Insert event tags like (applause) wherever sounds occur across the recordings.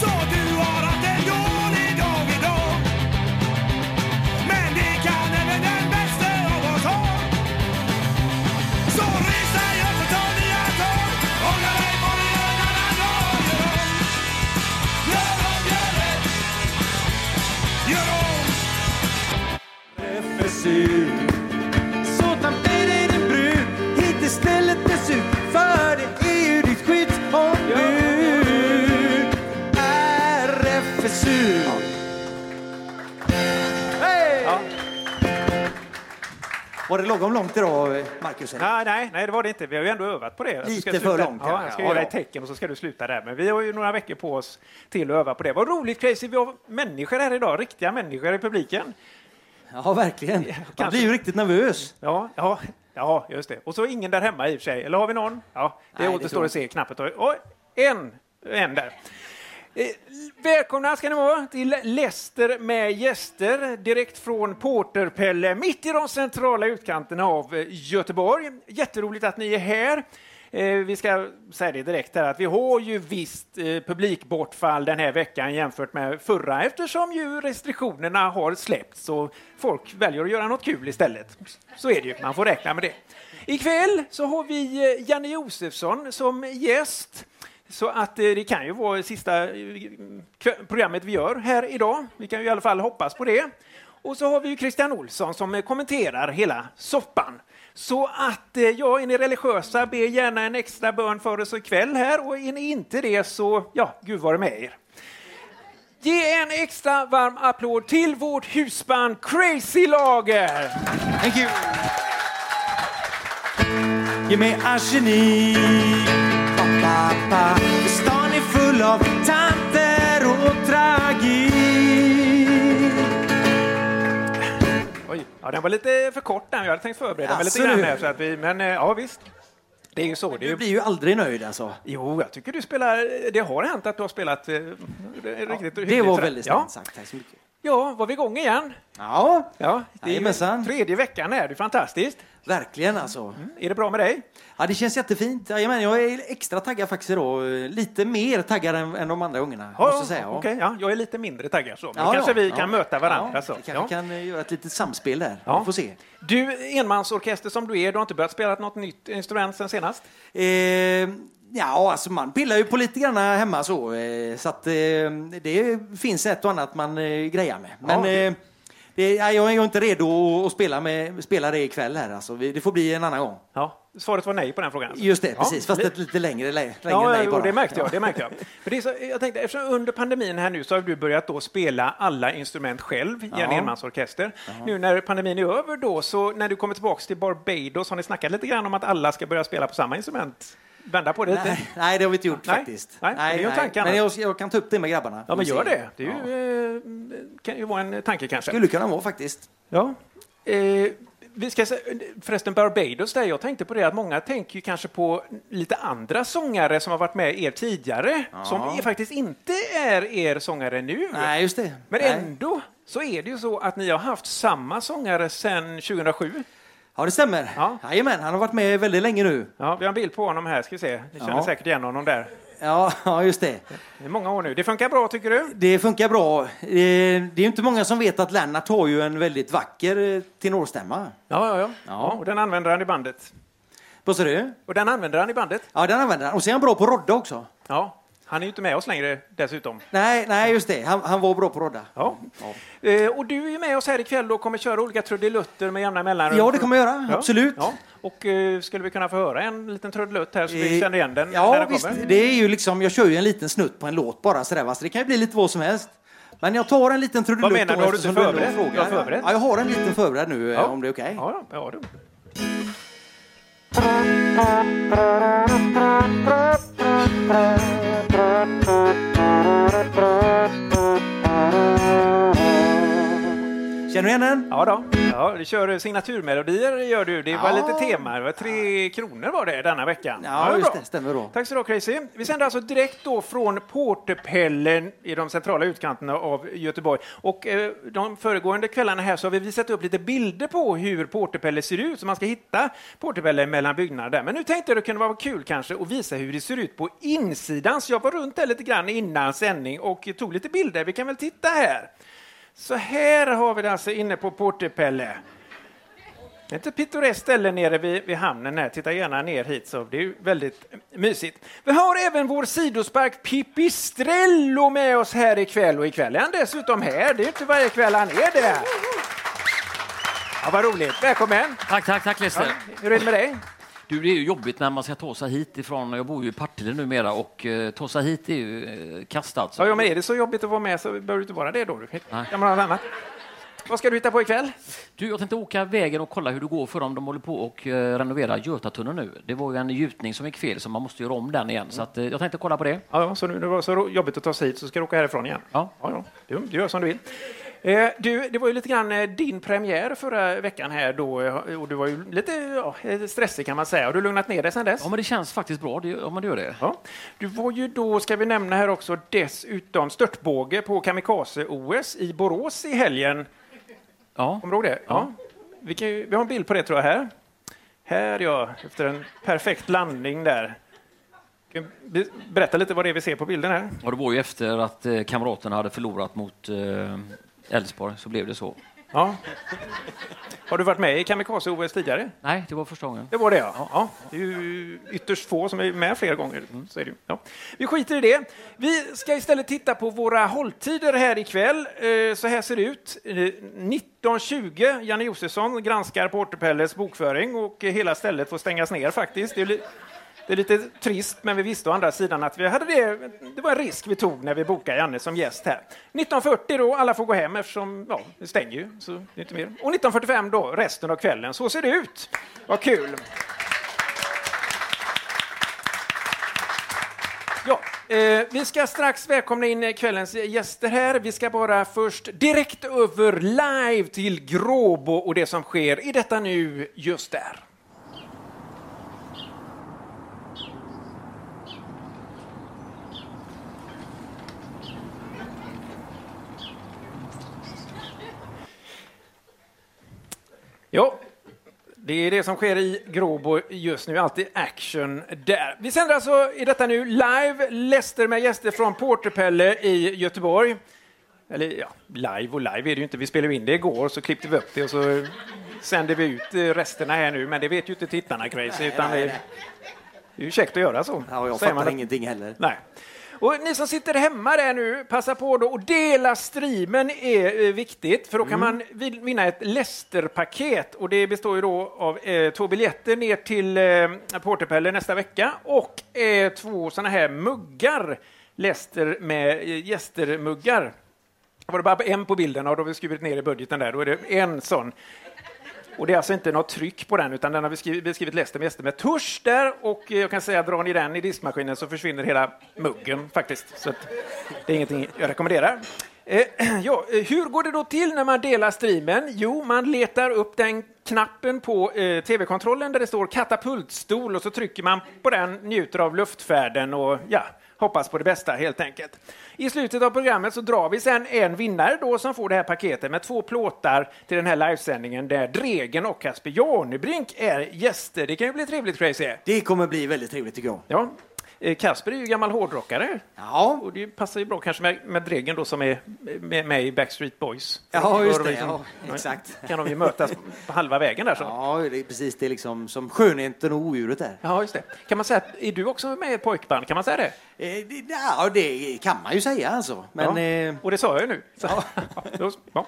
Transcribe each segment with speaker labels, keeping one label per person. Speaker 1: Så du har haft en dålig dag idag Men det kan även den bästa av oss ha Så res dig upp och ta nya tag Hålla dig på dig en annan dag Gör om, gör om, gör rätt Gör om
Speaker 2: FSU Så ta med dig din brud hit till stället SU För det är ju ditt skyddsombud RFSU Hej! Var det lagom långt idag, Marcus? eller?
Speaker 3: Ja, nej, nej, det var det inte. Vi har ju ändå övat på det. Jag
Speaker 2: Lite
Speaker 3: ska
Speaker 2: för
Speaker 3: sluta-
Speaker 2: långt,
Speaker 3: Ja,
Speaker 2: kanske.
Speaker 3: jag ska
Speaker 2: Ja,
Speaker 3: göra
Speaker 2: ja.
Speaker 3: ett tecken och så ska du sluta där. Men vi har ju några veckor på oss till att öva på det. Vad roligt Crazy, vi har människor här idag. Riktiga människor i publiken.
Speaker 2: Ja, verkligen. Jag
Speaker 3: kanske.
Speaker 2: blir ju riktigt nervös.
Speaker 3: Ja, ja, ja just det. Och så ingen där hemma i och för sig. Eller har vi någon? Ja, det
Speaker 2: Nej, det tror
Speaker 3: återstår
Speaker 2: jag
Speaker 3: att se. Knappet har... Oj, en! En där. Eh, Välkomna ska ni vara till Leicester med gäster direkt från Porterpelle mitt i de centrala utkanterna av eh, Göteborg. Jätteroligt att ni är här. Eh, Vi ska säga det direkt här att vi har ju visst eh, publikbortfall den här veckan jämfört med förra eftersom ju restriktionerna har släppts och folk väljer att göra något kul istället. Så är det ju, man får räkna med det. Ikväll så har vi eh, Janne Josefsson som gäst. Så att eh, det kan ju vara sista eh, kvä- programmet vi gör här idag. Vi kan ju i alla fall hoppas på det. Och så har vi ju Christian Olsson som eh, kommenterar hela soppan. Så att, eh, ja, är ni religiösa, be gärna en extra bön för oss ikväll här och är ni inte det så, ja, Gud vare med er. Ge en extra varm applåd till vårt husband Crazy Lager!
Speaker 2: Thank you. Ge mig arsenik. Pappa, för stan är full av tanter och tragik.
Speaker 3: Oj, ja, den var lite för kort den. Jag hade tänkt förbereda mig lite
Speaker 2: Alltså,
Speaker 3: grann
Speaker 2: du-
Speaker 3: här, så att vi, men eh, ja, visst. Det är ju så. Det är
Speaker 2: Du
Speaker 3: ju
Speaker 2: blir ju aldrig nöjd alltså.
Speaker 3: Jo, jag tycker du spelar... Det har hänt att du har spelat... eh, Det, är riktigt,
Speaker 2: Det
Speaker 3: hyggligt
Speaker 2: var
Speaker 3: sådär.
Speaker 2: väldigt
Speaker 3: ja.
Speaker 2: snällt sagt. Tack så mycket.
Speaker 3: ja, var vi igång igen?
Speaker 2: Ja,
Speaker 3: Ja, det är ju
Speaker 2: Jajamensan.
Speaker 3: tredje veckan här. Det är fantastiskt.
Speaker 2: verkligen alltså.
Speaker 3: Är det bra med dig?
Speaker 2: Ja, det känns jättefint. Jajamän, jag är extra taggad faktiskt idag. Lite mer taggad än, än de andra gångerna. måste jag säga. Ja.
Speaker 3: okej, ja, jag är lite mindre taggad så. Men
Speaker 2: Ja,
Speaker 3: kanske
Speaker 2: ja,
Speaker 3: vi
Speaker 2: ja.
Speaker 3: kan möta varandra.
Speaker 2: Ja,
Speaker 3: så.
Speaker 2: Vi kanske
Speaker 3: Ja.
Speaker 2: kan eh, göra ett litet samspel där.
Speaker 3: Ja.
Speaker 2: Vi får se.
Speaker 3: Du, enmansorkester som du är, du har inte börjat spela något nytt instrument sen senast?
Speaker 2: Eh, ja, alltså man pillar ju på lite grann hemma så. Eh, så att eh, det finns ett och annat man eh, grejar med. Men
Speaker 3: Ja, det-
Speaker 2: eh, det, nej, jag är ju inte redo att- att spela, med, spela det ikväll här. Alltså, Vi- det får bli en annan gång.
Speaker 3: Ja. Svaret var nej på den frågan. alltså.
Speaker 2: Just det,
Speaker 3: Ja.
Speaker 2: precis. Fast
Speaker 3: Li-
Speaker 2: ett lite längre, lä- längre
Speaker 3: Ja,
Speaker 2: nej
Speaker 3: jo,
Speaker 2: bara.
Speaker 3: det märkte jag. Det märkte jag. För det är så, jag tänkte, eftersom under pandemin här nu så har du börjat då spela alla instrument själv i en
Speaker 2: Ja.
Speaker 3: enmansorkester. Nu när pandemin är över då, så när du kommer tillbaks till Barbados, har ni snackat lite grann om att alla ska börja spela på samma instrument? Vända på det lite?
Speaker 2: (laughs) Nej, nej, det har vi inte gjort
Speaker 3: Nej,
Speaker 2: faktiskt.
Speaker 3: nej, men det är ju tankarna.
Speaker 2: Men jag, jag kan ta upp det med grabbarna.
Speaker 3: Ja, men
Speaker 2: Vi
Speaker 3: gör
Speaker 2: ser.
Speaker 3: det. Det är
Speaker 2: Ja.
Speaker 3: ju, eh, kan ju vara en tanke kanske.
Speaker 2: skulle kunna vara faktiskt.
Speaker 3: Ja. Eh, vi ska, se- förresten, Barbados, där jag tänkte på det att många tänker ju kanske på lite andra sångare som har varit med er tidigare, som är, faktiskt inte är er sångare nu.
Speaker 2: Nej, just det.
Speaker 3: Men
Speaker 2: nej.
Speaker 3: ändå så är det ju så att ni har haft samma sångare sedan 2007.
Speaker 2: Ja, det stämmer.
Speaker 3: Ja.
Speaker 2: Jajamän, han har varit med väldigt länge nu.
Speaker 3: Ja, vi har en bild på honom här, ska vi se. Ni känner
Speaker 2: Ja.
Speaker 3: säkert igen honom där.
Speaker 2: Ja, (laughs) ja, just det.
Speaker 3: Det är många år nu. Det funkar bra, tycker du?
Speaker 2: Det funkar bra. Eh, Det är ju inte många som vet att Lennart har ju en väldigt vacker eh, tenorstämma.
Speaker 3: Ja, ja, ja. ja och den använder han i bandet.
Speaker 2: Vad sa du?
Speaker 3: Och den använder han i bandet?
Speaker 2: Ja, den använder han. Och så är han bra på rodda också.
Speaker 3: Ja. Han är ju inte med oss längre, dessutom.
Speaker 2: Nej, nej just det. Han, han var bra på rodda.
Speaker 3: Ja. Eh, och du är ju med oss här ikväll och kommer köra olika trudelutter med jämna mellanrum.
Speaker 2: Ja, det kommer jag göra. Absolut.
Speaker 3: Ja. Och eh, skulle vi kunna få höra en liten trudelutt här så vi
Speaker 2: Eh,
Speaker 3: känner igen den när
Speaker 2: Ja,
Speaker 3: den
Speaker 2: visst.
Speaker 3: kommer?
Speaker 2: Det är ju liksom, jag kör ju en liten snutt på en låt bara sådär, va? så det kan ju bli lite vad som helst. Men jag tar en liten
Speaker 3: Vad
Speaker 2: trudelutt
Speaker 3: menar
Speaker 2: då,
Speaker 3: du? Har du
Speaker 2: eftersom
Speaker 3: inte
Speaker 2: ändå
Speaker 3: förberett?
Speaker 2: frågar.
Speaker 3: Jag har förberett.
Speaker 2: Ja, jag har en liten förberedd nu eh,
Speaker 3: Ja.
Speaker 2: om det är okej.
Speaker 3: Ja, ja, du.
Speaker 2: Känner du igen den?
Speaker 3: ja då. Ja, du kör signaturmelodier gör du. Det var
Speaker 2: Ja.
Speaker 3: lite tema. Det var tre kronor var det denna veckan.
Speaker 2: Ja,
Speaker 3: är
Speaker 2: just
Speaker 3: bra.
Speaker 2: det. Stämmer då.
Speaker 3: Tack så du ha, Crazy. Vi sänder alltså direkt då från Porterpellen i de centrala utkanterna av Göteborg. Och eh, de föregående kvällarna här så har vi visat upp lite bilder på hur Porterpelle ser ut, så man ska hitta Porterpelle mellan byggnaderna där. Men nu tänkte jag det kunde vara kul kanske att visa hur det ser ut på insidan. Så jag var runt där lite grann innan sändning och tog lite bilder. Vi kan väl titta här. Så här har vi det alltså inne på Porterpelle. Det är ett pittoreskt ställe nere vid, vid hamnen här. Titta gärna ner hit, så det är ju väldigt mysigt. Vi har även vår sidospark Pipistrello med oss här ikväll och ikväll är han dessutom här. Det är inte varje kväll han är det. Ja, vad roligt. Välkommen!
Speaker 4: Tack, tack, tack Lester.
Speaker 3: Hur är det med dig?
Speaker 4: Du, det är ju jobbigt när man ska ta sig hit ifrån. Jag bor ju i Partille numera och eh, ta sig hit är ju eh, kast alltså.
Speaker 3: Ja, ja, men är det så jobbigt att vara med så behöver du inte vara det då. Du kan
Speaker 4: Nej.
Speaker 3: kan man ha något annat. Vad ska du hitta på ikväll?
Speaker 4: Du, jag tänkte åka vägen och kolla hur det går för dem. De håller på och eh, renovera Götatunneln nu. Det var ju en gjutning som gick fel så man måste göra om den igen.
Speaker 5: Mm.
Speaker 4: Så att, eh, jag tänkte kolla på det.
Speaker 3: Ja, ja, så nu när det var så ro- jobbigt att ta sig hit så ska du åka härifrån igen.
Speaker 4: Ja.
Speaker 3: ja, ja. Du, du gör som du vill. Eh, du, det var ju lite grann eh, din premiär förra veckan här då eh, och du var ju lite ja, eh, stressig kan man säga. Har du lugnat ner dig sedan dess?
Speaker 4: Ja, men det känns faktiskt bra det, om man gör det.
Speaker 3: Ja. Du var ju då, ska vi nämna här också, dessutom störtbåge på kamikaze-OS i Borås i helgen.
Speaker 4: Ja.
Speaker 3: Kommer du ihåg det? Ja. Vi, kan ju, vi har en bild på det tror jag här. Här ja, efter en perfekt landning där. Kan vi Berätta lite vad det är vi ser på bilden här.
Speaker 4: Och det var ju efter att eh, kamraterna hade förlorat mot eh, Elfsborg så blev det så.
Speaker 3: Ja. Har du varit med i kamikaze-OS tidigare?
Speaker 4: Nej, det var första gången.
Speaker 3: Det var det, ja. ja. Det är ju ytterst få som är med flera gånger. Så är det. ju. Ja. Vi skiter i det. Vi ska istället titta på våra hålltider här ikväll. Eh, Så här ser det ut. Eh, 19.20, Janne Josefsson granskar Porterpelles bokföring och eh, hela stället får stängas ner faktiskt. Det är, li- det är lite trist, men vi visste å andra sidan att vi hade det. Det var en risk vi tog när vi bokade Janne som gäst här. 19.40 då, alla får gå hem eftersom, ja, det stänger ju, så det är inte mer. Och 19.45 då, resten av kvällen. Så ser det ut. Vad kul! Ja, eh, vi ska strax välkomna in eh, kvällens gäster här. Vi ska bara först direkt över live till Gråbo och det som sker i detta nu, just där. Ja, det är det som sker i Gråbo just nu, alltid action där. Vi sänder alltså i detta nu live, Lester med gäster från Porterpelle i Göteborg. Eller ja, live och live är det ju inte, vi spelade ju in det igår så klippte vi upp det och så sänder vi ut eh, resterna här nu, men det vet ju inte tittarna crazy, utan det är det är ju käckt att göra så.
Speaker 2: Ja, jag
Speaker 3: Säger man
Speaker 2: fattar
Speaker 3: att-
Speaker 2: ingenting heller.
Speaker 3: Nej. Och ni som sitter hemma där nu, passa på då och dela streamen är eh, viktigt för då kan man vin- vinna ett Leicester-paket och det består ju då av eh, två biljetter ner till eh, Porterpelle nästa vecka och eh, två sådana här muggar, Leicester med eh, gästermuggar. Var det bara en på bilden och då har vi skurit ner i budgeten där, då är det en sån. Och det är alltså inte något tryck på den, utan den har vi skrivit, beskrivit lästen med gäster med tusch där och eh, jag kan säga att drar ni den i diskmaskinen så försvinner hela muggen faktiskt. Så att det är ingenting jag rekommenderar. Eh, (clears throat) ja, eh, hur går det då till när man delar streamen? Jo, man letar upp den knappen på eh, tv-kontrollen där det står katapultstol och så trycker man på den, njuter av luftfärden och ja, hoppas på det bästa helt enkelt. I slutet av programmet så drar vi sen en vinnare då som får det här paketet med två plåtar till den här livesändningen där Dregen och Kasper Janebrink är gäster. Det kan ju bli trevligt crazy.
Speaker 2: Det kommer bli väldigt trevligt tycker jag.
Speaker 3: Ja, eh, Kasper är ju gammal hårdrockare
Speaker 2: Ja,
Speaker 3: och det passar ju bra kanske med, med Dregen då som är med, med i Backstreet Boys.
Speaker 2: ja just
Speaker 3: Då
Speaker 2: det.
Speaker 3: liksom-
Speaker 2: Ja, exakt.
Speaker 3: Kan de ju mötas på halva vägen där så.
Speaker 2: Ja, det är precis det är liksom som skönheten och odjuret är.
Speaker 3: Ja, just det. Kan man säga att, är du också med i ett pojkband? Kan man säga det?
Speaker 2: Eh, det- Ja, det kan man ju säga alltså. Men,
Speaker 3: ja.
Speaker 2: eh,
Speaker 3: (laughs) Och det sa jag ju nu. Så. Ja. då- Ja.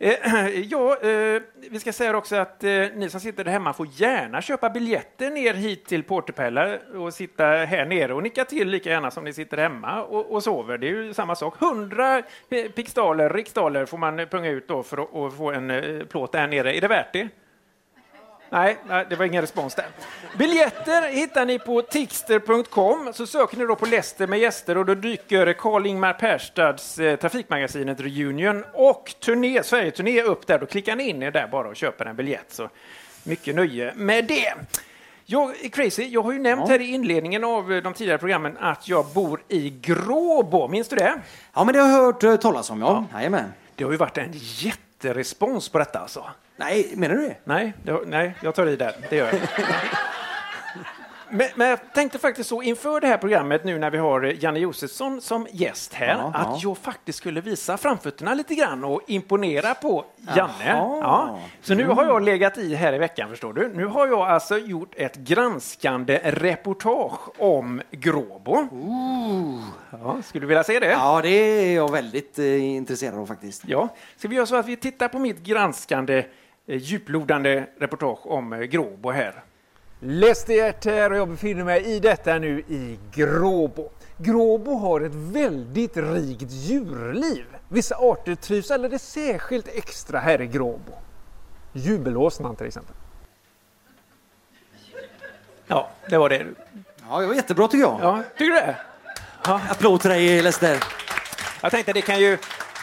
Speaker 3: Eh, (clears throat) ja, eh, vi ska säga också att eh, ni som sitter där hemma får gärna köpa biljetter ner hit till Portepella och sitta här nere och nicka till lika gärna som ni sitter hemma och, och sover. Det är ju samma sak. 100 pi- pixdaler, riksdaler får man eh, punga ut då för att och få en eh, plåt där nere. Är det värt det? Nej, nej, det var ingen respons där. Biljetter hittar ni på tixter.com. Så söker ni då på Leicester med gäster och då dyker Karl-Ingmar Perstads eh, Trafikmagasinet Reunion och turné, Sverige-turné upp där. Då klickar ni in er där bara och köper en biljett. Så mycket nöje med det. Jag, crazy, jag har ju nämnt här i inledningen av eh, de tidigare programmen att jag bor i Gråbo. Minns du det?
Speaker 2: Ja, men det har jag hört eh, talas om, ja. Jajamän.
Speaker 3: Det har ju varit en jätterespons på detta alltså.
Speaker 2: Nej, menar du det?
Speaker 3: Nej, det, nej, jag tar i där. Det gör jag. Men, men jag tänkte faktiskt så inför det här programmet nu när vi har eh, Janne Josefsson som gäst här,
Speaker 2: Ja,
Speaker 3: att
Speaker 2: ja.
Speaker 3: jag faktiskt skulle visa framfötterna lite grann och imponera på Janne.
Speaker 2: Jaha.
Speaker 3: Ja. Så nu har jag legat i här i veckan förstår du. Nu har jag alltså gjort ett granskande reportage om Gråbo. Ja, skulle du vilja se det?
Speaker 2: Ja, det är jag väldigt eh, intresserad av faktiskt.
Speaker 3: Ja, ska vi göra så att vi tittar på mitt granskande, eh, djuplodande reportage om eh, Gråbo här. Lestert här och jag befinner mig i detta nu i Gråbo. Gråbo har ett väldigt rikt djurliv. Vissa arter trivs alldeles särskilt extra här i Gråbo. Jubelåsnan till exempel. Ja, det var det.
Speaker 2: Ja, det var jättebra tycker jag.
Speaker 3: Ja, tycker du det?
Speaker 2: Applåd till dig Lester.
Speaker 3: Jag tänkte det kan ju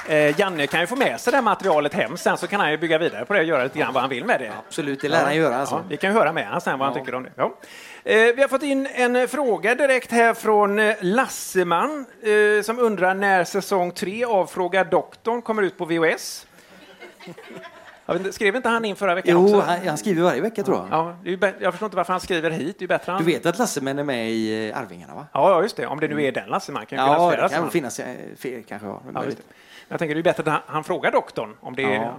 Speaker 3: eh, Janne kan ju få med sig det här materialet hem sen så kan han ju bygga vidare på det och göra lite grann vad han vill med det.
Speaker 2: Absolut, det lär han göra alltså.
Speaker 3: Ja, vi kan ju höra med honom sen vad han tycker om det. Ja. Eh, vi har fått in en eh, fråga direkt här från eh, Lasseman eh, som undrar när säsong tre av Fråga doktorn kommer ut på (laughs) VHS. Jag vet inte, Skrev inte han in förra veckan
Speaker 2: Jo,
Speaker 3: också?
Speaker 2: han, han skriver varje vecka tror jag.
Speaker 3: Ja, det är ju bä- jag förstår inte varför han skriver hit. Det är ju bättre han...
Speaker 2: Du vet att Lassemän är med i eh, Arvingarna va?
Speaker 3: Ja, ja, just det. Om det nu är den Lasseman. Kan ju finnas
Speaker 2: Ja,
Speaker 3: flera
Speaker 2: det
Speaker 3: Lasseman.
Speaker 2: kan väl finnas eh, fel kanske. Ja,
Speaker 3: Ja, just
Speaker 2: möjligt.
Speaker 3: det. Jag tänker det är bättre att han, han frågar doktorn om det är
Speaker 2: Ja.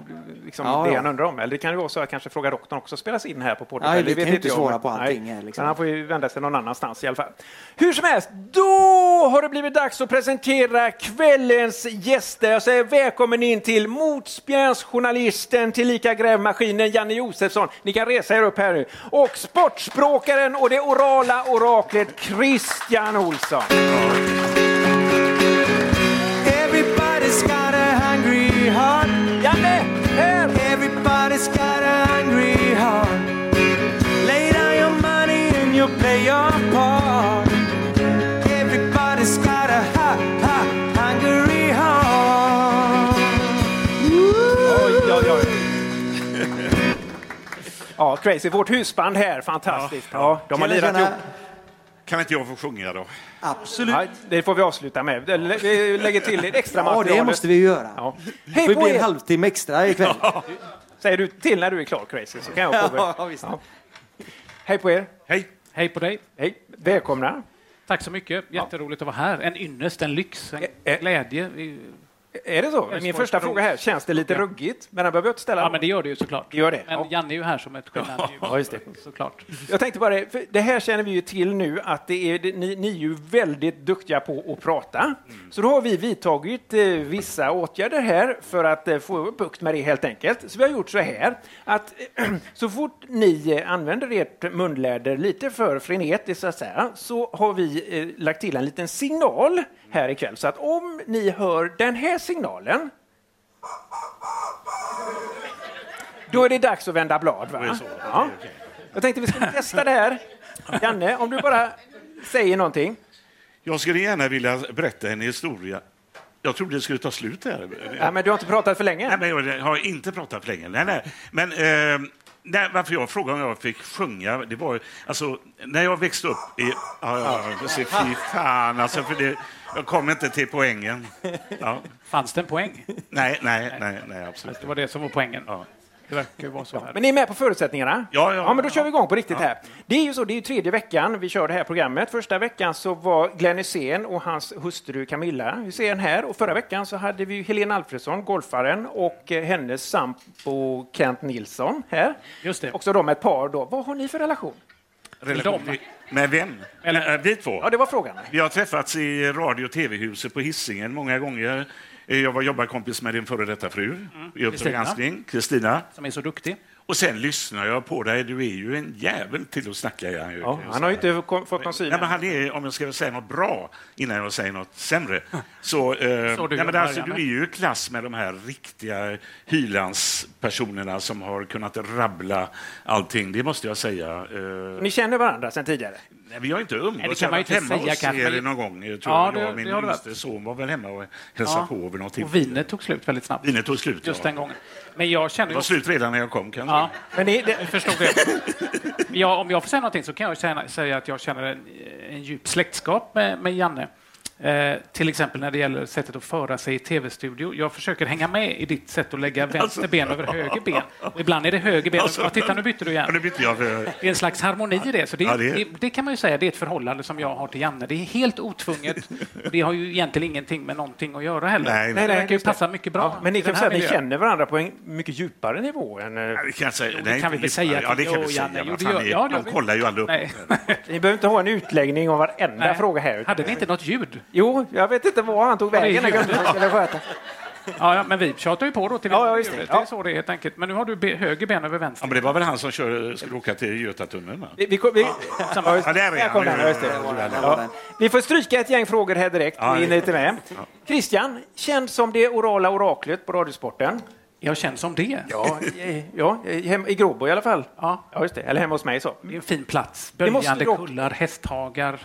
Speaker 3: liksom,
Speaker 2: Ja,
Speaker 3: det
Speaker 2: ja.
Speaker 3: han undrar om. Eller det kan ju vara så att kanske fråga doktorn också spelas in här på Portugal.
Speaker 2: Nej, vi kan ju inte
Speaker 3: jag,
Speaker 2: svara
Speaker 3: men-
Speaker 2: på allting
Speaker 3: nej.
Speaker 2: här, liksom.
Speaker 3: Men han får ju vända sig någon annanstans i alla fall. Hur som helst, då har det blivit dags att presentera kvällens gäster. Jag säger välkommen in till motspjärnsjournalisten tillika grävmaskinen Janne Josefsson. Ni kan resa er upp här nu. Och sportspråkaren och det orala oraklet Christian Olsson.
Speaker 1: Everybody's got a hungry heart.
Speaker 3: Janne, här!
Speaker 1: Everybody's got a hungry heart. Lay down your money and you'll play your part. Everybody's got a ha, ha, hungry heart.
Speaker 3: Oj, oj, oj. Ja, crazy. Vårt husband här, fantastiskt. Ja, de har
Speaker 2: Tjena,
Speaker 3: lirat ihop.
Speaker 2: tjena.
Speaker 6: Kan inte jag få sjunga då?
Speaker 2: Absolut.
Speaker 3: Ja, det får vi avsluta med. Lä- Vi lägger till lite extra
Speaker 2: Ja,
Speaker 3: material.
Speaker 2: det måste vi ju göra.
Speaker 3: Ja.
Speaker 2: Det
Speaker 3: Hej
Speaker 2: får
Speaker 3: på
Speaker 2: bli en
Speaker 3: er!
Speaker 2: halvtimme extra ikväll. (laughs)
Speaker 3: Säger du till när du är klar, crazy, så kan jag påbörja.
Speaker 2: Ja, visst.
Speaker 3: Hej på er!
Speaker 6: Hej!
Speaker 5: Hej på dig.
Speaker 3: Hej. Välkomna!
Speaker 5: Tack så mycket. Jätteroligt att vara här. En ynnest, en lyx,
Speaker 4: Eh,
Speaker 5: en
Speaker 3: Ä- ä-
Speaker 5: glädje. Vi-
Speaker 3: Är det så? Min första fråga här, känns det lite ruggigt? Men den behöver jag inte ställa.
Speaker 5: Ja, men det gör det ju såklart.
Speaker 3: Det gör det,
Speaker 5: Men
Speaker 3: ja.
Speaker 5: Janne är ju här som ett skenande
Speaker 3: Ja, just det.
Speaker 5: Såklart.
Speaker 3: Jag tänkte bara, det, för det här känner vi ju till nu att det är, det- ni, ni är ju väldigt duktiga på att prata. Så då har vi vidtagit eh, vissa åtgärder här för att eh, få bukt med det helt enkelt. Så vi har gjort så här att (clears throat) så fort ni eh, använder ert munläder lite för frenetiskt så, att säga, så har vi eh, lagt till en liten signal här ikväll. Så att om ni hör den här signalen Då är det dags att vända blad, va? Ja. Jag tänkte vi skulle testa det här. Janne, om du bara säger någonting.
Speaker 6: Jag skulle gärna vilja berätta en historia. Jag trodde det skulle ta slut här.
Speaker 3: Ja, men du har inte pratat för länge.
Speaker 6: Nej, men jag har inte pratat för länge. Nej, nej. Men eh, nej, varför jag frågade om jag fick sjunga, det var alltså när jag växte upp i... Ja, ja, ja, se, fy fan alltså, för det, jag kom inte till poängen. Ja.
Speaker 5: Fanns det en poäng?
Speaker 6: Nej, nej, nej, nej, absolut.
Speaker 5: Det var det som var poängen.
Speaker 6: Ja.
Speaker 5: Det verkar ju vara så här.
Speaker 3: Men ni är med på förutsättningarna?
Speaker 6: Ja, ja,
Speaker 3: men då
Speaker 6: ja.
Speaker 3: kör vi igång på riktigt här. Det är ju så, det är ju tredje veckan vi kör det här programmet. Första veckan så var Glenn Hysén och hans hustru Camilla Hysén här och förra veckan så hade vi ju Helene Alfredsson, golfaren, och eh, hennes sambo Kent Nilsson här.
Speaker 5: Just det.
Speaker 3: Också de ett par då. Vad har ni för relation?
Speaker 6: Relation
Speaker 5: Dem.
Speaker 6: till- Med vem?
Speaker 5: Eller-
Speaker 6: Eh, Vi två?
Speaker 3: Ja, det var frågan.
Speaker 6: Vi har träffats i radio och tv-huset på Hisingen många gånger. Eh, Jag var jobbarkompis med din före detta fru i Uppdrag
Speaker 5: Mm. Kristina.
Speaker 6: granskning, Kristina.
Speaker 5: som är så duktig.
Speaker 6: Och sen lyssnar jag på dig. Du är ju en jävel till att snacka. Ja,
Speaker 3: Ja, han har ju inte kom- fått någon syn.
Speaker 6: Nej, men han är, om jag ska säga något bra innan jag säger något
Speaker 5: (laughs)
Speaker 6: sämre, så... Eh,
Speaker 5: Så du
Speaker 6: nej, men
Speaker 5: gör,
Speaker 6: alltså, du
Speaker 5: Marianne.
Speaker 6: är ju i klass med de här riktiga hylandspersonerna som har kunnat rabbla allting, det måste jag säga. Eh,
Speaker 3: Ni känner varandra sedan tidigare?
Speaker 6: nej, vi har inte umgåtts.
Speaker 5: Nej, det kan
Speaker 6: jag har
Speaker 5: man ju
Speaker 6: varit
Speaker 5: inte
Speaker 6: hemma
Speaker 5: säga,
Speaker 6: hos
Speaker 5: kanske,
Speaker 6: er
Speaker 5: men-
Speaker 6: någon gång. Jag tror
Speaker 5: Ja,
Speaker 6: jag,
Speaker 5: det-
Speaker 6: och min
Speaker 5: det har du
Speaker 6: yngste son var väl hemma och hälsade
Speaker 5: Ja.
Speaker 6: på vid något
Speaker 5: Och
Speaker 6: tillfälle.
Speaker 5: vinet tog slut väldigt snabbt.
Speaker 6: Vinet tog slut,
Speaker 5: Just
Speaker 6: ja.
Speaker 5: den gången. Men jag känner
Speaker 6: Det
Speaker 5: ju
Speaker 6: var
Speaker 5: också...
Speaker 6: slut redan när jag kom, kanske.
Speaker 5: Ja,
Speaker 3: Men ni, det,
Speaker 5: jag förstod det. Ja, om jag får säga någonting så kan jag känna, säga att jag känner en, en djup släktskap med, med Janne. Eh, till exempel när det gäller sättet att föra sig i tv-studio. Jag försöker hänga med i ditt sätt att lägga vänster ben över höger ben. Och ibland är det höger ben.
Speaker 6: Alltså,
Speaker 5: ja, titta, nu bytte du igen.
Speaker 6: Ja, nu bytte jag. För,
Speaker 5: Det är en slags harmoni i det. Så det,
Speaker 6: Ja, det
Speaker 5: det,
Speaker 6: är-
Speaker 5: det, kan man ju säga, det är ett förhållande som jag har till Janne. Det är helt otvunget. Och det
Speaker 3: (laughs)
Speaker 5: har ju egentligen ingenting med någonting att göra heller.
Speaker 6: Nej, nej.
Speaker 5: det verkar ju
Speaker 3: just det.
Speaker 5: passa mycket bra.
Speaker 3: men ni
Speaker 5: i
Speaker 3: kan
Speaker 5: den
Speaker 3: säga
Speaker 5: här
Speaker 3: att ni
Speaker 5: miljön.
Speaker 3: känner varandra på en mycket djupare nivå än... eh,
Speaker 6: det kan, jag säga,
Speaker 5: Jo, det
Speaker 6: nej,
Speaker 5: kan vi väl säga.
Speaker 6: Ja, det kan
Speaker 5: Jo,
Speaker 6: vi säga.
Speaker 5: Janne, jo,
Speaker 6: Vad
Speaker 5: det
Speaker 6: fan
Speaker 5: gör-
Speaker 6: är-
Speaker 5: ja, det gör
Speaker 6: de
Speaker 5: vi.
Speaker 6: kollar ju aldrig upp.
Speaker 5: Nej.
Speaker 3: Ni behöver inte ha en utläggning om varenda
Speaker 5: Nej.
Speaker 3: fråga här.
Speaker 5: Hade ni inte något ljud?
Speaker 3: Jo, jag vet inte var han tog
Speaker 5: Ja, det är
Speaker 3: vägen. när
Speaker 5: ljud.
Speaker 3: Gunnar skulle sköta.
Speaker 5: Ja, ja, men vi tjatar ju på då till
Speaker 3: Ja, ja, just det.
Speaker 5: det.
Speaker 3: Ja.
Speaker 5: är så det är helt enkelt. Men nu har du be, höger ben över
Speaker 6: Ja,
Speaker 5: vänster.
Speaker 6: men det var väl han som kör, skulle åka till Götatunneln? va?
Speaker 3: Vi, vi, vi, ja, just,
Speaker 6: Ja, där är
Speaker 3: där
Speaker 6: han.
Speaker 3: kom den,
Speaker 6: Nu-
Speaker 3: ja, just det.
Speaker 6: nu- nu- nu-
Speaker 3: Ja. Vi får stryka ett gäng frågor här direkt.
Speaker 6: Ja,
Speaker 3: Vi hinner inte med. Christian, känd som det orala oraklet på Radiosporten.
Speaker 5: Jag känner som det.
Speaker 3: Ja, i- ja i- hem, i Gråbo i alla fall.
Speaker 5: Ja.
Speaker 3: Ja, just det. Eller hemma hos mig så.
Speaker 5: Det är en fin plats.
Speaker 3: Det måste
Speaker 5: Böljande
Speaker 3: dock-
Speaker 5: kullar, hästhagar,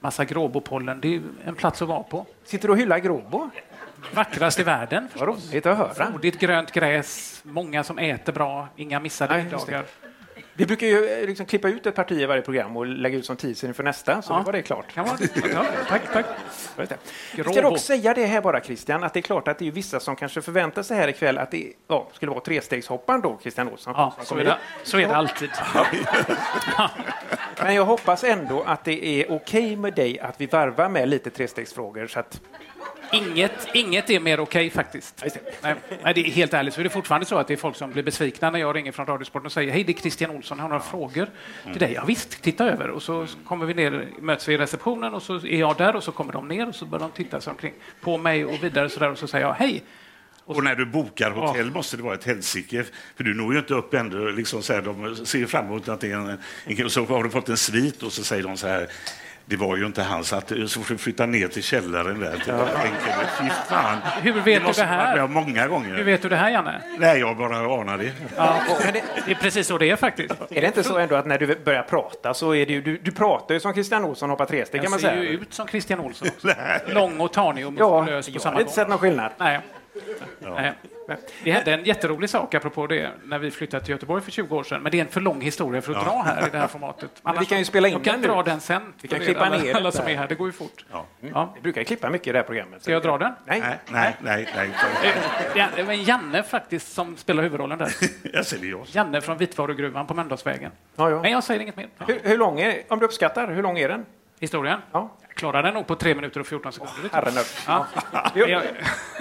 Speaker 5: massa gråbopollen. Det är ju en plats att vara på.
Speaker 3: Sitter du och hyllar Gråbo?
Speaker 5: Vackrast i världen.
Speaker 3: Vad roligt att höra.
Speaker 5: Modigt grönt gräs, många som äter bra, inga missade
Speaker 3: Nej, just det.
Speaker 5: middagar.
Speaker 3: Vi brukar ju eh, liksom klippa ut ett parti i varje program och lägga ut som teaser inför nästa, så
Speaker 5: Ja.
Speaker 3: nu var det klart.
Speaker 5: Kan vara, ja, tack, tack.
Speaker 3: Just det. Vi ska
Speaker 5: Gråbo.
Speaker 3: dock säga det här bara, Christian, att det är klart att det är ju vissa som kanske förväntar sig här ikväll att det ja, skulle vara trestegshopparen då, Christian Olsson.
Speaker 5: Ja,
Speaker 3: som
Speaker 5: så
Speaker 3: kommer
Speaker 5: är
Speaker 3: hit.
Speaker 5: det, så är det alltid.
Speaker 3: Men jag hoppas ändå att det är okej med dig att vi varvar med lite trestegsfrågor. Så att,
Speaker 5: Inget, inget är mer okej faktiskt. Nej, nej, det är helt ärligt så är det fortfarande så att det är folk som blir besvikna när jag ringer från Radiosporten och säger hej, det är Christian Olsson, jag har några frågor till dig. Ja, visst, titta över. Och så kommer vi ner, möts vi i receptionen och så är jag där och så kommer de ner och så börjar de titta sig omkring på mig och vidare så där och så säger jag hej.
Speaker 6: Och när du bokar hotell måste det vara ett helsike, för du når ju inte upp ändå. Liksom så här, de ser ju fram emot att det är en, en... Så har du fått en svit och så säger de så här, det var ju inte hans, att, eh, så får du flytta ner till källaren där. Till ja. Fy fan.
Speaker 5: Hur vet
Speaker 6: måste
Speaker 5: du det
Speaker 6: jag ha varit
Speaker 5: här?
Speaker 6: med om många gånger.
Speaker 5: Hur vet du det här Janne?
Speaker 6: Nej, jag bara anar det.
Speaker 3: men det,
Speaker 5: Det är precis så det är faktiskt.
Speaker 3: är det inte så ändå att när du börjar prata så är det ju, du, du pratar ju som Christian Olsson hoppar tresteg kan man
Speaker 5: Jag ser ju
Speaker 3: säga.
Speaker 5: ut som
Speaker 3: (laughs)
Speaker 5: Christian Olsson också. Lång och tanig och
Speaker 3: Ja,
Speaker 5: muskulös på
Speaker 3: jag har
Speaker 5: samma
Speaker 3: inte
Speaker 5: gång.
Speaker 3: sett någon skillnad.
Speaker 5: Nej. Nej. Det hände en jätterolig sak apropå det när vi flyttade till Göteborg för 20 år sedan. Men det är en för lång historia för att dra här i det här formatet.
Speaker 3: vi kan ju spela in
Speaker 5: jag kan
Speaker 3: den nu.
Speaker 5: dra den sen.
Speaker 3: Vi kan
Speaker 5: för
Speaker 3: klippa
Speaker 5: alla,
Speaker 3: ner den
Speaker 5: alla som
Speaker 3: där.
Speaker 5: är här. Det går ju fort. Ja.
Speaker 3: Vi brukar ju klippa mycket i det här programmet.
Speaker 5: Ska jag dra den?
Speaker 3: Nej.
Speaker 6: Nej, nej, nej. nej.
Speaker 5: (laughs) Ja, Det var en Janne faktiskt som spelar huvudrollen där.
Speaker 6: Jag säger ja.
Speaker 5: Janne från Vitvarugruvan på Mölndalsvägen.
Speaker 3: Ja, ja.
Speaker 5: Men jag säger inget mer.
Speaker 3: Hur, hur lång är, om du uppskattar, hur lång är den?
Speaker 5: Historien?
Speaker 3: Ja.
Speaker 5: Jag klarar den nog på 3 minuter och 14 sekunder.
Speaker 3: Herren upp.
Speaker 5: ja.
Speaker 3: Jo,
Speaker 5: Ja.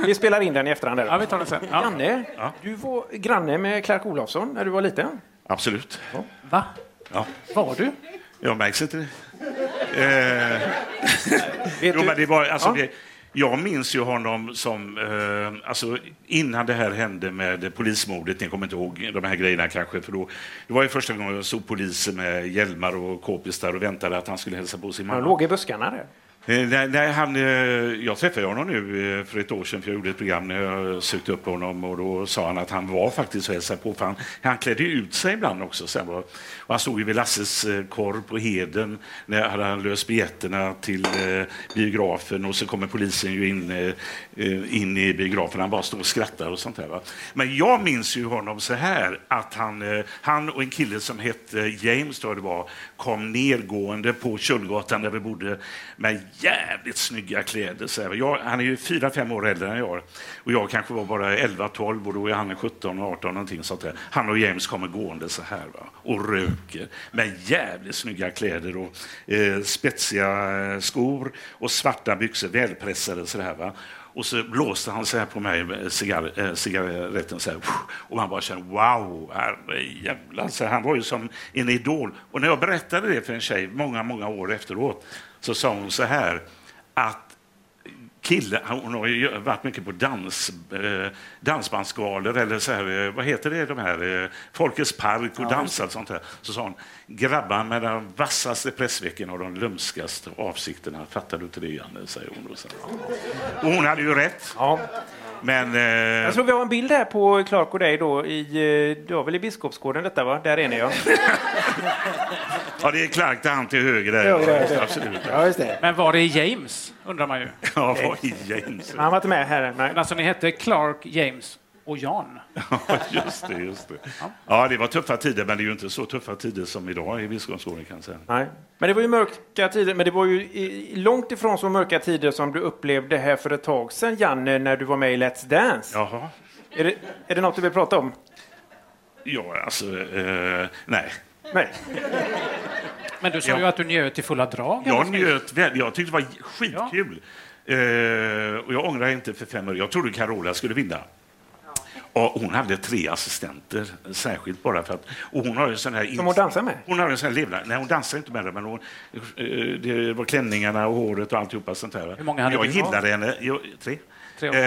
Speaker 3: vi spelar in den i efterhand.
Speaker 5: ja,
Speaker 3: Där.
Speaker 5: vi tar den sen. Ja.
Speaker 3: Janne, du var granne med Clark Olofsson när du var liten.
Speaker 6: Absolut.
Speaker 5: Va?
Speaker 6: Ja.
Speaker 5: Var du?
Speaker 6: Jag märks inte det. Eh,
Speaker 3: Vet
Speaker 6: jo,
Speaker 3: du-
Speaker 6: men det var, alltså,
Speaker 3: Ja.
Speaker 6: det, jag minns ju honom som, eh, alltså, innan det här hände med polismordet, ni kommer inte ihåg de här grejerna kanske, för då, det var ju första gången jag såg polisen med hjälmar och k-pistar och väntade att han skulle hälsa på sin mamma.
Speaker 3: Han låg i buskarna där.
Speaker 6: Eh, Nej, nej, han, eh, jag träffade honom nu eh, för ett år sedan, för jag gjorde ett program när jag sökte upp honom och då sa han att han var faktiskt och hälsade på, för han, han klädde ju ut sig ibland också. Sen var, och han stod ju vid Lasses eh, korv på Heden, när hade han löst biljetterna till eh, biografen och så kommer polisen ju in, eh, eh, in i biografen, han bara står och skrattar och sånt där. Va? Men jag minns ju honom så här, att han, eh, han och en kille som hette eh, James, tror jag det var, kom nergående på Tjullgatan där vi bodde med jävligt snygga kläder. Så här. Jag, han är ju fyra, fem år äldre än jag och jag kanske var bara 11, 12 och då är han 17, 18 någonting sånt där. Han och James kommer gående så här va? och röker med jävligt snygga kläder och eh, spetsiga eh, skor och svarta byxor, välpressade så här. Va? Och så blåste han så här på mig med cigarr, eh, cigaretten så här, pff, och man bara kände wow, herrejävlar. Så Han var ju som en idol. Och när jag berättade det för en tjej många, många år efteråt så sa hon så här att kille, hon har ju varit mycket på dans, eh, dansbandsgalor eller så här, eh, vad heter det, de här, eh, Folkets park och dansat sånt här. Så sa hon, grabbar med den vassaste pressvecken och de lömskaste avsikterna, fattar du inte det Janne, säger hon. Och, så. och hon hade ju rätt. Men, eh,
Speaker 3: Jag tror vi har en bild här på Clark och dig då i, eh, det var väl i Biskopsgården detta va? Där är ni ja.
Speaker 6: ja det är Clark där han till höger där. Absolut.
Speaker 3: Ja, just det.
Speaker 5: Men var det James, undrar man ju.
Speaker 6: Ja, vad i James?
Speaker 3: Han var inte med här. Nej.
Speaker 5: Men alltså, ni hette Clark, James och Jan.
Speaker 6: Ja, just det. Just det. Ja, det var tuffa tider, men det är ju inte så tuffa tider som idag i Biskopsgården kan jag säga.
Speaker 3: Nej. Men det var ju mörka tider, men det var ju i- långt ifrån så mörka tider som du upplevde här för ett tag sedan Janne, när du var med i Let's Dance.
Speaker 6: Jaha.
Speaker 3: Är, det, är det något du vill prata om?
Speaker 6: Ja, alltså, eh, nej.
Speaker 3: Nej.
Speaker 5: Men du sa
Speaker 6: Ja.
Speaker 5: ju att du njöt i fulla drag.
Speaker 6: Jag
Speaker 5: alldeles nyss.
Speaker 6: njöt väl. Jag tyckte det var skitkul. Eh, och jag ångrar inte för fem öre. Jag trodde Carola skulle vinna. Och hon hade tre assistenter, särskilt bara för att... Och hon har ju sån här...
Speaker 3: Som hon dansar med?
Speaker 6: Hon har en sån här levnad. Nej, hon dansar inte med det, men hon, eh, det var klänningarna och håret och alltihopa sånt där.
Speaker 5: Hur många hade
Speaker 6: jag
Speaker 5: du?
Speaker 6: gillade henne. Jag, tre.
Speaker 5: Tre år.
Speaker 6: Eh,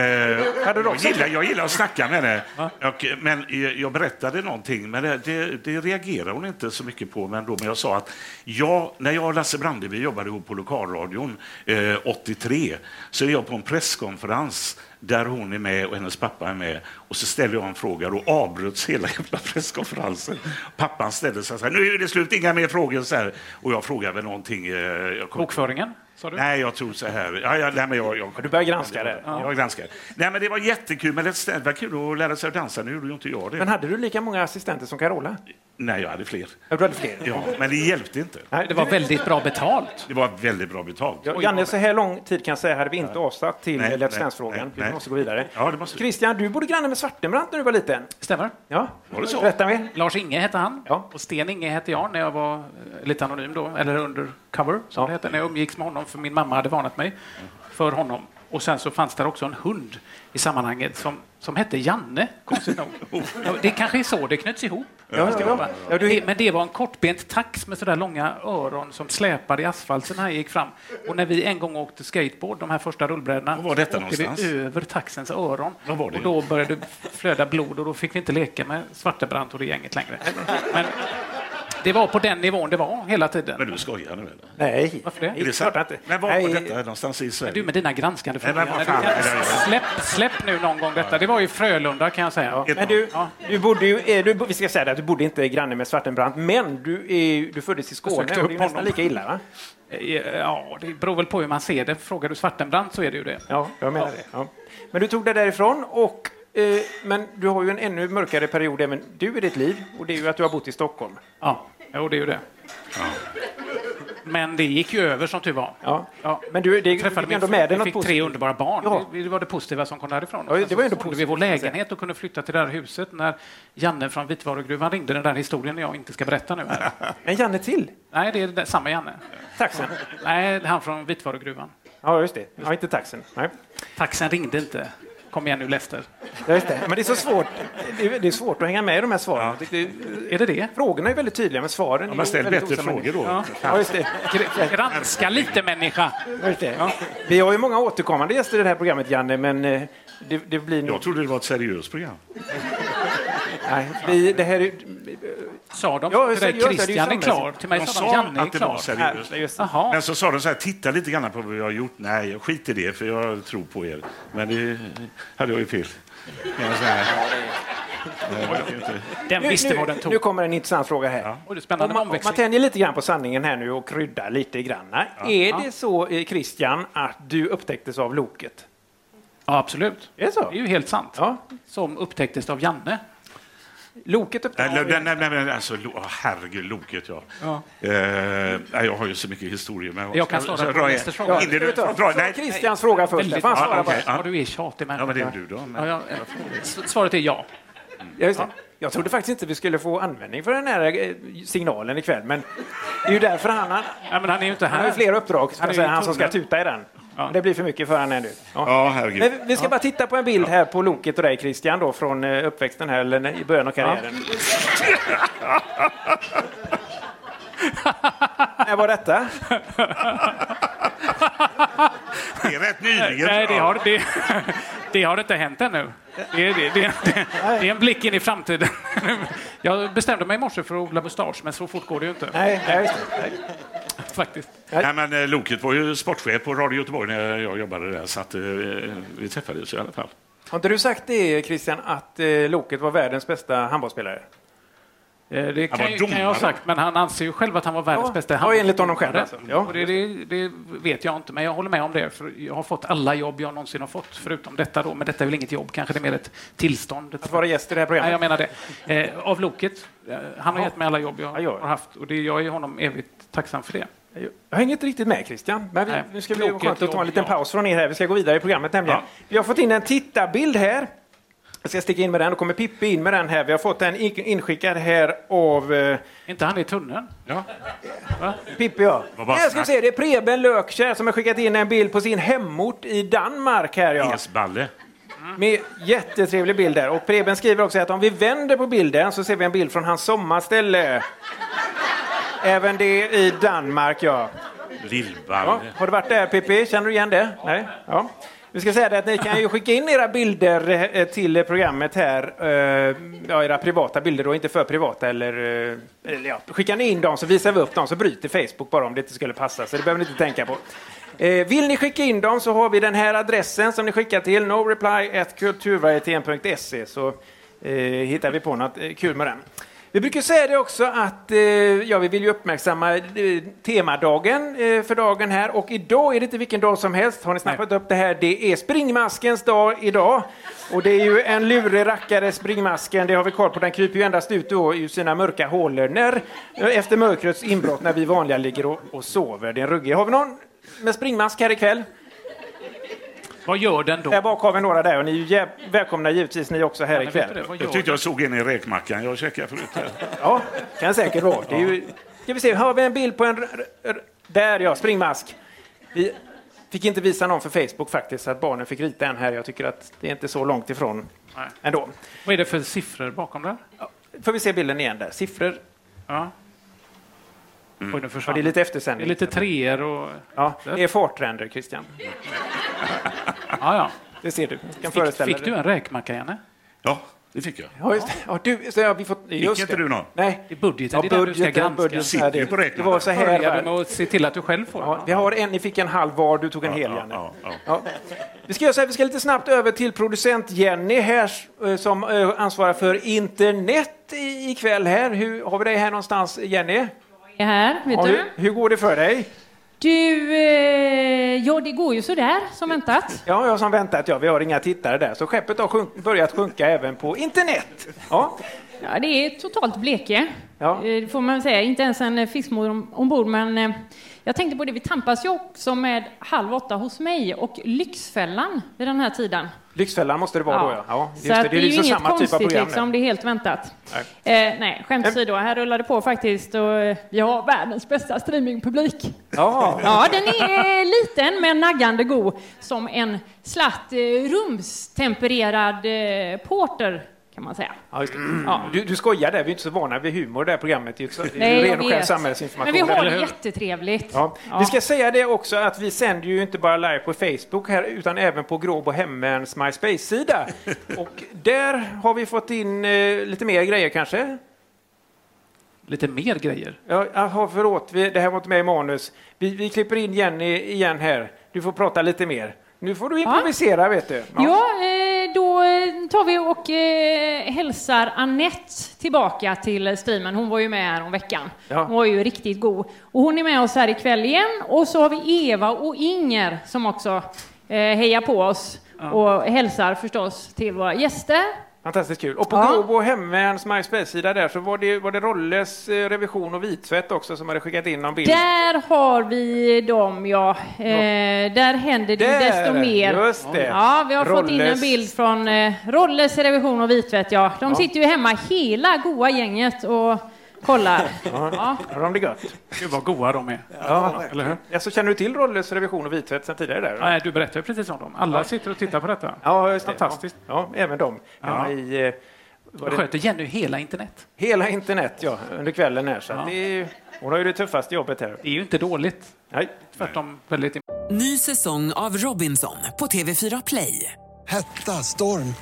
Speaker 3: Hade du
Speaker 6: jag,
Speaker 3: också
Speaker 6: gillar, jag gillar att snacka med henne. Och, eh, men eh, jag berättade någonting, men det, det, det reagerade hon inte så mycket på. Men, då, men jag sa att jag, när jag och Lasse Brandeby jobbade ihop på lokalradion eh, 83 så är jag på en presskonferens där hon är med och hennes pappa är med. Och så ställde jag en fråga och avbröts hela jävla presskonferensen. Pappan ställde sig så här, nu är det slut, inga mer frågor. Så här. Och jag frågade väl någonting. Eh, jag kom-
Speaker 5: Bokföringen, sa du?
Speaker 6: Nej, jag tror så här. Ja, jag, nej, men jag, jag,
Speaker 3: Du börjar granska det.
Speaker 6: jag granskar. Nej, men det var jättekul, men det det var kul att lära sig att dansa. Nu gjorde ju inte jag det.
Speaker 3: Men hade du lika många assistenter som Carola?
Speaker 6: Nej, jag hade fler.
Speaker 3: Ja, Du hade fler?
Speaker 6: Ja, men det hjälpte inte.
Speaker 3: Nej,
Speaker 5: Det var väldigt bra betalt.
Speaker 6: Det var väldigt bra betalt.
Speaker 3: Ja, Janne, så här lång tid kan jag säga hade vi inte avsatt till
Speaker 6: Nej,
Speaker 3: Let's
Speaker 6: nej,
Speaker 3: Dance-frågan.
Speaker 6: nej,
Speaker 3: Vi
Speaker 6: nej.
Speaker 3: måste gå vidare.
Speaker 6: Ja, det måste vi.
Speaker 3: Christian, du bodde granne med Svartenbrandt när du var liten.
Speaker 5: Stämmer.
Speaker 3: Ja,
Speaker 6: Var det så?
Speaker 3: berätta mer.
Speaker 5: Lars-Inge hette han
Speaker 3: Ja.
Speaker 5: och Sten-Inge hette jag när jag var eh, lite anonym då, eller undercover som
Speaker 3: Ja.
Speaker 5: det hette, när jag umgicks med honom för min mamma hade varnat mig för honom. Och sen så fanns där också en hund i sammanhanget som, som hette Janne, konstigt nog. Ja, det kanske är så det knöts ihop.
Speaker 3: Ja, ja, ja. Ja, du-
Speaker 5: Det, men det var en kortbent tax med sådär långa öron som släpade i asfalten när han gick fram. Och när vi en gång åkte skateboard, de här första rullbrädorna,
Speaker 6: Var var detta
Speaker 5: så åkte
Speaker 6: någonstans?
Speaker 5: vi över taxens öron.
Speaker 6: Var var det?
Speaker 5: Och då började det flöda blod och då fick vi inte leka med Svartebrant och det gänget längre. Men det var på den nivån det var hela
Speaker 6: Men
Speaker 5: tiden.
Speaker 6: du skojar nu eller?
Speaker 3: Nej.
Speaker 5: Varför det?
Speaker 6: Är det sant?
Speaker 3: klart inte.
Speaker 6: Men var
Speaker 3: Nej.
Speaker 6: var detta någonstans i Sverige?
Speaker 5: Du med dina granskande
Speaker 6: Nej, men
Speaker 5: frågor.
Speaker 6: vad fan är det jag gör?
Speaker 5: Släpp, släpp nu någon gång detta. Det var ju Frölunda kan jag säga.
Speaker 3: Men du, du bodde ju, eh, du, vi ska säga det, att du bodde inte granne med Svartenbrandt, men du, är, du föddes i Skåne och
Speaker 5: sökte
Speaker 3: det är
Speaker 5: upp
Speaker 3: ju nästan
Speaker 5: honom.
Speaker 3: lika illa va?
Speaker 5: Eh, Ja, det beror väl på hur man ser det. Frågar du Svartenbrandt så är det ju det.
Speaker 3: Ja, jag menar det. Ja. Men du tog det därifrån och eh, men du har ju en ännu mörkare period även du i ditt liv och det är ju att du har bott i Stockholm.
Speaker 5: Ja, jo, det är ju det. Men det gick ju över som tur var.
Speaker 3: Ja.
Speaker 5: Ja.
Speaker 3: Men du, det,
Speaker 5: Jag
Speaker 3: du fick
Speaker 5: träffade
Speaker 3: ändå
Speaker 5: min
Speaker 3: med dig
Speaker 5: fru,
Speaker 3: något
Speaker 5: fick tre
Speaker 3: positivt.
Speaker 5: underbara barn.
Speaker 3: Ja.
Speaker 5: Det, det var det positiva som kom därifrån.
Speaker 3: Ja, det var ändå
Speaker 5: så sålde vi vår
Speaker 3: positivt,
Speaker 5: lägenhet och kunde flytta till det här huset när Janne från Vitvarugruvan ringde den där historien jag inte ska
Speaker 3: (laughs)
Speaker 5: berätta nu. Här.
Speaker 3: En Janne till.
Speaker 5: Nej, det är det, samma Janne.
Speaker 3: Taxen.
Speaker 5: Nej, han från Vitvarugruvan.
Speaker 3: Ja, just det. Ja, inte taxen. Nej.
Speaker 5: Taxen ringde inte. Kom igen nu Lester.
Speaker 3: Ja, Just det. Men det är så svårt. Det är, det är svårt att hänga med i de här svaren. Det-
Speaker 5: Är det det?
Speaker 3: Frågorna är väldigt tydliga, men svaren
Speaker 6: Ja,
Speaker 3: är
Speaker 6: men ställ
Speaker 3: väldigt
Speaker 6: bättre
Speaker 3: osammanhängande.
Speaker 6: frågor då.
Speaker 3: Ja, just det.
Speaker 5: Gr- Granska lite människa.
Speaker 3: Just det. Vi har ju många återkommande gäster i det här programmet, Janne, men eh, det, det blir nog...
Speaker 6: Jag trodde det var ett seriöst program.
Speaker 3: Nej, vi, det här är...
Speaker 5: Sa de
Speaker 3: Ja,
Speaker 5: till dig
Speaker 3: seriöst, det är ju
Speaker 5: Christian är
Speaker 3: samma
Speaker 5: klar?
Speaker 3: sak.
Speaker 5: Till mig
Speaker 6: De
Speaker 5: sa de
Speaker 6: sa
Speaker 5: Janne är
Speaker 6: att det var
Speaker 5: klar.
Speaker 6: seriöst.
Speaker 3: Nej, just det.
Speaker 5: Jaha.
Speaker 6: Men så sa de så här, titta lite grann på vad jag har gjort. Nej, jag skiter i det, för jag tror på er. Men det hade jag ju fel. Men så här. Nej, jag vet inte.
Speaker 5: Den
Speaker 3: Nu,
Speaker 5: visste vad den
Speaker 3: nu,
Speaker 5: tog.
Speaker 3: nu kommer en intressant fråga här.
Speaker 5: Oj, det är
Speaker 3: Om
Speaker 5: spännande med
Speaker 3: man, om man
Speaker 5: omväxling.
Speaker 3: tänjer lite grann på sanningen här nu och kryddar lite grann. Är det så, eh, Christian, att du upptäcktes av Loket?
Speaker 5: Ja, absolut.
Speaker 3: Är det så?
Speaker 5: Det är ju helt sant.
Speaker 3: Ja.
Speaker 5: Som upptäcktes av Janne.
Speaker 3: Loket
Speaker 6: Nej,
Speaker 3: upptäcktes...
Speaker 6: nej, nej, nej, men alltså, lo- åh, herregud, loket ja.
Speaker 5: Ja.
Speaker 6: Eh, nej, jag har ju så mycket historier. Men
Speaker 5: Jag kan svara på Esters fråga.
Speaker 6: Ja, innan du,
Speaker 3: Ska vi ta-
Speaker 6: dra,
Speaker 3: ta
Speaker 6: nej,
Speaker 3: Christians fråga först.
Speaker 5: Väldigt-
Speaker 3: Får han
Speaker 6: Ja,
Speaker 3: svara
Speaker 6: okej.
Speaker 3: bara?
Speaker 5: Ja, du är tjatig människa.
Speaker 6: ja, men det är du då. Men,
Speaker 5: Ja, ja. S- Svaret är ja.
Speaker 3: Ja, just det. Jag trodde faktiskt inte vi skulle få användning för den här eh, signalen ikväll, men det är ju därför han, han,
Speaker 5: ja men han är ju inte här.
Speaker 3: han har ju flera uppdrag, ska
Speaker 5: Han är
Speaker 3: jag säga,
Speaker 5: ju i
Speaker 3: han som ska
Speaker 5: tunneln.
Speaker 3: tuta i den. Men det blir för mycket för han här nu. Ja.
Speaker 6: ja, herregud.
Speaker 3: Men vi- vi ska bara titta på en bild här på Loket och dig Christian då, från eh, uppväxten här, eller i början av karriären. När var detta?
Speaker 5: (laughs)
Speaker 6: Det är rätt nyligen.
Speaker 5: Nej, det har, det, det har inte hänt ännu. Det är, det, det, det, det är en blick in i framtiden. (laughs) Jag bestämde mig i morse för att odla mustasch, men så fort går det ju inte.
Speaker 3: Nej, nej, just det. Nej.
Speaker 5: Faktiskt.
Speaker 6: Nej, men eh, Loket var ju sportchef på Radio Göteborg när jag jobbade där, så att, eh, vi träffades i alla fall.
Speaker 3: Har inte du sagt det, Christian, att eh, Loket var världens bästa handbollsspelare?
Speaker 5: Eh, Det
Speaker 6: Han
Speaker 5: kan,
Speaker 6: var
Speaker 5: ju- kan jag ha
Speaker 6: domare.
Speaker 5: sagt, men han anser ju själv att han var världens
Speaker 3: Ja,
Speaker 5: bästa
Speaker 3: ja,
Speaker 5: handbollsspelare.
Speaker 3: enligt honom själv alltså. Ja.
Speaker 5: Och det, det, det vet jag inte, men jag håller med om det. För jag har fått alla jobb jag någonsin har fått, förutom detta då. Men detta är väl inget jobb, kanske det är mer ett tillstånd.
Speaker 3: Att vara gäst i det här
Speaker 5: Nej, jag
Speaker 3: programmet?
Speaker 5: menar det. Eh, av Loket. Eh, han har gett mig alla jobb jag
Speaker 3: Ja, ja.
Speaker 5: har haft och det, jag är honom evigt tacksam för det.
Speaker 3: Jag hänger inte riktigt med Christian, men vi,
Speaker 5: Nej.
Speaker 3: nu ska vi
Speaker 5: Loket,
Speaker 3: skönt att ta en liten
Speaker 5: ja.
Speaker 3: paus från er här. Vi ska gå vidare i programmet nämligen.
Speaker 6: Ja.
Speaker 3: Vi har fått in en tittarbild här. Jag ska sticka in med den. Då kommer Pippi in med den här. Vi har fått den in- inskickad här av eh,
Speaker 5: inte han i tunneln?
Speaker 6: Ja.
Speaker 3: Pippi ja.
Speaker 6: Vad bara
Speaker 3: Här ska vi
Speaker 6: snack.
Speaker 3: se, det är Preben Lökkär som har skickat in en bild på sin hemort i Danmark här ja.
Speaker 6: Esballe.
Speaker 3: Mm-hmm. Med jättetrevlig bild där. Och Preben skriver också att om vi vänder på bilden så ser vi en bild från hans sommarställe. Även det i Danmark ja. Ja,
Speaker 6: Lillballe.
Speaker 3: har du varit där Pippi? Känner du igen det? Nej? Ja. Vi ska säga det att ni kan ju skicka in era bilder eh, till programmet här. eh, Ja, era privata bilder då, inte för privata eller... eh, eller ja. Skickar ni in dem så visar vi upp dem så bryter Facebook bara om det inte skulle passa. Så det behöver ni inte tänka på. Eh, Vill ni skicka in dem så har vi den här adressen som ni skickar till. noreply.kulturvarietén.se så eh, hittar vi på något eh, kul med den. Vi brukar säga det också att eh, ja, vi vill ju uppmärksamma eh, temadagen eh, för dagen här och idag är det inte vilken dag som helst. Har ni snappat upp det här? Det är springmaskens dag idag och det är ju en lurig rackare springmasken. Det har vi koll på. Den kryper ju endast ut då ur sina mörka hålor när, efter mörkrets inbrott när vi vanliga ligger och, och sover. Det är en ruggig. Har vi någon med springmask här ikväll?
Speaker 5: Vad gör den då?
Speaker 3: Där bak har vi några där och ni är ju jäv- välkomna givetvis ni också här
Speaker 5: Men vet du
Speaker 3: ikväll.
Speaker 5: det? Vad
Speaker 6: Jag
Speaker 5: gör
Speaker 6: tyckte jag såg en i räkmackan. Jag checkade förut. här.
Speaker 3: Ja, kan säkert vara. Det är ju... Ska vi se, har vi en bild på en... r- r- r- Där ja, springmask. Vi fick inte visa någon för Facebook faktiskt, så att barnen fick rita en här. Jag tycker att det är inte så långt ifrån
Speaker 5: Nej.
Speaker 3: ändå.
Speaker 5: Vad är det för siffror bakom där?
Speaker 3: Får vi se bilden igen där? Siffror.
Speaker 5: Ja. Oj, nu
Speaker 3: Mm. Ja,
Speaker 5: försvann.
Speaker 3: det är lite eftersändning.
Speaker 5: det är lite treor och...
Speaker 3: Ja, det är fartränder, Christian.
Speaker 5: Ja, ja.
Speaker 3: Det ser du. Du kan
Speaker 5: Fick,
Speaker 3: föreställa
Speaker 5: fick du
Speaker 3: dig.
Speaker 5: en räkmacka, Janne?
Speaker 6: Ja, det tycker jag.
Speaker 3: Ja, just det. Ja, du, så, ja, vi får, just
Speaker 6: inte
Speaker 3: det.
Speaker 6: du någon?
Speaker 3: Nej.
Speaker 5: Det är budgeten,
Speaker 3: Ja,
Speaker 5: det är den du ska
Speaker 3: budgeten,
Speaker 5: granska.
Speaker 3: budgeten.
Speaker 6: Sitter ju
Speaker 3: Ja, det-
Speaker 6: på räkningen.
Speaker 3: Det var så här.
Speaker 5: Börjar du med
Speaker 3: va?
Speaker 5: att se till att du själv får
Speaker 3: Ja,
Speaker 5: den?
Speaker 3: vi har en, ni fick en halv var, du tog en hel,
Speaker 6: ja,
Speaker 3: Janne.
Speaker 6: ja, ja.
Speaker 3: Ja. Vi ska göra så här, vi ska lite snabbt över till producent Jenny här eh, som eh, ansvarar för internet i- ikväll här. Hur, har vi dig här någonstans Jenny?
Speaker 7: är här, vet
Speaker 3: Har
Speaker 7: du.
Speaker 3: vi- hur går det för dig?
Speaker 7: Du, eh, ja det går ju sådär som väntat.
Speaker 3: Ja, jag som väntat, ja, vi har inga tittare där, så skeppet har sjunk- börjat sjunka även på internet. Ja.
Speaker 7: Ja, det är totalt bleke,
Speaker 3: Ja.
Speaker 7: Eh, det får man säga. Inte ens en eh, fiskmor om- ombord, men eh, jag tänkte på det, vi tampas ju också med Halv åtta hos mig och Lyxfällan vid den här tiden.
Speaker 3: Lyxfällan måste det vara då, ja. ja just
Speaker 7: så att det, är ju
Speaker 3: liksom
Speaker 7: inget
Speaker 3: samma typ av
Speaker 7: konstigt
Speaker 3: program
Speaker 7: liksom,
Speaker 3: där.
Speaker 7: det är helt väntat. Nej, eh, nej skämt åsido, här rullar det på faktiskt och eh, vi har världens bästa streamingpublik.
Speaker 3: Ja.
Speaker 7: Ja, den är eh, liten men naggande god som en slatt eh, rumstempererad eh, porter kan man säga.
Speaker 3: Ja, just det. Ja. Du, du skojar där, vi är inte så vana vid humor i det här programmet. Det är ju så- det är ju
Speaker 7: Nej, jag
Speaker 3: ren och skär
Speaker 7: vet.
Speaker 3: samhällsinformation.
Speaker 7: Men vi har
Speaker 3: eller
Speaker 7: det
Speaker 3: hur?
Speaker 7: jättetrevligt.
Speaker 3: Ja.
Speaker 7: Ja.
Speaker 3: Vi ska säga det också att vi sänder ju inte bara live på Facebook här utan även på Gråbo
Speaker 7: (laughs)
Speaker 3: Hemmens MySpace-sida. Och där har vi fått in eh, lite mer grejer kanske.
Speaker 5: Lite mer grejer?
Speaker 3: Ja, aha, förlåt, vi, det här var inte med i manus. Vi, vi klipper in Jenny igen här. Du får prata lite mer. Nu får du improvisera vet du.
Speaker 7: Ja, eh, då eh, tar vi och eh, hälsar Annette tillbaka till streamen. Hon var ju med här om veckan.
Speaker 3: Ja.
Speaker 7: Hon var ju riktigt god. Och hon är med oss här ikväll igen. Och så har vi Eva och Inger som också eh, hejar på oss och hälsar förstås till våra gäster.
Speaker 3: Fantastiskt kul. Och på
Speaker 7: Ja.
Speaker 3: Gråbo Hemmens MySpace-sida där så var det, var det Rolles eh, revision och vitfett också som hade skickat in någon bild.
Speaker 7: Där har vi dem, ja. Eh, där händer det
Speaker 3: Där,
Speaker 7: desto mer.
Speaker 3: just det.
Speaker 7: Ja, vi har fått in en
Speaker 3: Rolles.
Speaker 7: bild från eh, Rolles Revision och Vitvätt, ja. De sitter ju hemma, hela goa gänget, och kollar.
Speaker 3: (laughs)
Speaker 7: ja.
Speaker 3: Har de det gött?
Speaker 5: Gud vad goa de är.
Speaker 3: Ja.
Speaker 5: Eller hur?
Speaker 3: Ja, så känner du till Rolles revision och vitfett sedan tidigare där?
Speaker 5: Nej, du berättar ju precis om dem. Alla sitter och tittar på detta.
Speaker 3: Ja, just det.
Speaker 5: Fantastiskt.
Speaker 3: Ja, ja, även de. Ja. I, eh,
Speaker 5: Då
Speaker 3: var det
Speaker 5: sköter Jenny hela internet.
Speaker 3: hela internet ja, under kvällen här. Så
Speaker 5: Ja.
Speaker 3: det är, ju- hon har ju det tuffaste jobbet här.
Speaker 5: Det är ju inte dåligt.
Speaker 3: Nej.
Speaker 5: Tvärtom väldigt... im-
Speaker 8: Ny säsong av Robinson på TV4 Play.
Speaker 9: Hetta, storm,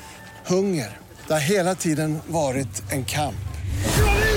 Speaker 9: hunger. Det har hela tiden varit en kamp.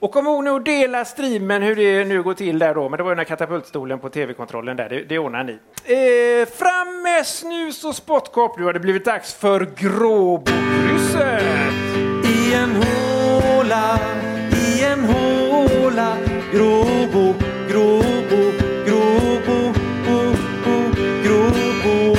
Speaker 3: Och kom ihåg nu att dela streamen hur det nu går till där då, men det var ju den här katapultstolen på TV-kontrollen där, det, det ordnar ni. Eh, fram med snus och spottkopp, nu har det blivit dags för gråbokrysset!
Speaker 2: I en håla, i en håla Gråbo, Gråbo, Gråbo, bo, bo, Gråbo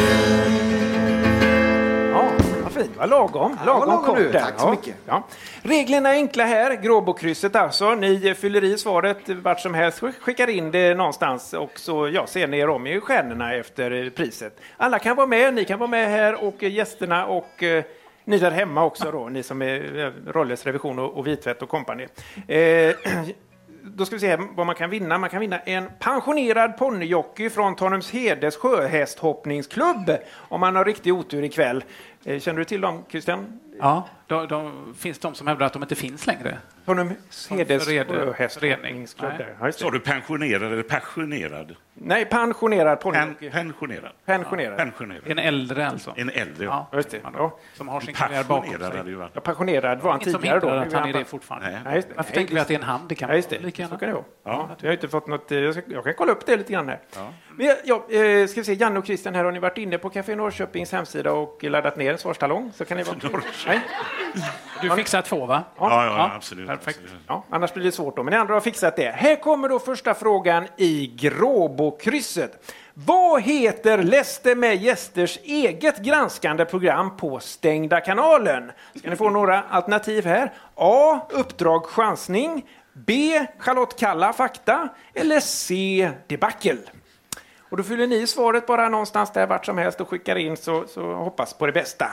Speaker 3: Ja, vad fint. Vad lagom.
Speaker 2: Ja, vad
Speaker 3: Lagom
Speaker 2: lagom
Speaker 3: kort
Speaker 2: du.
Speaker 3: där.
Speaker 2: Tack så
Speaker 3: Ja.
Speaker 2: mycket.
Speaker 3: Ja. Reglerna är enkla här. Gråbokrysset alltså. Ni eh, fyller i svaret eh, vart som helst, skick- skickar in det någonstans och så ja, ser ni er om i stjärnorna efter eh, priset. Alla kan vara med. Ni kan vara med här och eh, gästerna och eh, ni där hemma också då, ni som är eh, Rolles Revision och, och Vitvätt och kompani. Eh, (clears throat) då ska vi se här vad man kan vinna. Man kan vinna en pensionerad ponnyjockey från Tanumshedes sjöhästhoppningsklubb om man har riktig otur ikväll. Eh, Känner du till dem, Christian?
Speaker 5: Ja, de, de, finns de som hävdar att de inte finns längre?
Speaker 3: Tanumshedes
Speaker 5: Som förred-
Speaker 3: sjöhästhoppningsklubb.
Speaker 5: Nej.
Speaker 3: där. Ja, just det.
Speaker 6: Sa du pensionerad eller passionerad?
Speaker 3: Nej, pensionerad ponnyjockey.
Speaker 6: pensionerad.
Speaker 3: Pensionerad.
Speaker 6: pensionerad.
Speaker 5: En äldre alltså?
Speaker 6: En äldre,
Speaker 5: Ja,
Speaker 6: ja.
Speaker 3: Just det. Ja.
Speaker 5: Som har sin karriär bakom
Speaker 6: Passionerad
Speaker 5: sig.
Speaker 6: hade ju varit.
Speaker 3: Ja, pensionerad var han
Speaker 5: Inget som
Speaker 3: tidigare då.
Speaker 5: hindrar att
Speaker 3: Nu
Speaker 5: han är
Speaker 3: bara-
Speaker 5: det fortfarande.
Speaker 3: Nej, just det.
Speaker 5: Varför
Speaker 3: Nej,
Speaker 5: tänker vi
Speaker 3: just
Speaker 5: att det är en hand? Det kan
Speaker 3: Ja, just
Speaker 5: vara
Speaker 3: det.
Speaker 5: lika
Speaker 3: Så
Speaker 5: gärna.
Speaker 3: kan det vara. Ja. Jag har inte fått något... eh, Jag, ska, jag kan kolla upp det lite grann här. Men jag- ja, eh, ska vi se, Janne och Christian här, har ni varit inne på Café Norrköpings hemsida och laddat ner en svarstalong? Så kan ni vara... Nej.
Speaker 5: Du fixar två, va?
Speaker 6: Ja, ja, absolut.
Speaker 5: Perfekt.
Speaker 3: Ja, annars blir det svårt då, men ni andra har fixat det. Här kommer då första frågan i Gråbokrysset. Vad heter Läste med gästers eget granskande program på Stängda kanalen? Ska ni få några alternativ här? A. Uppdrag chansning. B. Charlotte Kalla fakta. Eller C. Debacle. Och då fyller ni svaret bara någonstans där vart som helst och skickar in så, så hoppas på det bästa.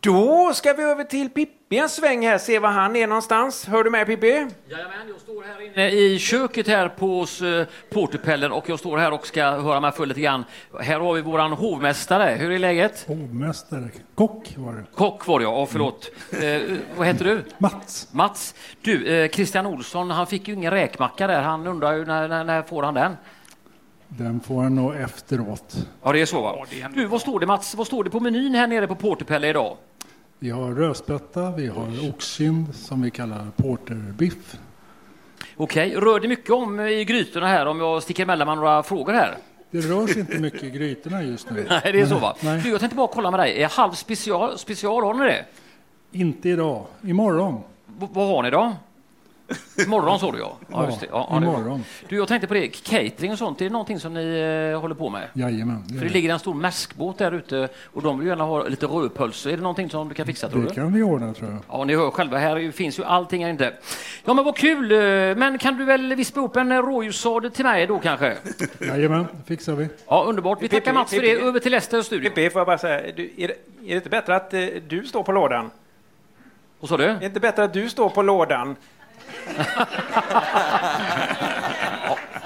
Speaker 3: Då ska vi över till Pippi en sväng här, se var han är någonstans. Hör du med Pippi?
Speaker 4: Jajamän, jag står här inne i köket här på hos, eh, Porterpellen och jag står här och ska höra mig för lite grann. Här har vi våran hovmästare. Hur är läget?
Speaker 10: Hovmästare. Kock var det.
Speaker 4: Kock var jag, ja förlåt. Eh, vad heter du?
Speaker 10: Mats.
Speaker 4: Mats. Du, eh, Christian Olsson, han fick ju ingen räkmacka där. Han undrar ju när, när, när får han den?
Speaker 10: Den får han nog efteråt.
Speaker 4: Ja, det är så va? Du, vad står det Mats? Vad står det på menyn här nere på Porterpelle idag?
Speaker 10: Vi har rödspätta, vi har oxkind som vi kallar porterbiff.
Speaker 4: Okej, rör det mycket om eh, i grytorna här om jag sticker emellan med några frågor här?
Speaker 10: Det rörs inte mycket i grytorna just nu.
Speaker 4: Nej, det är så va?
Speaker 10: Nej,
Speaker 4: Du, jag tänkte bara kolla med dig. Eh, Halv special, special har ni det?
Speaker 10: inte idag. Imorgon.
Speaker 4: V vad har ni då? Imorgon såg du ja. ja, just det. ja, ja det är bra.
Speaker 10: imorgon.
Speaker 4: Du, jag tänkte på det. Catering och sånt, är det någonting som ni eh, håller på med?
Speaker 10: Jajamän. det är
Speaker 4: För det
Speaker 10: det.
Speaker 4: ligger en stor mäskbåt där ute och de vill gärna ha lite rödpölse. Är det någonting som du kan fixa tror
Speaker 10: Det
Speaker 4: du?
Speaker 10: kan vi ordna tror jag.
Speaker 4: Ja, ni hör själva, här finns ju allting här inte. Ja, men vad kul! eh, Men kan du väl vispa upp en eh, rådjurssadel till mig då kanske?
Speaker 10: Jajamän, det fixar vi.
Speaker 4: Ja, underbart. Vi tackar Mats för det. Över till Lester studio.
Speaker 3: Pippi, får jag bara säga, du, är, det, är det inte bättre att eh, du står på lådan?
Speaker 4: Vad sa du? Är
Speaker 3: det inte bättre att du står på lådan?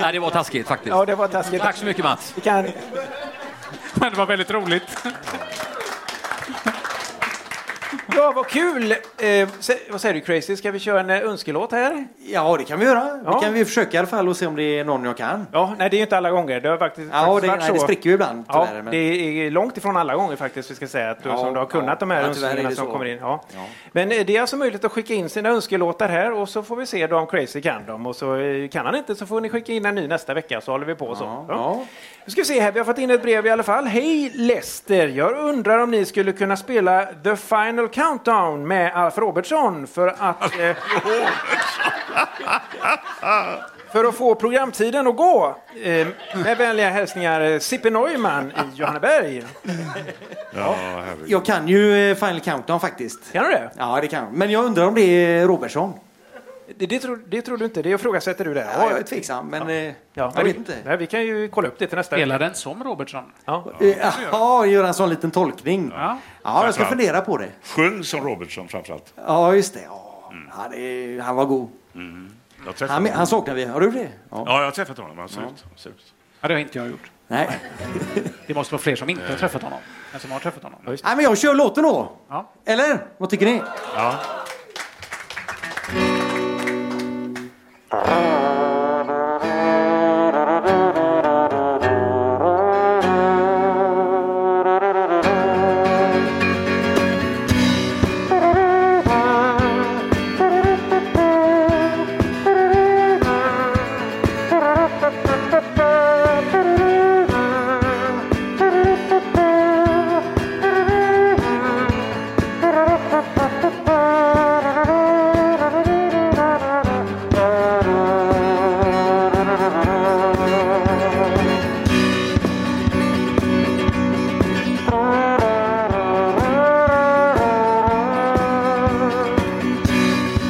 Speaker 4: Nej, det var taskigt faktiskt.
Speaker 3: Ja, det var taskigt.
Speaker 4: Tack så mycket Mats.
Speaker 3: Vi kan...
Speaker 5: Men (laughs) det var väldigt roligt.
Speaker 3: Ja, vad kul! Eh, sä- vad säger du Crazy, ska vi köra en eh, önskelåt här?
Speaker 2: Ja, det kan vi göra.
Speaker 3: Ja.
Speaker 2: Det kan vi försöka i alla fall och se om det är någon jag kan.
Speaker 3: Ja, nej det är ju inte alla gånger. Det har faktiskt,
Speaker 2: Ja,
Speaker 3: faktiskt
Speaker 2: det-
Speaker 3: varit
Speaker 2: nej,
Speaker 3: så.
Speaker 2: det spricker ju ibland,
Speaker 3: Ja,
Speaker 2: tyvärr, men-
Speaker 3: Det är långt ifrån alla gånger faktiskt, vi ska säga, att du,
Speaker 2: Ja,
Speaker 3: som du har kunnat
Speaker 2: ja.
Speaker 3: de här
Speaker 2: Ja, tyvärr är
Speaker 3: önskningarna
Speaker 2: det
Speaker 3: som
Speaker 2: så.
Speaker 3: kommer in. Ja.
Speaker 2: Ja.
Speaker 3: Men eh, det är alltså möjligt att skicka in sina önskelåtar här och så får vi se då om Crazy kan dem. Och så eh, kan han inte så får ni skicka in en ny nästa vecka så håller vi på så. Ja. Nu ska vi se här, vi har fått in ett brev i alla fall. Hej Lester! Jag undrar om ni skulle kunna spela The Final Countdown med Alf Robertson för att... Eh, för att få programtiden att gå. Eh, med vänliga hälsningar eh, Sippe Neumann i Johanneberg.
Speaker 6: Ja, herregud.
Speaker 11: Jag kan ju eh, Final Countdown faktiskt.
Speaker 3: Kan du det?
Speaker 11: Ja, det kan jag. Men jag undrar om det är Robertson.
Speaker 3: Det, det, tror, det tror du inte? Det ifrågasätter du det?
Speaker 11: Ja, jag är tveksam, men eh, jag vet inte.
Speaker 3: Nej, vi kan ju kolla upp det till nästa
Speaker 5: Spelar den som Robertson?
Speaker 3: Ja.
Speaker 11: Eh, Jaha, gör en sån liten tolkning. Ja, jag ska
Speaker 6: Framförallt.
Speaker 11: fundera på det.
Speaker 6: Sjung som Robertson framförallt.
Speaker 11: Ja, just det. Ja. Ja, det han var god.
Speaker 6: Jag träffade
Speaker 11: Han,
Speaker 6: honom.
Speaker 11: han saknar vi. Har du det?
Speaker 6: Ja. jag har träffat honom. Absolut. absolut.
Speaker 5: Ja, det har inte jag gjort.
Speaker 11: Nej.
Speaker 5: Det måste vara fler som inte har träffat honom än som har träffat honom.
Speaker 11: Nej, men jag kör låten då.
Speaker 5: Ja.
Speaker 11: Eller? Vad tycker ni?
Speaker 6: Ja.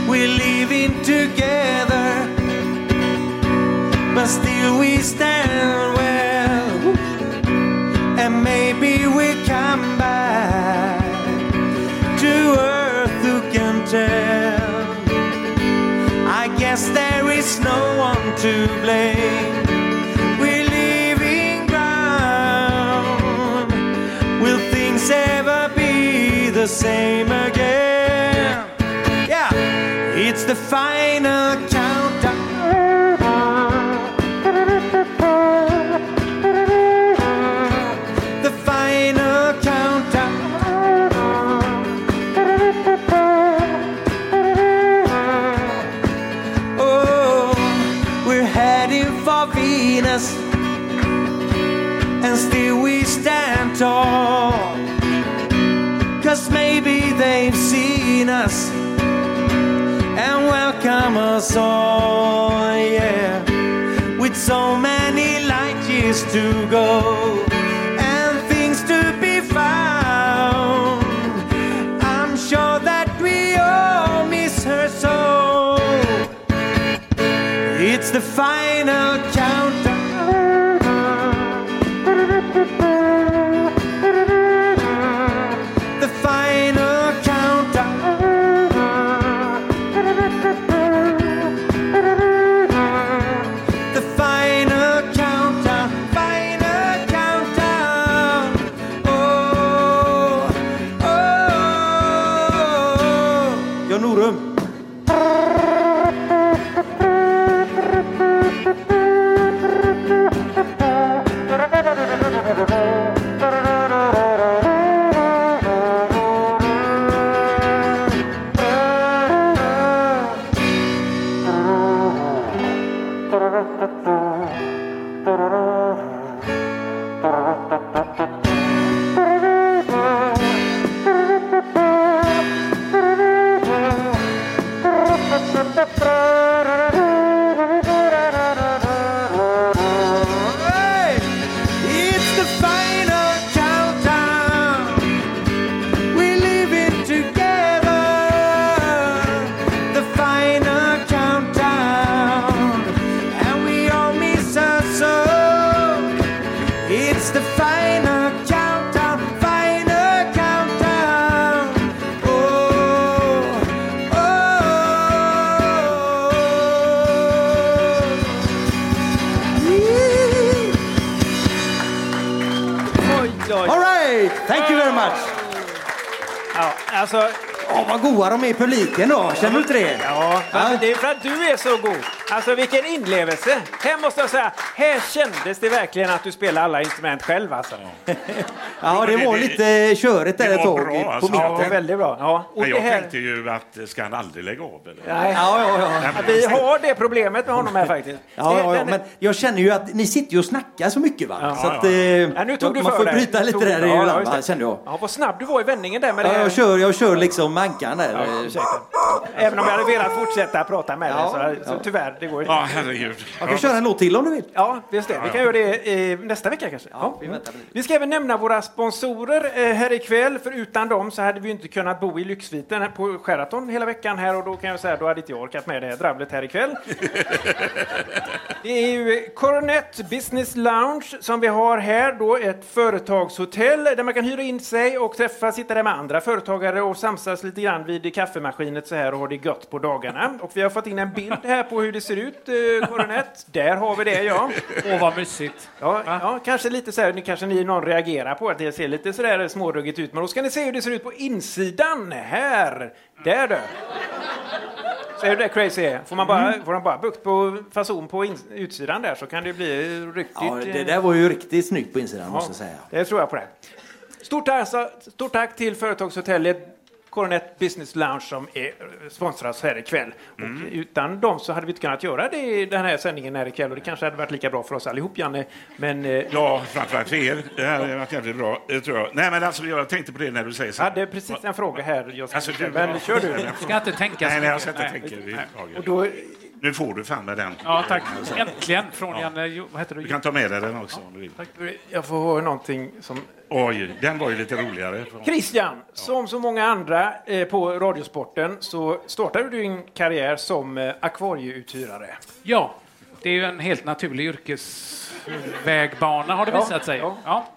Speaker 2: We're living together, but still we stand well. And maybe we come back to earth, who can tell? I guess there is no one to blame. We're leaving ground. Will things ever be the same again? Yeah, it's the final countdown. The final countdown. Oh, we're heading for Venus, and still we stand tall. Cause maybe they've seen us and welcome us all, yeah. With so many light years to go and things to be found. I'm sure that we all miss her so. It's the final countdown. The final countdown. The final countdown. Final countdown. Oh, oh. Jan Norum. Hey! It's the final countdown. We're living together. The final countdown. And we all miss her so. It's the final countdown. Final countdown. Oh, oh. All right. Thank you very much.
Speaker 3: Ja, alltså,
Speaker 11: Åh, vad goa de är i publiken då. Känner du inte det?
Speaker 3: Ja, men det är för att du är så god. Alltså vilken inlevelse. Här måste jag säga, här kändes det verkligen att du spelar alla instrument själv alltså.
Speaker 11: Ja, det var lite körigt där
Speaker 6: det
Speaker 11: ett
Speaker 6: var
Speaker 11: tag
Speaker 6: bra,
Speaker 11: i- på
Speaker 6: alltså.
Speaker 11: mitten.
Speaker 6: Ja, väldigt
Speaker 3: bra. Ja.
Speaker 6: Men
Speaker 3: det
Speaker 6: jag
Speaker 3: här-
Speaker 6: tänkte ju att eh, ska han aldrig lägga av? Eller?
Speaker 3: Nej. Att Vi har det problemet med honom här faktiskt.
Speaker 11: Ja,
Speaker 3: Det-
Speaker 11: ja, ja,
Speaker 3: den-
Speaker 11: men jag känner ju att ni sitter ju och snackar så mycket va?
Speaker 3: Ja,
Speaker 11: så att,
Speaker 3: ja.
Speaker 11: eh,
Speaker 3: Ja, nu tog du
Speaker 11: man
Speaker 3: för
Speaker 11: får
Speaker 3: dig.
Speaker 11: bryta lite
Speaker 3: Tog-
Speaker 11: där
Speaker 3: ja,
Speaker 11: emellan
Speaker 3: just
Speaker 11: va,
Speaker 3: det.
Speaker 11: kände jag.
Speaker 3: Ja, vad snabb du var i vändningen där med det
Speaker 11: Ja,
Speaker 3: här.
Speaker 11: jag, kör, jag kör liksom mankan där.
Speaker 3: Ja, ursäkta. Även om jag hade velat fortsätta prata med dig så, så tyvärr här. Det går ju
Speaker 6: Ja, herregud.
Speaker 2: Jag kan köra en låt till om du vill.
Speaker 3: Ja, just det. Vi kan göra det eh, nästa vecka kanske. Ja, vi, ska även nämna våra sponsorer eh, här ikväll, för utan dem så hade vi ju inte kunnat bo i Lyxviten här på Sheraton hela veckan här och då kan jag säga då hade inte jag orkat med det här drabblet här (laughs) ikväll. det är ju Coronet Business Lounge som vi har här då, ett företagshotell där man kan hyra in sig och träffa, sitta där med andra företagare och samsas lite grann vid kaffemaskinet så här och ha det gött på dagarna. Och vi har fått in en bild här på hur det ser ut, eh, Coronet. Där har vi det, (laughs) ja.
Speaker 5: Åh, vad mysigt.
Speaker 3: Ja, ja, kanske lite så här, nu kanske ni någon reagerar på att det ser lite sådär småruggigt ut, men då ska ni se hur det ser ut på insidan. Här! Där du! Ser du det crazy är? Får man bara, får man bara bukt på fason på ins- utsidan där så kan det bli riktigt...
Speaker 2: Ja, det
Speaker 3: eh,
Speaker 2: där var ju riktigt snyggt på insidan måste jag säga.
Speaker 3: det tror jag på det. Stort tack, stort tack till företagshotellet Coronet Business Lounge som är, eh, sponsras här ikväll. Och utan dem så hade vi inte kunnat göra det, i den här sändningen här ikväll och det kanske hade varit lika bra för oss allihop, Janne. Men, eh,
Speaker 6: ja, framförallt för er. Det här har varit jävligt bra, det tror jag. Nej, men alltså, jag tänkte på det när du säger så.
Speaker 3: Jag hade precis en fråga här. Jag ska,
Speaker 6: Alltså, du-
Speaker 3: men kör du.
Speaker 5: Ska inte tänka så
Speaker 6: Nej, nej, jag ska inte
Speaker 5: mycket.
Speaker 6: tänka.
Speaker 5: Nej.
Speaker 6: Det är
Speaker 3: Och då,
Speaker 6: nu får du fan med den.
Speaker 5: Ja, tack.
Speaker 6: Så.
Speaker 5: Äntligen från
Speaker 6: Ja.
Speaker 5: Janne... Jo, vad heter du?
Speaker 6: Du kan ta med dig den också om du vill.
Speaker 3: Jag får höra någonting som...
Speaker 6: Oj, den var ju lite roligare.
Speaker 3: Christian, som så många andra eh, på Radiosporten så startade du din karriär som eh, akvarieuthyrare.
Speaker 5: Ja, det är ju en helt naturlig yrkesvägbana har det
Speaker 3: Ja,
Speaker 5: visat sig.
Speaker 3: ja.
Speaker 5: Ja.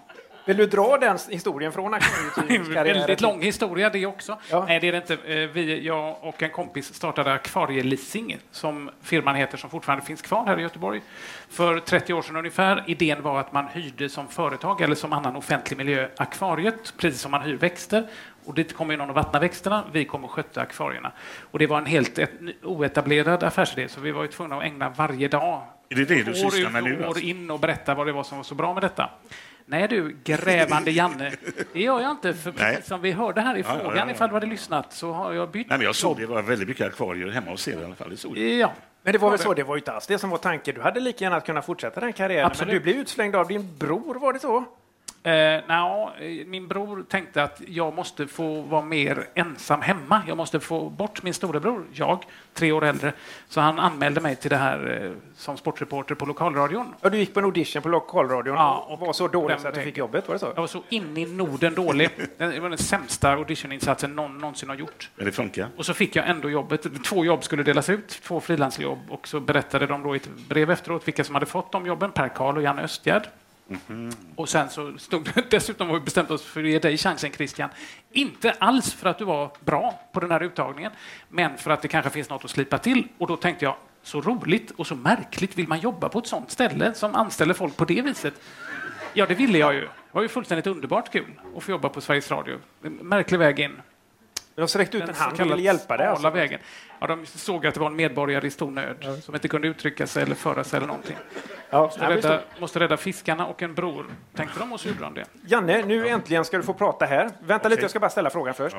Speaker 3: Vill du dra den s- historien från akvarieuthyrningskarriären?
Speaker 5: (laughs) Väldigt lång historia det också. Nej, det är det inte. Eh, Vi, jag och en kompis startade Akvarieleasing, som firman heter, som fortfarande finns kvar här i Göteborg, för 30 år sedan ungefär. Idén var att man hyrde som företag eller som annan offentlig miljö akvariet, precis som man hyr växter. Och dit kommer ju någon att vattna växterna, vi kommer att sköta akvarierna. Och det var en helt ett, oetablerad affärsidé, så vi var ju tvungna att ägna varje dag
Speaker 6: Är det det du
Speaker 5: år
Speaker 6: sysslar med
Speaker 5: ut och
Speaker 6: nu,
Speaker 5: År
Speaker 6: alltså?
Speaker 5: in och berätta vad det var som var så bra med detta. Nej du, grävande Janne. Det gör jag inte, för precis
Speaker 6: Nej.
Speaker 5: som vi hörde här i
Speaker 6: Ja, ja,
Speaker 5: frågan,
Speaker 6: ja, ja.
Speaker 5: ifall du hade lyssnat, så har jag bytt
Speaker 6: Nej, men jag såg det var väldigt mycket akvarier hemma hos er i alla fall. Det såg jag.
Speaker 5: Ja.
Speaker 3: Men det var väl så, det var ju inte alls det som var tanken. Du hade lika gärna kunnat fortsätta den karriären,
Speaker 5: Absolut.
Speaker 3: men du blev utslängd av din bror, var det så?
Speaker 5: Eh, nja, eh, min bror tänkte att jag måste få vara mer ensam hemma. Jag måste få bort min storebror, jag, tre år äldre. Så han anmälde mig till det här eh, som sportreporter på lokalradion.
Speaker 3: Ja, du gick på en audition på lokalradion
Speaker 5: ja,
Speaker 3: och var så dålig så att du fick jobbet, var det så?
Speaker 5: Jag var så in i Norden dålig. Det var den sämsta auditioninsatsen någon någonsin har gjort.
Speaker 6: Men det funkar.
Speaker 5: Och så fick jag ändå jobbet. Två jobb skulle delas ut, två frilansjobb. Och så berättade de då i ett brev efteråt vilka som hade fått de jobben, Per Karl och Janne Östgärd. Och sen så stod det (laughs) dessutom var vi bestämt oss för att ge dig chansen Christian. Inte alls för att du var bra på den här uttagningen, men för att det kanske finns något att slipa till. Och då tänkte jag, så roligt och så märkligt vill man jobba på ett sånt ställe som anställer folk på det viset. Ja, det ville jag ju. Det var ju fullständigt underbart kul att få jobba på Sveriges Radio. Märklig väg in.
Speaker 3: Jag sträckte ut en hand och ville hjälpa dig, alltså.
Speaker 5: vägen. Ja, de såg att det var en medborgare i stor nöd som inte kunde uttrycka sig eller föra sig eller någonting. måste,
Speaker 3: nej, men
Speaker 5: rädda,
Speaker 3: det
Speaker 5: måste rädda fiskarna och en bror, tänkte de och så gjorde de det.
Speaker 3: Janne, nu äntligen ska du få prata här. Vänta lite, jag ska bara ställa frågan först.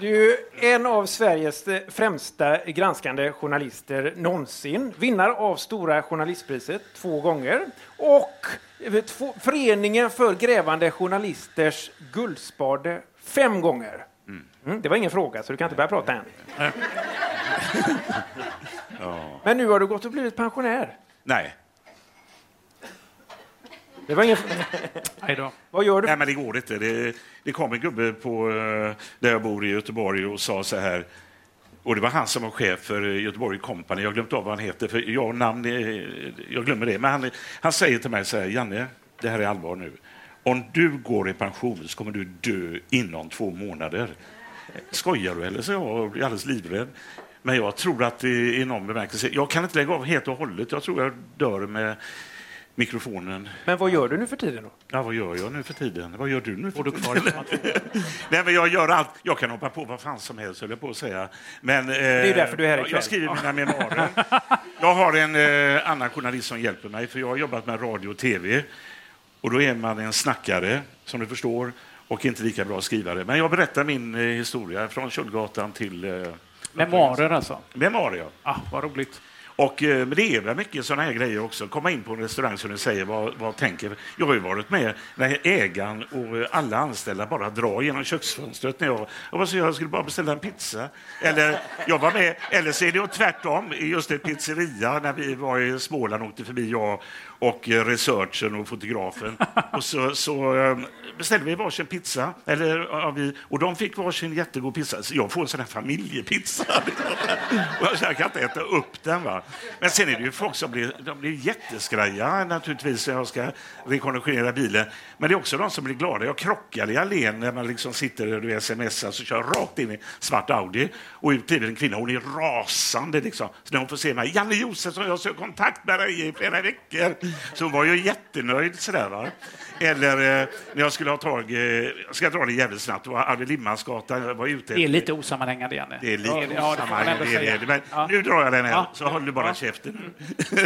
Speaker 3: Du är en av Sveriges eh, främsta granskande journalister någonsin. Vinnare av Stora journalistpriset två gånger. Och eh, två, Föreningen för grävande journalisters guldspade fem gånger. Mm, det var ingen fråga, så du kan inte börja prata än.
Speaker 6: Ja.
Speaker 3: Men nu har du gått och blivit pensionär.
Speaker 6: Nej.
Speaker 3: Det var ingen...
Speaker 5: Nej då.
Speaker 3: Vad gör du?
Speaker 6: Nej, men det går inte. Det, det kom en gubbe på, eh, där jag bor i Göteborg och sa så här, och det var han som var chef för eh, Göteborg Company. Jag har glömt av vad han heter, för jag och namn, eh, jag glömmer det. Men han, han säger till mig så här, Janne, det här är allvar nu. Om du går i pension så kommer du dö inom två månader. Skojar du eller? Så jag blir alldeles livrädd. Men jag tror att det i någon bemärkelse, jag kan inte lägga av helt och hållet. Jag tror jag dör med mikrofonen
Speaker 3: Men vad gör du nu för tiden? då?
Speaker 6: Ja, vad gör jag nu för tiden? Vad gör du nu för tiden? (laughs) Nej, men jag gör allt. Jag kan hoppa på vad fan som helst, höll jag på att säga. Men, det
Speaker 3: är ju därför du är här ikväll.
Speaker 6: Jag skriver mina memoarer. Jag har en eh, annan journalist som hjälper mig, för jag har jobbat med radio och tv. Och då är man en snackare, som du förstår, och inte lika bra skrivare. Men jag berättar min eh, historia från Köldgatan till... Eh,
Speaker 5: Memoarer alltså?
Speaker 6: Memoarer, ja.
Speaker 5: Ah, vad roligt.
Speaker 6: Och eh, men det är väl mycket sådana här grejer också. Komma in på en restaurang som du säger, vad, vad tänker... Jag har ju varit med när ägaren och eh, alla anställda bara drar genom köksfönstret när jag... Jag, var så, jag skulle bara beställa en pizza. Eller jag var med. Eller så är det ju tvärtom. i Just en pizzeria när vi var i Småland åkte förbi jag och eh, researchen och fotografen. Och så, så eh, beställde vi varsin pizza. Eller, ja, vi, och de fick varsin jättegod pizza. Så jag får en sån här familjepizza. (laughs) Och jag, jag kan inte äta upp den. Va? Men sen är det ju folk som blir, de blir jätteskraja naturligtvis när jag ska rekonditionera bilen. Men det är också de som blir glada. Jag krockade i allén när man liksom sitter och du vet, smsar så kör jag rakt in i svart Audi och ut kliver en kvinna. Hon är rasande liksom. Så när hon får se mig, Janne Josefsson, jag har sökt kontakt med dig i flera veckor. Så hon var ju jättenöjd sådär. Va? Eller eh, när jag skulle ha tag, eh, jag ska dra det jävligt snabbt, det var Arvid Lindmansgatan, jag var ute
Speaker 5: Det är lite osammanhängande, Janne.
Speaker 6: det är lite
Speaker 5: Ja, det- ja, det får man
Speaker 6: samma-
Speaker 5: ändå
Speaker 6: det är
Speaker 5: säga.
Speaker 6: det. Men
Speaker 5: Ja.
Speaker 6: nu drar jag den här,
Speaker 5: Ja. Mm.
Speaker 6: så håller du bara käften.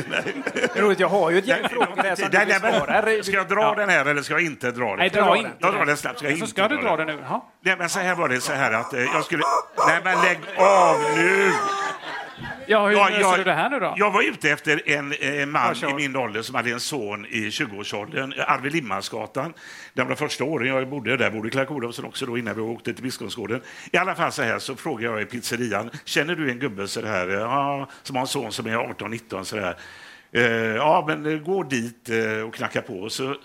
Speaker 6: (laughs)
Speaker 3: Roligt, jag har ju ett gäng frågor där som du
Speaker 6: Nej, nej,
Speaker 3: besvarar.
Speaker 6: men, ska jag dra den här eller ska jag inte dra den?
Speaker 3: Nej, dra
Speaker 6: Jag
Speaker 3: inte
Speaker 6: drar
Speaker 3: den.
Speaker 6: den snabbt.
Speaker 5: Så ska du dra den nu?
Speaker 6: Nej, men så här var det, så här att eh, jag skulle... Nej, men lägg av nu!
Speaker 5: Ja, hur
Speaker 6: jag,
Speaker 5: löser du det här nu då?
Speaker 6: Jag var ute efter en eh, man i min ålder som hade en son i 20-årsåldern, eh, Arvid Lindmansgatan. Det var de första åren jag bodde där, bodde Clark Olofsson också då innan vi åkte till Biskopsgården. I alla fall så här så frågade jag i pizzerian, känner du en gubbe så här, eh, ja, som har en son som är 18-19 så där? Eh, ja, men eh, gå dit eh, och knacka på. Och Så eh,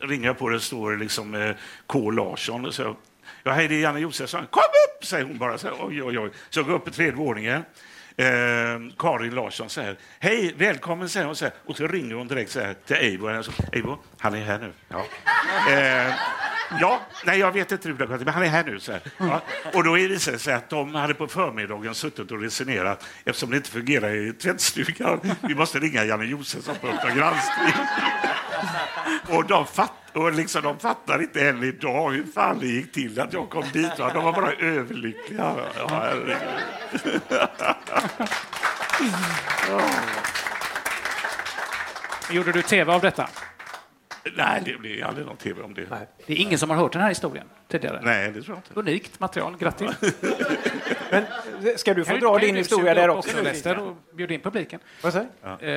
Speaker 6: ringer jag på det står liksom eh, K Larsson. Och så jag, ja, hej, det är Janne Josefsson. Kom upp, säger hon bara. Så, här, oj, oj, oj. så jag går upp i tredje våningen. Eh, Karin Larsson säger hej, välkommen, säger hon. Så här. Och så ringer hon direkt så här, till Eivor. Jag sa, Eivor, han är här nu. Ja. Eh, ja, nej, jag vet inte hur det har gått till, men han är här nu. Så här. Ja. Och då visade det sig att de hade på förmiddagen suttit och resonerat eftersom det inte fungerar i tvättstugan. Vi måste ringa Janne Josefsson på Uppdrag granskning. Och de, fatt, och liksom, de fattar inte än idag hur fan det gick till att jag kom dit. va. De var bara överlyckliga. Ja, herregud.
Speaker 5: Gjorde du tv av detta?
Speaker 6: Nej, det blir aldrig någon tv om det. Nej.
Speaker 5: Det är ingen som har hört den här historien tidigare.
Speaker 6: Nej, det tror jag inte.
Speaker 5: Unikt material, grattis.
Speaker 3: Ska du få
Speaker 5: Kan
Speaker 3: dra
Speaker 5: kan
Speaker 3: din
Speaker 5: du
Speaker 3: historia
Speaker 5: suga
Speaker 3: där
Speaker 5: upp
Speaker 3: också?
Speaker 5: Lester, och bjud in publiken. Vad säger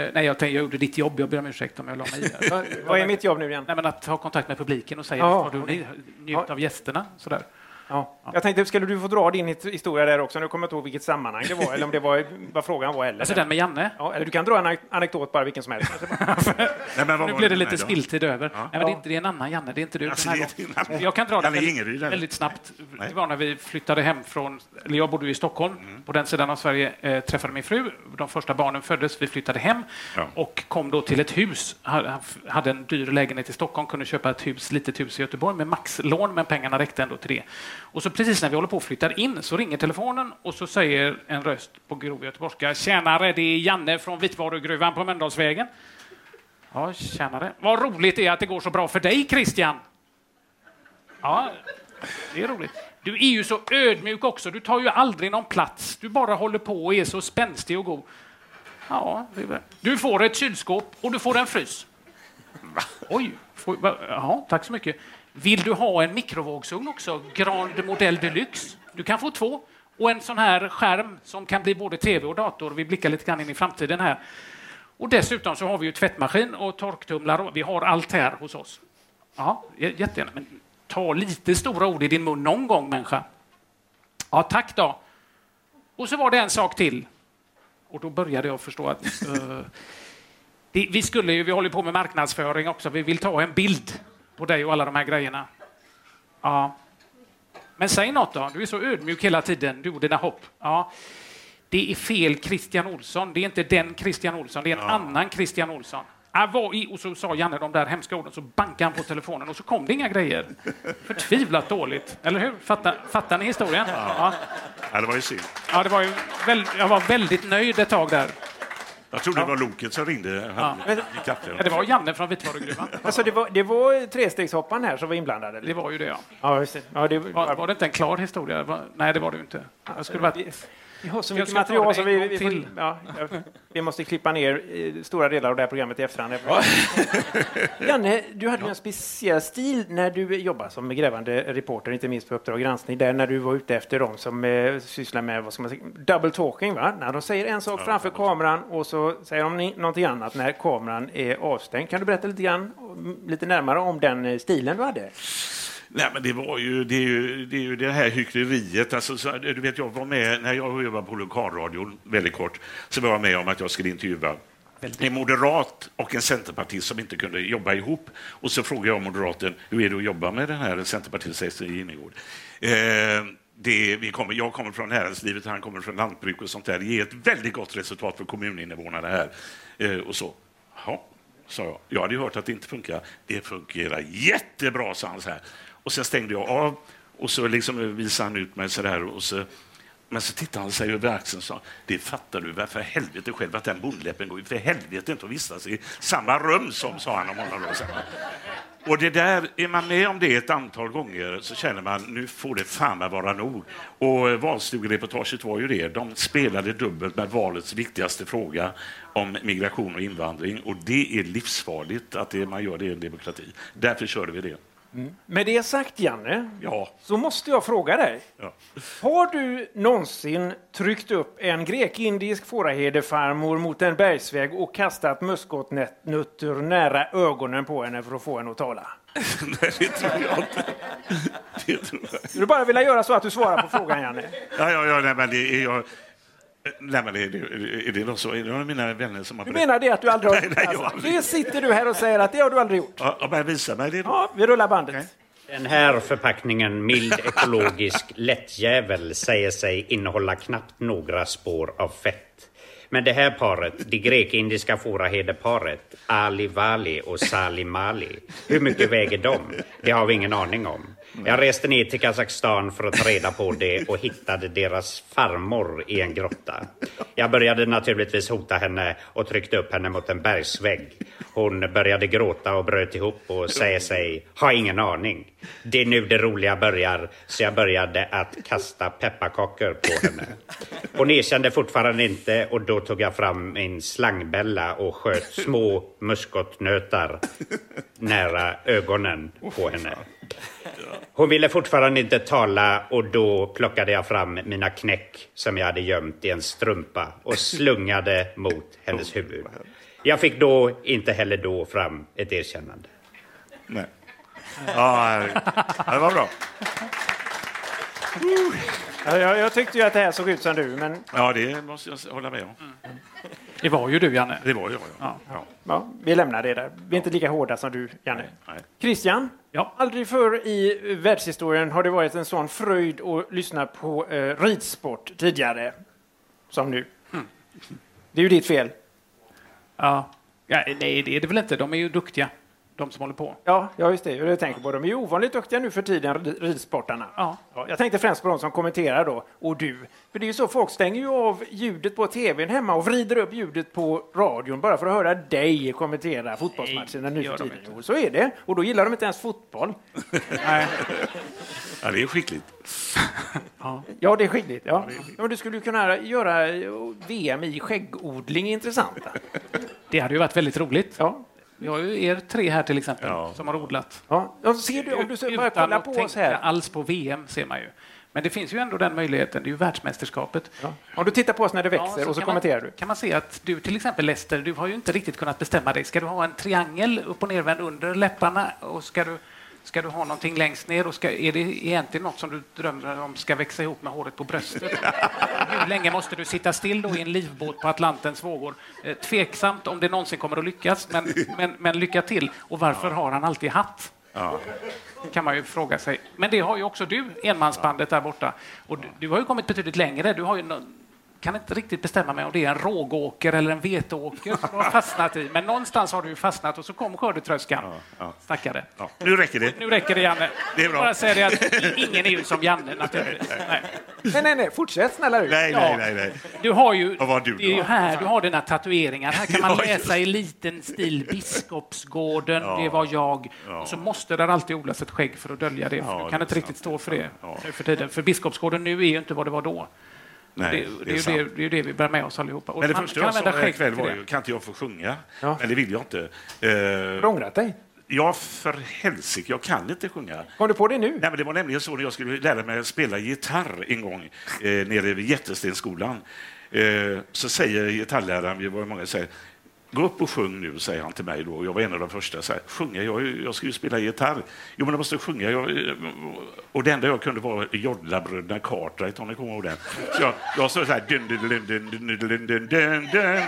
Speaker 5: eh, Nej, jag, tänkte, jag gjorde ditt jobb, jag ber om ursäkt om jag la mig
Speaker 3: (laughs)
Speaker 5: i. Vad-
Speaker 3: Vad är mitt jobb nu igen?
Speaker 5: Nej, men att ha kontakt med publiken och säga
Speaker 3: Ja.
Speaker 5: att du ni- njut av gästerna. Sådär.
Speaker 3: Ja. Jag tänkte, skulle du få dra din hit- historia där också? Nu kommer jag inte ihåg vilket sammanhang det var, eller om det var vad frågan var. Eller.
Speaker 5: Alltså den med Janne?
Speaker 3: Ja, eller du kan dra en anek- anekdot bara, vilken som helst.
Speaker 6: vad
Speaker 5: (laughs) nu
Speaker 3: var
Speaker 5: blev
Speaker 3: det
Speaker 5: det
Speaker 3: med
Speaker 5: lite
Speaker 3: då?
Speaker 5: spilltid över. Nej, men det, är inte- det är en annan Janne, det är inte du.
Speaker 6: Alltså,
Speaker 5: den
Speaker 6: det
Speaker 5: här
Speaker 6: är
Speaker 5: gången.
Speaker 6: en annan.
Speaker 5: jag kan dra
Speaker 6: Janne
Speaker 5: den väldigt,
Speaker 6: Ingeryd, eller?
Speaker 5: väldigt snabbt. Det var när vi flyttade hem från, eller jag bodde ju i Stockholm,
Speaker 6: Mm.
Speaker 5: på den sidan av Sverige eh, träffade min fru. De första barnen föddes, vi flyttade hem och kom då till ett hus. Han han f- hade en dyr lägenhet i Stockholm, kunde köpa ett hus, litet hus i Göteborg med maxlån, men pengarna räckte ändå till det. Och så precis när vi håller på att flytta in så ringer telefonen och så säger en röst på grov göteborgska, tjänare, det är Janne från vitvarugruvan på Mölndalsvägen. Ja, tjänare. Vad roligt det är att det går så bra för dig, Christian. Ja, det är roligt. Du är ju så ödmjuk också. Du tar ju aldrig någon plats. Du bara håller på och är så spänstig och god. Ja, det är väl. Du får ett kylskåp och du får en frys. Oj, får, va, jaha, tack så mycket. Vill du ha en mikrovågsugn också? Grand Modell Deluxe. Du kan få två. Och en sån här skärm som kan bli både tv och dator. Vi blickar lite grann in i framtiden här. Och dessutom så har vi ju tvättmaskin och torktumlare. och Vi har allt här hos oss. Ja, j- jättegärna. Men ta lite stora ord i din mun någon gång, människa. Ja, tack då. Och så var det en sak till. Och då började jag förstå att eh, (laughs) det, vi skulle ju, vi håller på med marknadsföring också. Vi vill ta en bild på dig och alla de här grejerna. Ja. Men säg något då. Du är så ödmjuk hela tiden, du och dina hopp. Ja. Det är fel Christian Olsson. Det är inte den Christian Olsson, det är en annan Christian Olsson. Ah, vad i, och så sa Janne de där hemska orden, så bankade han på telefonen och så kom det inga grejer. Förtvivlat dåligt, eller hur? Fattar, fattar ni historien? Ja.
Speaker 6: Ja, det var ju synd.
Speaker 5: Ja, det var ju väl, jag var väldigt nöjd ett tag där.
Speaker 6: Jag trodde det var Loket som ringde. Han
Speaker 5: Ja.
Speaker 6: gick upp där.
Speaker 5: Ja, det var Janne från Vitvarugruvan.
Speaker 3: Alltså, det var, det var trestegshopparen här som var inblandad? Eller?
Speaker 5: Det var ju det, ja.
Speaker 3: Ja, just det. Ja, det
Speaker 5: Var, var det inte en klar historia? Var, nej, det var det ju inte. Jag skulle varit,
Speaker 3: Ja, så
Speaker 5: Jag
Speaker 3: mycket
Speaker 5: ska ta
Speaker 3: material
Speaker 5: det
Speaker 3: som
Speaker 5: en
Speaker 3: vi...
Speaker 5: gång
Speaker 3: Vi,
Speaker 5: till.
Speaker 3: får, ja, ja, vi måste klippa ner eh, stora delar av det här programmet i efterhand. (laughs) Janne, du hade ju en speciell stil när du jobbade som grävande reporter, inte minst på Uppdrag granskning, där när du var ute efter dem som eh, sysslar med vad ska man säga, double talking, va? när de säger en sak
Speaker 5: Ja,
Speaker 3: framför kameran och så säger de ni- någonting annat när kameran är avstängd. Kan du berätta lite grann, m- lite närmare om den eh, stilen du hade?
Speaker 6: Nej, men det, var ju, det, är ju, det är ju det här hyckleriet. Alltså, så, du vet, jag var med, när jag jobbade på lokalradion, väldigt kort, så var jag med om att jag skulle intervjua en moderat och en centerpartist som inte kunde jobba ihop. Och så frågade jag moderaten, hur är det att jobba med den här centerpartisten Ester Ginnegård? Eh, det, vi kommer, jag kommer från näringslivet, han kommer från lantbruk och sånt där. Det ger ett väldigt gott resultat för kommuninvånarna här. Eh, och så. Jaha, sa jag. Jag hade ju hört att det inte funkar. Det fungerar jättebra, sa han så här. Och sen stängde jag av och så liksom visade han ut mig så där. Och så, men så tittade han sig över axeln och sa, det fattar du väl för helvete själv att den bondläppen går ju för helvete inte att vistas i samma rum som, sa han om honom. Då. Så här. Och det där, är man med om det ett antal gånger så känner man nu får det fan mig vara nog. Och eh, valstugereportaget var ju det. De spelade dubbelt med valets viktigaste fråga om migration och invandring. Och det är livsfarligt att det, man gör det i en demokrati. Därför körde vi det.
Speaker 3: Med det sagt, Janne,
Speaker 6: Ja. (laughs)
Speaker 3: så måste jag fråga dig.
Speaker 6: Ja.
Speaker 3: Har du någonsin tryckt upp en grek-indisk fåraherdefarmor mot en bergsväg och kastat muskotnötter nära ögonen på henne för att få henne att tala?
Speaker 6: Nej, det tror jag inte. Det tror jag.
Speaker 3: Skulle bara vilja göra så att du svarar på frågan, (laughs) Janne.
Speaker 6: Ja, ja, ja, nej, men det är jag... eh, Nej, men är det, är det, någon så, är det någon av mina vänner som har
Speaker 3: Du menar det att du aldrig har... Alltså,
Speaker 6: Nej, nej, jag har aldrig-
Speaker 3: det sitter du här och säger att det har du aldrig gjort.
Speaker 6: Ja, men visa mig det då.
Speaker 3: Ja, vi rullar bandet.
Speaker 12: Den här förpackningen mild ekologisk lättjävel säger sig innehålla knappt några spår av fett. Men det här paret, det grekindiska fåraherdeparet, Ali Vali och Sali Mali, hur mycket väger de? Det har vi ingen aning om. Jag reste ner till Kazakstan för att ta reda på det och hittade deras farmor i en grotta. Jag började naturligtvis hota henne och tryckte upp henne mot en bergsvägg. Hon började gråta och bröt ihop och säger sig ha ingen aning. Det är nu det roliga börjar, så jag började att kasta pepparkakor på henne. Hon erkände fortfarande inte och då tog jag fram min slangbälla och sköt små muskotnötar nära ögonen på henne. Hon ville fortfarande inte tala och då plockade jag fram mina knäck som jag hade gömt i en strumpa och slungade mot hennes huvud. Jag fick då inte heller då fram ett erkännande.
Speaker 6: Nej. Ja, det var bra.
Speaker 3: Ja, jag, jag tyckte ju att det här såg ut som du, men...
Speaker 6: Ja, det måste jag hålla med om.
Speaker 5: Mm. Det var ju du, Janne.
Speaker 6: Det var jag, ja.
Speaker 3: Ja, vi lämnar det där. Vi är inte lika hårda som du, Janne.
Speaker 6: Nej.
Speaker 3: Christian, aldrig förr i världshistorien har det varit en sån fröjd att lyssna på eh, ridsport tidigare som nu.
Speaker 6: Hmm.
Speaker 3: Det är ju ditt fel.
Speaker 5: Ja. Ja, nej, det är det väl inte. De är ju duktiga, de som håller på.
Speaker 3: Ja, ja just det. Jag tänker på dem. De är ju ovanligt duktiga nu för tiden, rid- ridsportarna. Ja. jag tänkte främst på de som kommenterar då, och du. För det är ju så, folk stänger ju av ljudet på tvn hemma och vrider upp ljudet på radion bara för att höra dig kommentera fotbollsmatcherna nu för
Speaker 5: gör de
Speaker 3: tiden. Jo, Så är det. Och då gillar de inte ens fotboll. Nej.
Speaker 6: Ja, det är skickligt.
Speaker 3: Ja, det är skickligt. Ja. Ja, men du skulle ju kunna göra eh, VM i skäggodling intressanta.
Speaker 5: Det hade ju varit väldigt roligt.
Speaker 3: Ja.
Speaker 5: Vi har ju er tre här till exempel, som har odlat.
Speaker 3: Ja. ser du, om du ser- bara kolla på oss här.
Speaker 5: alls på VM ser man ju. Men det finns ju ändå den möjligheten. Det är ju världsmästerskapet.
Speaker 3: Om du tittar på oss när det växer och så
Speaker 5: kan
Speaker 3: kommenterar
Speaker 5: man,
Speaker 3: du.
Speaker 5: Kan man se att du till exempel Lester, du har ju inte riktigt kunnat bestämma dig. Ska du ha en triangel upp och nervänd under läpparna och ska du, ska du ha någonting längst ner och ska, är det egentligen något som du drömmer om ska växa ihop med håret
Speaker 3: (laughs)
Speaker 5: på bröstet? Hur länge måste du sitta still då i en livbåt på Atlantens vågor? Eh, Tveksamt om det någonsin kommer att lyckas,
Speaker 3: (laughs)
Speaker 5: men, men, men lycka till. Och varför har han alltid hatt? kan man ju fråga sig. Men det har ju också du, enmansbandet där borta. Och du, du har ju kommit betydligt längre. Du har ju nå- kan inte riktigt bestämma mig om det är en rågåker eller en veteåker som du har fastnat i. Men någonstans har du ju fastnat och så kom skördetröskan. Stackare.
Speaker 6: Nu räcker det.
Speaker 5: Nu räcker det, Janne.
Speaker 6: Det är bra.
Speaker 5: Bara säga det att ingen är ju som Janne naturligtvis. Nej.
Speaker 3: Nej, nej, nej. Fortsätt snälla du.
Speaker 6: Nej, nej, nej. nej.
Speaker 5: Du har ju,
Speaker 6: Vad var du
Speaker 5: det är ju
Speaker 6: då?
Speaker 5: här du har dina tatueringar. Här kan man
Speaker 6: (laughs) Ja, just
Speaker 5: läsa i liten stil Biskopsgården,
Speaker 6: Ja.
Speaker 5: det var jag. Och så måste där alltid odlas ett skägg för att dölja det. För du kan
Speaker 6: det är
Speaker 5: inte riktigt stå för det nu för tiden. För Biskopsgården nu är ju inte vad det var då.
Speaker 6: Nej,
Speaker 5: det,
Speaker 6: det
Speaker 5: är
Speaker 6: är
Speaker 5: ju
Speaker 6: sant.
Speaker 5: det, det, är ju det vi bär med oss allihopa. Och
Speaker 6: Men det
Speaker 5: man
Speaker 6: första
Speaker 5: kan
Speaker 6: jag sa
Speaker 5: använda
Speaker 6: här
Speaker 5: skägg
Speaker 6: ikväll
Speaker 5: till
Speaker 6: var
Speaker 5: det.
Speaker 6: ju, kan inte jag få sjunga? Men det vill jag inte. Eh,
Speaker 3: Ångrat dig?
Speaker 6: Ja, för helsike, jag kan inte sjunga.
Speaker 3: Kom du på det nu?
Speaker 6: Nej, men det var nämligen så när jag skulle lära mig att spela gitarr en gång eh, nere vid Jättestenskolan. Eh, så säger gitarrläraren, vi var många, säger, gå upp och sjung nu, säger han till mig då. Jag var en av de första. Så här, sjunga? Jag, jag ska ju spela gitarr. Jo, men jag måste sjunga. Jag, eh, och det enda jag kunde var Jodlabröderna Cartwright, om ni kommer ihåg den. Så jag, jag sa så här, dun, dun, dun, dun, dun, dun, dun, dun, dun.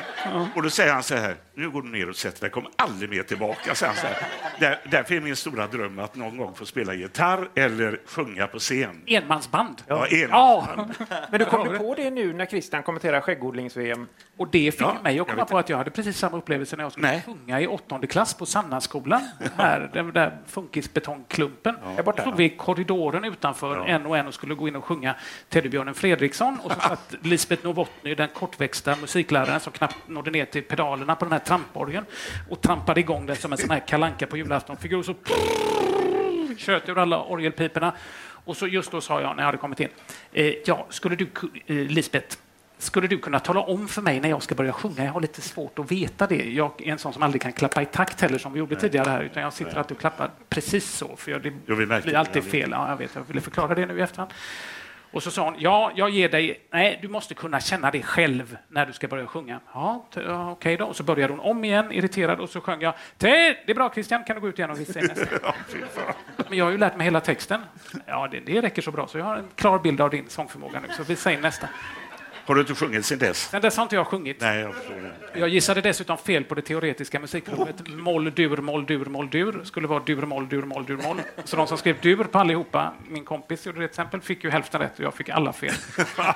Speaker 6: och då säger han så här, nu går du ner och sätter dig, kom aldrig mer tillbaka. Så han så här, där, därför är min stora dröm att någon gång få spela gitarr eller sjunga på scen.
Speaker 5: Enmansband.
Speaker 6: Ja, en.
Speaker 5: (laughs)
Speaker 3: Men du kom du på det nu när Christian kommenterar skäggodlings-VM?
Speaker 5: Och det fick
Speaker 3: Ja,
Speaker 5: mig
Speaker 3: jag
Speaker 5: att komma
Speaker 3: vet
Speaker 5: på att jag hade precis samma upplevelse när jag skulle sjunga i åttonde klass på Sannaskolan. här, den där funkisbetongklumpen. Där borta. stod vi i korridoren utanför en och en och skulle gå in och sjunga Teddybjörnen Fredriksson
Speaker 3: (laughs)
Speaker 5: och så satt Lisbeth Novotny, den kortväxta musikläraren som knappt nådde ner till pedalerna på den här tramporgeln och trampade igång den som en sån här kalanka på julafton-figur. och Så tjöt ur alla orgelpiporna. Och så just då sa jag, när jag hade kommit in, eh, ja, skulle du, ku- eh, Lisbeth, skulle du kunna tala om för mig när jag ska börja sjunga? Jag har lite svårt att veta det. Jag är en sån som aldrig kan klappa i takt heller, som vi gjorde tidigare här, utan jag sitter alltid och klappar precis så, för jag, det
Speaker 6: Jo, vi märkte
Speaker 5: blir
Speaker 6: det.
Speaker 5: alltid
Speaker 6: Ja, vi-
Speaker 5: fel. Ja, jag vet, jag ville förklara det nu i efterhand. Och så sa hon, ja, jag ger dig, nej, du måste kunna känna det själv när du ska börja sjunga. Ja, t- ja okej då. Och så började hon om igen, irriterad, och så sjöng jag, "Te- det är bra Christian, kan du gå ut igen och visa in nästa? Men jag har ju lärt mig hela texten. Ja, det, det räcker så bra, så jag har en klar bild av din sångförmåga nu, så visa in nästa.
Speaker 6: Har du inte sjungit sen dess?
Speaker 5: Sen dess har inte jag sjungit.
Speaker 6: Nej, jag förstår det.
Speaker 5: Jag gissade dessutom fel på det teoretiska musikprogrammet. Moll, dur, moll, dur, moll, dur. Skulle vara dur, moll, dur, moll, dur, moll. Så de som skrev dur på allihopa, min kompis gjorde det till exempel, fick ju hälften rätt och jag fick alla fel.
Speaker 6: Ja,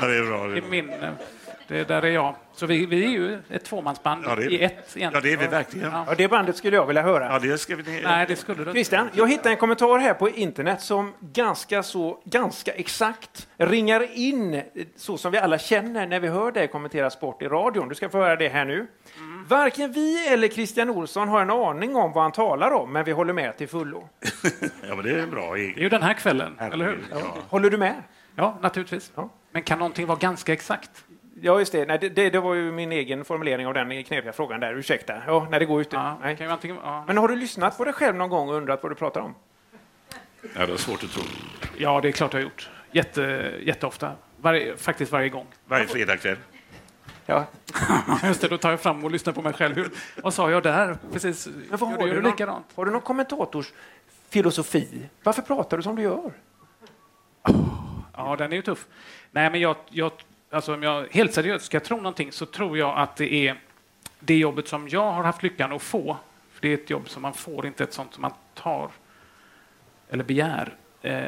Speaker 6: det är bra.
Speaker 5: Det är min... eh, Det där är jag. Så vi, vi är ju ett tvåmansband
Speaker 6: Ja, det är vi.
Speaker 5: i ett. egentligen.
Speaker 6: Ja, det är vi verkligen.
Speaker 3: Ja, det bandet skulle jag vilja höra.
Speaker 6: Ja, det ska vi...
Speaker 5: Nej, det skulle du inte.
Speaker 3: Christian, jag hittade en kommentar här på internet som ganska så, ganska exakt ringar in eh, så som vi alla känner när vi hör dig kommentera sport i radion. Du ska få höra det här nu. Varken vi eller Christian Olsson har en aning om vad han talar om, men vi håller med till fullo.
Speaker 6: Ja, men det är en bra egen.
Speaker 5: Det är ju den här kvällen, eller hur?
Speaker 3: Håller du med?
Speaker 5: Ja, naturligtvis. Men kan någonting vara ganska exakt?
Speaker 3: Ja, just det. Nej, det, det, det var ju min egen formulering av den knepiga frågan där. Ursäkta. Ja, när det går ut. Nej.
Speaker 5: Kan ju antingen, ja.
Speaker 3: Men har du lyssnat på dig själv någon gång och undrat vad du pratar om?
Speaker 6: Ja, det är svårt att tro.
Speaker 5: Ja, det är klart jag har gjort. Jätte, jätteofta. Varje, faktiskt varje (laughs) gång.
Speaker 6: Varje fredagkväll.
Speaker 3: Ja.
Speaker 5: Just det, då tar jag fram och lyssnar på mig själv. Hur, vad sa jag där? Precis.
Speaker 3: Men vad
Speaker 5: Gör
Speaker 3: har,
Speaker 5: gör
Speaker 3: du
Speaker 5: någon-
Speaker 3: någon, har du någon kommentators filosofi? Varför pratar du som du gör?
Speaker 5: Ja, den är ju tuff. Nej, men jag, jag, alltså, om jag helt seriöst ska tro någonting så tror jag att det är det jobbet som jag har haft lyckan att få. För det är ett jobb som man får, inte ett sånt som man tar eller begär. Eh,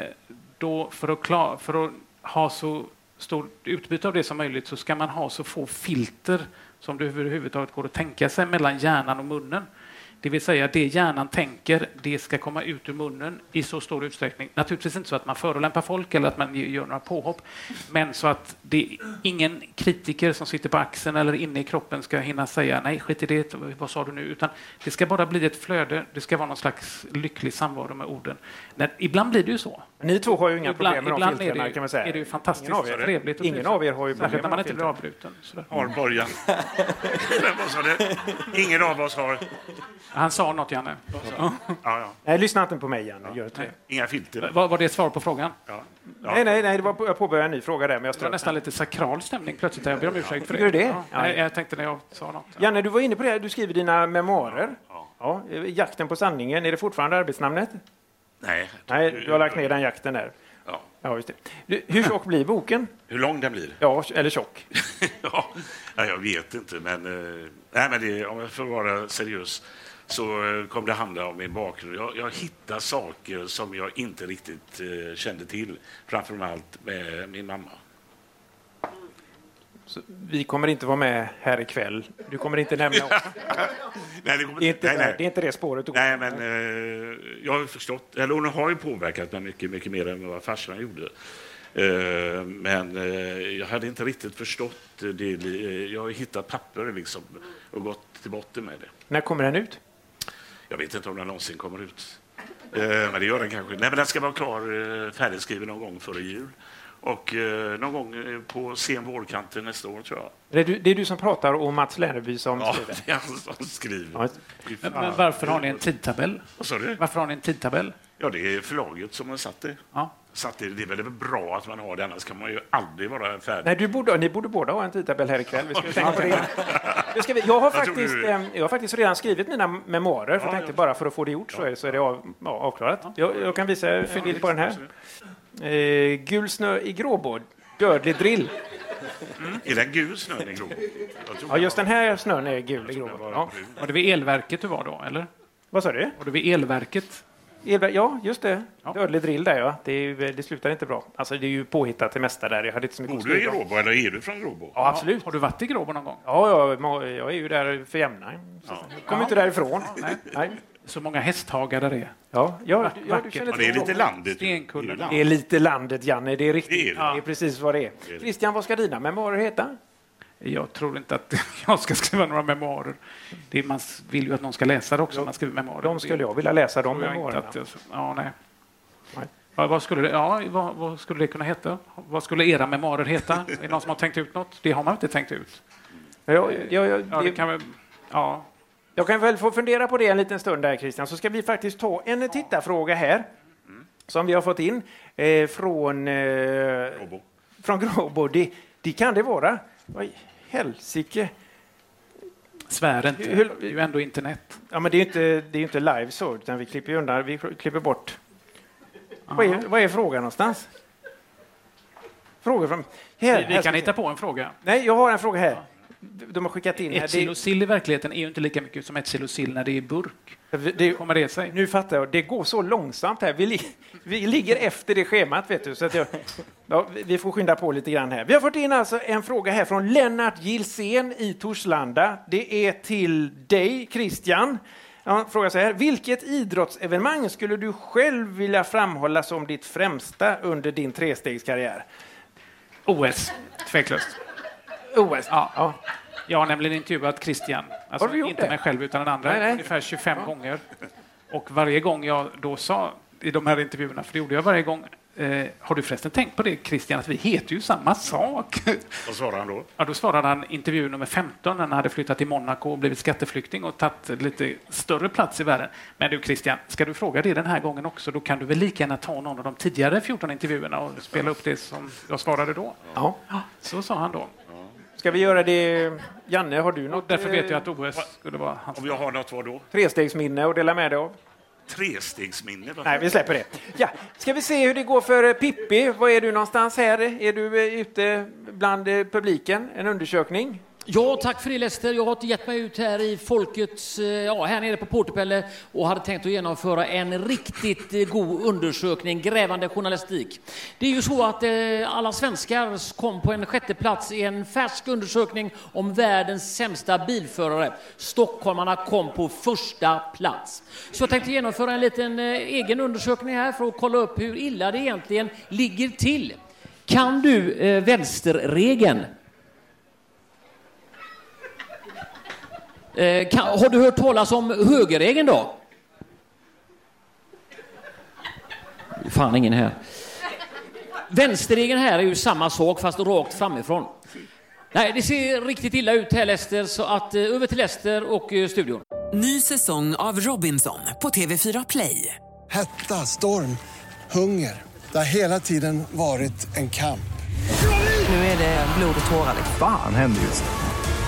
Speaker 5: då för, att klar, för att ha så stort utbyte av det som möjligt så ska man ha så få filter som det överhuvudtaget går att tänka sig mellan hjärnan och munnen. Det vill säga, det hjärnan tänker, det ska komma ut ur munnen i så stor utsträckning. Naturligtvis inte så att man förolämpar folk eller att man gör några påhopp, men så att det ingen kritiker som sitter på axeln eller inne i kroppen ska hinna säga nej, skit i det, vad sa du nu? Utan det ska bara bli ett flöde, det ska vara någon slags lycklig samvaro med orden. Men ibland blir det ju så.
Speaker 3: Ni två har ju inga
Speaker 5: Ibland-
Speaker 3: problem med
Speaker 5: ibland
Speaker 3: de filtrerna
Speaker 5: är det ju-
Speaker 3: kan man säga.
Speaker 5: är det ju fantastiskt
Speaker 3: Ingen av er,
Speaker 5: trevligt och
Speaker 3: ingen
Speaker 5: trivsamt.
Speaker 3: av er har ju
Speaker 5: Särskilt
Speaker 3: problem med
Speaker 5: när man
Speaker 3: de
Speaker 5: inte blir
Speaker 3: filtrerna.
Speaker 5: avbruten. Sådär.
Speaker 6: Har början. Men vad sa du? Ingen av oss har...
Speaker 5: Han sa något, Janne.
Speaker 6: Ja, ja.
Speaker 3: Nej, lyssna inte på mig Janne. Gör inte det.
Speaker 6: Inga filter.
Speaker 5: Var, var det ett svar på frågan?
Speaker 3: Nej, nej, nej, det var på, jag påbörjade en ny fråga där. Men jag
Speaker 5: Det var
Speaker 3: strök.
Speaker 5: nästan lite sakral stämning plötsligt. Jag ber om ursäkt för det.
Speaker 3: Tycker du det?
Speaker 5: Ja,
Speaker 3: Ja.
Speaker 5: nej, jag tänkte när jag sa något.
Speaker 3: Janne, du var inne på det här. Du skriver dina memoarer. Ja, eh, jakten på sanningen. Är det fortfarande arbetsnamnet?
Speaker 6: Nej.
Speaker 3: Nej, du har lagt ner den jakten där.
Speaker 6: Ja.
Speaker 3: Ja, just det. Du, hur tjock blir boken?
Speaker 6: Hur lång den blir? (laughs)
Speaker 3: Ja, eller tjock.
Speaker 6: ja, nej, jag vet inte, men, eh, nej, men det, om jag får vara seriös så eh, kommer det handla om min bakgrund. Jag, jag hittar saker som jag inte riktigt eh, kände till, framför allt med min mamma.
Speaker 3: Så vi kommer inte vara med här ikväll. Du kommer inte
Speaker 5: (laughs)
Speaker 3: nämna oss.
Speaker 6: Nej, det, kommer,
Speaker 3: Det är inte
Speaker 6: nej,
Speaker 3: där-
Speaker 6: nej.
Speaker 3: det är inte det spåret du går.
Speaker 6: Nej, men eh, jag har ju förstått, eller hon har ju påverkat mig mycket, mycket mer än vad farsan gjorde. Eh, men eh, jag hade inte riktigt förstått det. Eh, Jag har ju hittat papper liksom och gått till botten med det.
Speaker 3: När kommer den ut?
Speaker 6: Jag vet inte om den någonsin kommer ut. Eh, Men det gör den kanske. Nej, men den ska vara klar, eh, färdigskriven någon gång före jul. Och eh, någon gång eh, på sen vårkanten nästa år, tror jag.
Speaker 3: Det är, du, det är du som pratar och Mats Lerneby som
Speaker 6: Ja,
Speaker 3: skriver.
Speaker 6: det är han som skriver. Fy
Speaker 5: Men,
Speaker 6: fan.
Speaker 5: men varför har ni en tidtabell?
Speaker 6: Vad sa du?
Speaker 5: Varför har ni en tidtabell?
Speaker 6: Ja, det är förlaget som har satt det.
Speaker 5: Ja.
Speaker 6: Satt det. Det är väl bra att man har det, annars kan man ju aldrig vara färdig.
Speaker 3: Nej, du borde, ni borde båda ha en tidtabell här ikväll. Vi ska tänka på det. Nu ska vi, jag, har
Speaker 6: Jag tror
Speaker 3: faktiskt,
Speaker 6: du-
Speaker 3: eh, jag har faktiskt redan skrivit mina memoarer, för
Speaker 6: Ja,
Speaker 3: jag tänkte bara för att få det gjort så är, så är det av, ja, avklarat. Jag, jag kan visa en bild på den här. Eh, gul snö i Gråbo, dödlig drill.
Speaker 6: Mm. Är den gul snön i grov?
Speaker 3: Ja, just den här snön är gul i Gråbo. Ja.
Speaker 5: Var det vid elverket du var då, eller?
Speaker 3: Vad sa du?
Speaker 5: Var det vid elverket?
Speaker 3: Elver- Ja, just det. Dödlig drill där, ja. Det, är ju- det slutar inte bra. Alltså, det är ju påhittat det mesta där. Jag hade inte så mycket
Speaker 6: Bor
Speaker 3: att
Speaker 6: du i
Speaker 3: skriva om.
Speaker 6: Gråbo eller är du från Gråbo?
Speaker 3: Ja, absolut. Har
Speaker 5: du varit i Gråbo någon gång?
Speaker 3: Ja, jag, må- jag är ju där för jämna. Ja. Kommer inte därifrån.
Speaker 5: Nej.
Speaker 3: Nej.
Speaker 5: Så många hästhagar där är.
Speaker 3: Ja, ja, ja, du känner
Speaker 5: Vackert.
Speaker 3: till Gråbo.
Speaker 5: Stenkullarna.
Speaker 3: Det är lite landet, Janne. Det är riktigt.
Speaker 5: Det
Speaker 3: Det
Speaker 5: är
Speaker 3: är,
Speaker 5: det.
Speaker 3: precis vad det är. Christian, vad ska dina memoarer heta?
Speaker 5: Jag tror inte att (laughs) jag ska skriva några memoarer. Det är, man vill ju att någon ska läsa det också. när Man skriver memoarer.
Speaker 3: De skulle jag vilja läsa, de
Speaker 5: Tror jag inte
Speaker 3: memoarerna.
Speaker 5: att jag- Ja, nej. Ja, vad, skulle det, ja, vad, vad skulle det kunna heta? Vad skulle era memoarer heta? Är det någon som har tänkt ut något? Det har man inte tänkt ut.
Speaker 3: Ja, ja, ja,
Speaker 5: Ja, det
Speaker 3: det-
Speaker 5: kan väl, ja.
Speaker 3: Jag kan väl få fundera på det en liten stund där, Christian, så ska vi faktiskt ta en tittarfråga här som vi har fått in eh, från, eh, från Gråbo. Det, det kan det vara. Oj, helsike.
Speaker 5: Svär inte.
Speaker 3: Hur-
Speaker 5: Det är ju ändå internet.
Speaker 3: Ja, men det är ju inte, det är ju inte live så, utan vi klipper ju undan, vi klipper bort. Vad är, vad är frågan någonstans? Frågor från... Här,
Speaker 5: Vi,
Speaker 3: här
Speaker 5: vi
Speaker 3: ska
Speaker 5: kan
Speaker 3: vi se.
Speaker 5: hitta på en fråga.
Speaker 3: Nej, jag har en fråga här. De de har skickat in... här.
Speaker 5: Ett kilo sill i verkligheten är ju inte lika mycket som ett kilo sill när det är i burk.
Speaker 3: Det, det, kommer det sig? Nu fattar jag. Det går så långsamt här. Vi, li, vi ligger efter det schemat, vet du. Så att jag, ja, vi- vi får skynda på lite grann här. Vi har fått in alltså en fråga här från Lennart Gilsén i Torslanda. Det är till dig, Christian. Han frågar så här. Vilket idrottsevenemang skulle du själv vilja framhålla som ditt främsta under din trestegskarriär?
Speaker 5: OS, tveklöst.
Speaker 3: OS?
Speaker 5: Ja. Jag har nämligen intervjuat Christian. Alltså,
Speaker 3: Har du gjort
Speaker 5: inte
Speaker 3: det?
Speaker 5: mig själv, utan den andra.
Speaker 3: Nej, nej.
Speaker 5: Ungefär 25 gånger. Och varje gång jag då sa i de här intervjuerna, för det gjorde jag varje gång, eh, har du förresten tänkt på det Christian, att vi heter ju samma sak?
Speaker 6: Vad svarar han då?
Speaker 5: Ja, då svarade han intervju nummer 15 när han hade flyttat till Monaco och blivit skatteflykting och tagit lite större plats i världen. Men du Christian, ska du fråga det den här gången också, då kan du väl lika gärna ta någon av de tidigare 14 intervjuerna och spela upp det som jag svarade då.
Speaker 3: Ja.
Speaker 5: Så sa han då.
Speaker 3: Ska vi göra det... Janne, har du något?
Speaker 5: Och därför vet jag att
Speaker 3: eh,
Speaker 5: OS skulle vara hans.
Speaker 6: Om jag har något, vad då?
Speaker 3: Trestegsminne att dela med dig av?
Speaker 6: Trestegsminne? varför?
Speaker 3: Nej, vi släpper det. Ja, ska vi se hur det går för eh, Pippi? Var är du någonstans här? Är du eh, ute bland eh, publiken? En undersökning?
Speaker 13: Ja, tack för det Lester. Jag har gett mig ut här i folkets, eh, ja här nere på Portopelle och hade tänkt att genomföra en riktigt eh, god undersökning, grävande journalistik. Det är ju så att eh, alla svenskar kom på en sjätte plats i en färsk undersökning om världens sämsta bilförare. Stockholmarna kom på första plats. Så jag tänkte genomföra en liten eh, egen undersökning här för att kolla upp hur illa det egentligen ligger till. Kan du eh, vänsterregeln? Eh, kan, har du hört talas om högerregeln då? Fan, ingen här. Vänsterregeln här är ju samma sak fast rakt framifrån. Nej, det ser riktigt illa ut här Lester, så att eh, över till Lester och eh, studion.
Speaker 8: Ny säsong av Robinson på TV4 Play.
Speaker 9: Hetta, storm, hunger. Det har hela tiden varit en kamp.
Speaker 8: Nu är det blod och tårar.
Speaker 14: Fan händer just det.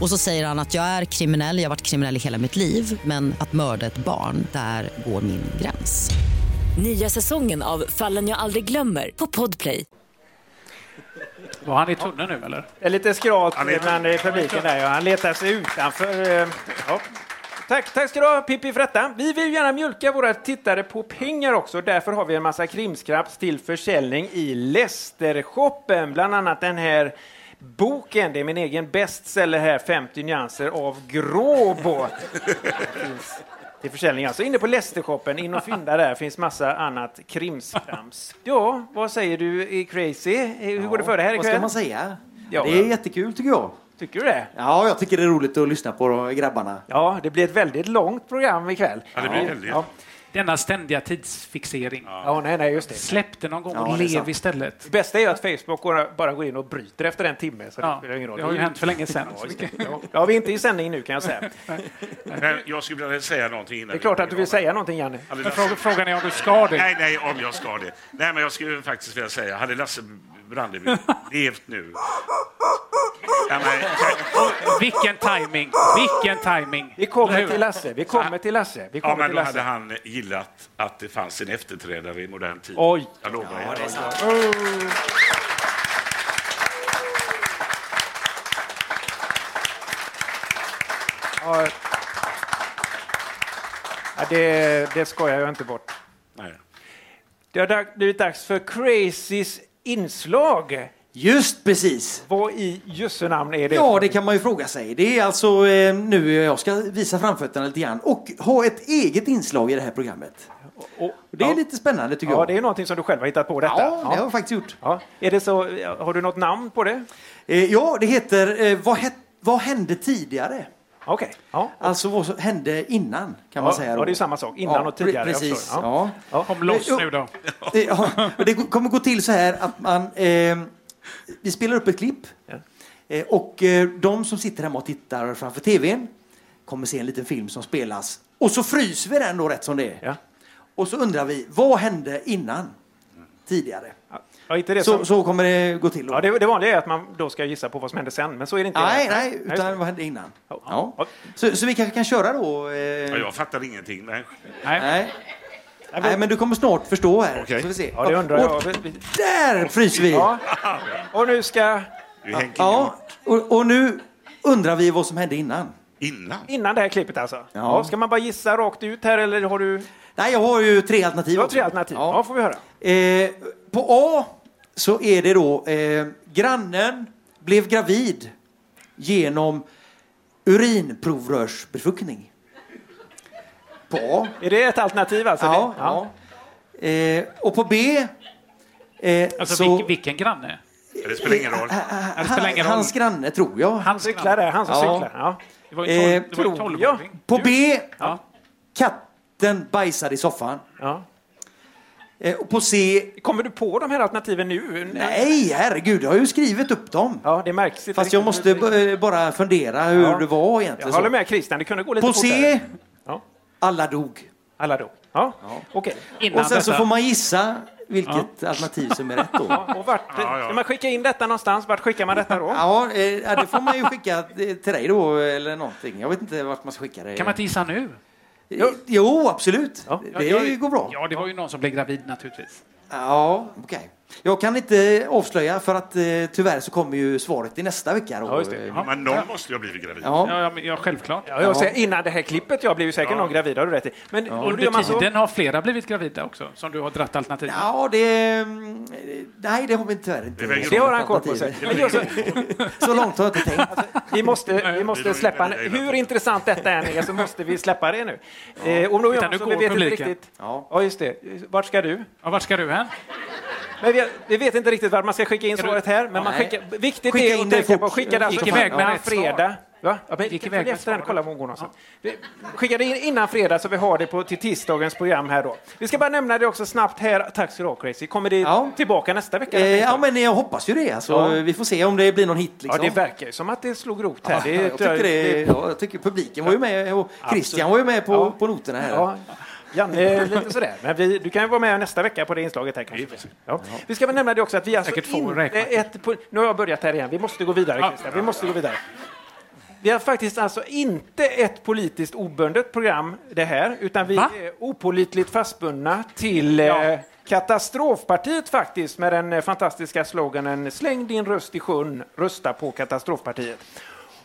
Speaker 15: Och så säger han att jag är kriminell, jag har varit kriminell i hela mitt liv men att mörda ett barn, där går min gräns.
Speaker 16: Nya säsongen av Fallen jag aldrig glömmer på Podplay.
Speaker 5: Var han i tunneln nu eller?
Speaker 3: Det är lite skralt
Speaker 5: Han är-
Speaker 3: bland eh, publiken där. Ja. Han letar sig utanför. eh, Ja. Tack, tack ska du ha Pippi för detta. Vi vill ju gärna mjölka våra tittare på pengar också. Därför har vi en massa krimskraps till försäljning i Leicestershoppen. Bland annat den här boken. Det är min egen bestseller här, 50 nyanser av Gråbo. finns till försäljning alltså. Inne på Lästershoppen, in och fynda där, finns massa annat krimskrams. Ja, vad säger du i Crazy? Eh, Hur går det för dig här ikväll?
Speaker 2: Vad ska man säga?
Speaker 3: Ja.
Speaker 2: Det är jättekul tycker jag.
Speaker 3: Tycker du det?
Speaker 2: Ja, jag tycker det är roligt att lyssna på de grabbarna.
Speaker 3: Ja, det blir ett väldigt långt program ikväll.
Speaker 2: Ja, det blir väldigt.
Speaker 5: Denna ständiga tidsfixering.
Speaker 3: Ja, nej, nej, just det.
Speaker 5: Släpp det någon gång
Speaker 3: Typ. Ja,
Speaker 5: och
Speaker 3: det är
Speaker 5: lev
Speaker 3: sant.
Speaker 5: istället.
Speaker 3: Det bästa är ju att Facebook går- bara går in och bryter efter en timme. Så det,
Speaker 5: Ja,
Speaker 3: spelar ingen roll.
Speaker 5: det har ju hänt för länge sedan.
Speaker 3: (laughs) Ja, just det. Ja. ja, vi är inte i sändning nu kan jag säga.
Speaker 5: (laughs)
Speaker 6: Men jag skulle vilja säga någonting innan.
Speaker 3: Det är klart att du vill säga någonting, Janne.
Speaker 5: frågan är om du ska det.
Speaker 6: Nej, nej, om jag ska det. Nej, men jag skulle faktiskt vilja säga, hade Lasse Brandeby levt nu... Ja, men,
Speaker 5: Vilken timing! Vilken timing!
Speaker 3: Vi
Speaker 5: Eller
Speaker 3: kommer
Speaker 5: hur?
Speaker 3: till Lasse. Vi kommer till Lasse. Vi kommer
Speaker 6: ja, men
Speaker 3: till
Speaker 6: då hade
Speaker 3: Lasse.
Speaker 6: han gillat att det fanns en efterträdare i modern tid.
Speaker 3: Oj.
Speaker 6: Jag lovar.
Speaker 3: Ja,
Speaker 6: er.
Speaker 3: det är sant. Ja. Ja, det, det skojar jag inte bort.
Speaker 6: Nej.
Speaker 3: Det har dag- blivit dags för Crazys inslag.
Speaker 2: Just precis!
Speaker 3: Vad i jösse namn är det?
Speaker 2: Ja, det kan man ju fråga sig. Det är alltså eh, nu jag ska visa framfötterna lite grann och ha ett eget inslag i det här programmet.
Speaker 3: Och
Speaker 2: det är lite spännande tycker
Speaker 3: Ja,
Speaker 2: jag.
Speaker 3: det är någonting som du själv har hittat på detta.
Speaker 2: Ja, det har jag faktiskt gjort. Eh,
Speaker 3: Ja. Är det så, har du något namn på det?
Speaker 2: Ja, det heter eh, vad, het, vad hände tidigare?
Speaker 3: Okej. Ja.
Speaker 2: Alltså vad som hände innan kan man säga.
Speaker 3: Ja,
Speaker 2: då.
Speaker 3: det är samma sak. Innan
Speaker 2: Ja,
Speaker 3: och tidigare.
Speaker 2: pre-
Speaker 3: jag
Speaker 2: Precis.
Speaker 3: förstår.
Speaker 2: Ja.
Speaker 5: Kom loss nu då.
Speaker 2: Eh, ja, och Det kommer gå till så här att man... Eh, vi spelar upp ett klipp. Eh, och eh, de som sitter hemma och tittar framför tvn kommer se en liten film som spelas. Och så fryser vi den då rätt som det är. Och så undrar vi, vad hände innan? Tidigare.
Speaker 3: Ja, inte Mm. det
Speaker 2: så,
Speaker 3: som-
Speaker 2: så kommer det gå till. Då.
Speaker 3: Ja, det, det vanliga är att man då ska gissa på vad som hände sen, men så är det inte.
Speaker 2: nej, nej, utan vad hände innan? Ja. Så, så vi kanske kan köra då? Eh...
Speaker 6: Ja, jag fattar ingenting. Nej.
Speaker 2: Nej. Nej. men du kommer snart förstå här. Okay. Så vi se.
Speaker 3: Ja, det undrar jag.
Speaker 2: Och där fryser vi!
Speaker 3: Ja. Och nu ska...
Speaker 2: Ja, och, och nu undrar vi vad som hände innan.
Speaker 6: Innan?
Speaker 3: Innan det här klippet alltså? Ja.
Speaker 2: Ja.
Speaker 3: ska man bara gissa rakt ut här eller har du...
Speaker 2: Nej, jag har ju tre alternativ.
Speaker 3: Du har tre alternativ. Ja, får vi höra.
Speaker 2: Eh, på A så är det då eh, grannen blev gravid genom urinprovrörsbefruktning. På A.
Speaker 3: Är det ett alternativ alltså?
Speaker 2: Ja.
Speaker 3: Det- ja.
Speaker 2: ja. Eh, och på B eh,
Speaker 5: Alltså,
Speaker 2: så...
Speaker 5: vil- vilken granne?
Speaker 6: Det spelar ingen roll.
Speaker 5: Det spelar ingen roll.
Speaker 2: Hans granne tror jag.
Speaker 5: Han cyklar
Speaker 3: där, han som cyklar, ja.
Speaker 5: Det var ju tolv-
Speaker 2: Eh,
Speaker 5: det var ju
Speaker 2: tror
Speaker 5: tolvåring.
Speaker 2: jag. På B,
Speaker 5: Ja.
Speaker 2: katten bajsade i soffan. Eh, och på C...
Speaker 3: Kommer du på de här alternativen nu?
Speaker 2: Nej, herregud, jag har ju skrivit upp dem.
Speaker 3: Ja, det märks.
Speaker 2: Fast jag måste b- eh, bara fundera hur
Speaker 3: Ja.
Speaker 2: det var
Speaker 3: Jag
Speaker 2: egentligen.
Speaker 3: håller
Speaker 2: så.
Speaker 3: med Christian, det kunde gå lite
Speaker 2: På
Speaker 3: fortare.
Speaker 2: C, alla dog.
Speaker 3: Alla dog. Ja. Okej.
Speaker 2: och sen så får man gissa vilket alternativ som är rätt då.
Speaker 3: Ja, och vart, Ska man skicka in detta någonstans? Vart skickar man detta då?
Speaker 2: Ja, eh, ja, det får man ju skicka eh, till dig då, eller någonting. Jag vet inte vart man ska skicka det.
Speaker 5: Kan man inte gissa nu?
Speaker 2: Jo, jo absolut. Det
Speaker 5: Ja,
Speaker 2: ju- går bra.
Speaker 5: Ja, det var ju någon som blev gravid naturligtvis.
Speaker 2: Ja, okej. Jag kan inte avslöja för att eh, tyvärr så kommer ju svaret i nästa vecka. Då.
Speaker 6: Men någon måste ju ha blivit gravid.
Speaker 2: Ja.
Speaker 5: Ja, men, ja självklart.
Speaker 3: Ja, jag säger, innan det här klippet, jag blev ju säkert
Speaker 5: Ja.
Speaker 3: någon gravid, har du rätt i. Men och då gör
Speaker 5: Under
Speaker 3: man så...
Speaker 5: tiden har flera blivit gravida också, som du har dratt alternativ.
Speaker 2: Ja, det... mm, Nej, det har vi tyvärr inte.
Speaker 5: väger
Speaker 3: Det har han koll på sig.
Speaker 2: Alternativet.
Speaker 3: Men gör (laughs) så-
Speaker 2: (laughs) Så långt har jag inte tänkt.
Speaker 3: Vi måste, vi måste släppa Hur intressant detta än är så måste vi släppa det nu. Eh, och då gör
Speaker 5: Utan
Speaker 3: man
Speaker 5: nu
Speaker 3: så, vi
Speaker 5: går
Speaker 3: vet inte
Speaker 5: publiken.
Speaker 3: riktigt. Ja. just det. Vart ska du?
Speaker 5: Ja, vart ska du hän?
Speaker 3: Men vi, vi vet inte riktigt vart man ska skicka in
Speaker 5: Ska du-
Speaker 3: svaret här. Men
Speaker 5: Ja,
Speaker 3: man
Speaker 5: nej.
Speaker 3: skickar, viktigt
Speaker 5: Skicka
Speaker 3: är
Speaker 5: in
Speaker 3: att
Speaker 5: det
Speaker 3: tänka
Speaker 5: fort.
Speaker 3: på att skicka det alltså
Speaker 5: Gick
Speaker 3: fan
Speaker 5: iväg med
Speaker 3: innan
Speaker 5: rätt svar.
Speaker 3: fredag. Va? Ja, men,
Speaker 5: Gick
Speaker 3: Gick
Speaker 5: iväg
Speaker 3: iväg
Speaker 5: med
Speaker 3: efter den, kolla vad hon går någonstans. Vi- Skicka det in innan fredag så vi har det på, till tisdagens program här då. Vi ska bara nämna det också snabbt här. Tack så du ha Crazy. Kommer det tillbaka nästa vecka?
Speaker 2: Eh, ja, men jag hoppas ju det. Alltså,
Speaker 3: Ja.
Speaker 2: Vi får se om det blir någon hit. Liksom.
Speaker 3: Ja, det verkar ju som att det slog rot här.
Speaker 2: Ja,
Speaker 3: det,
Speaker 2: jag, tycker det, ja, jag tycker publiken var ju med och Christian var ju med på,
Speaker 3: Ja.
Speaker 2: på noterna här.
Speaker 3: Ja, Janne, lite sådär. Men vi, du kan ju vara med nästa vecka på det inslaget här kanske. Ja. Vi ska väl nämna det också att vi alltså
Speaker 5: Säkert får
Speaker 3: inte
Speaker 5: räkna.
Speaker 3: ett, po- Nu har jag börjat här igen. Vi måste gå vidare,
Speaker 5: Ja.
Speaker 3: Christian. Vi måste gå vidare. Vi har faktiskt alltså inte ett politiskt obundet program det här, utan vi
Speaker 5: Va?
Speaker 3: är opolitligt fastbundna till eh, Katastrofpartiet faktiskt med den eh, fantastiska sloganen Släng din röst i sjön, rösta på Katastrofpartiet.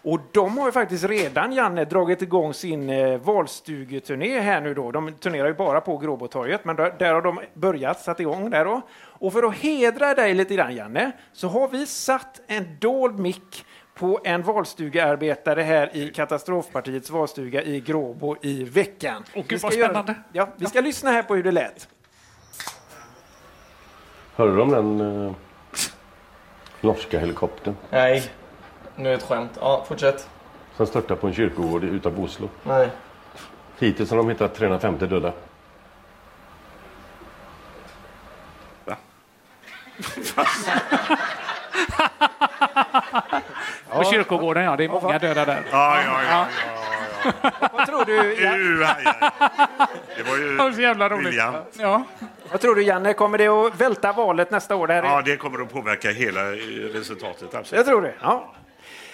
Speaker 3: Och de har ju faktiskt redan, Janne, dragit igång sin eh, valstugeturné här nu då. De turnerar ju bara på Gråbotorget, men där, där har de börjat, satt igång där då. Och för att hedra dig lite grann, Janne, så har vi satt en dold mick på en valstugearbetare här i Katastrofpartiets valstuga i Gråbo i veckan. Och
Speaker 5: gud, vad spännande.
Speaker 3: ja, vi ska lyssna här på hur det lät.
Speaker 17: Hörde du om den eh, norska helikoptern
Speaker 18: Nej, nu är det ett skämt. Ja, fortsätt.
Speaker 17: som störtade på en kyrkogård utanför Oslo?
Speaker 18: Nej.
Speaker 17: Hittills har de hittat 350 döda.
Speaker 5: På kyrkogården, ja. Det är många döda där.
Speaker 6: Ja, ja, ja.
Speaker 3: Vad tror du?
Speaker 6: Jan- Det var ju
Speaker 3: Det var så jävla roligt.
Speaker 6: William.
Speaker 5: Ja.
Speaker 3: (laughs) Vad tror du, Janne? Kommer det att välta valet nästa år? Där
Speaker 6: Ja, det kommer att påverka hela eh, resultatet. Absolut.
Speaker 3: Jag tror det. Ja.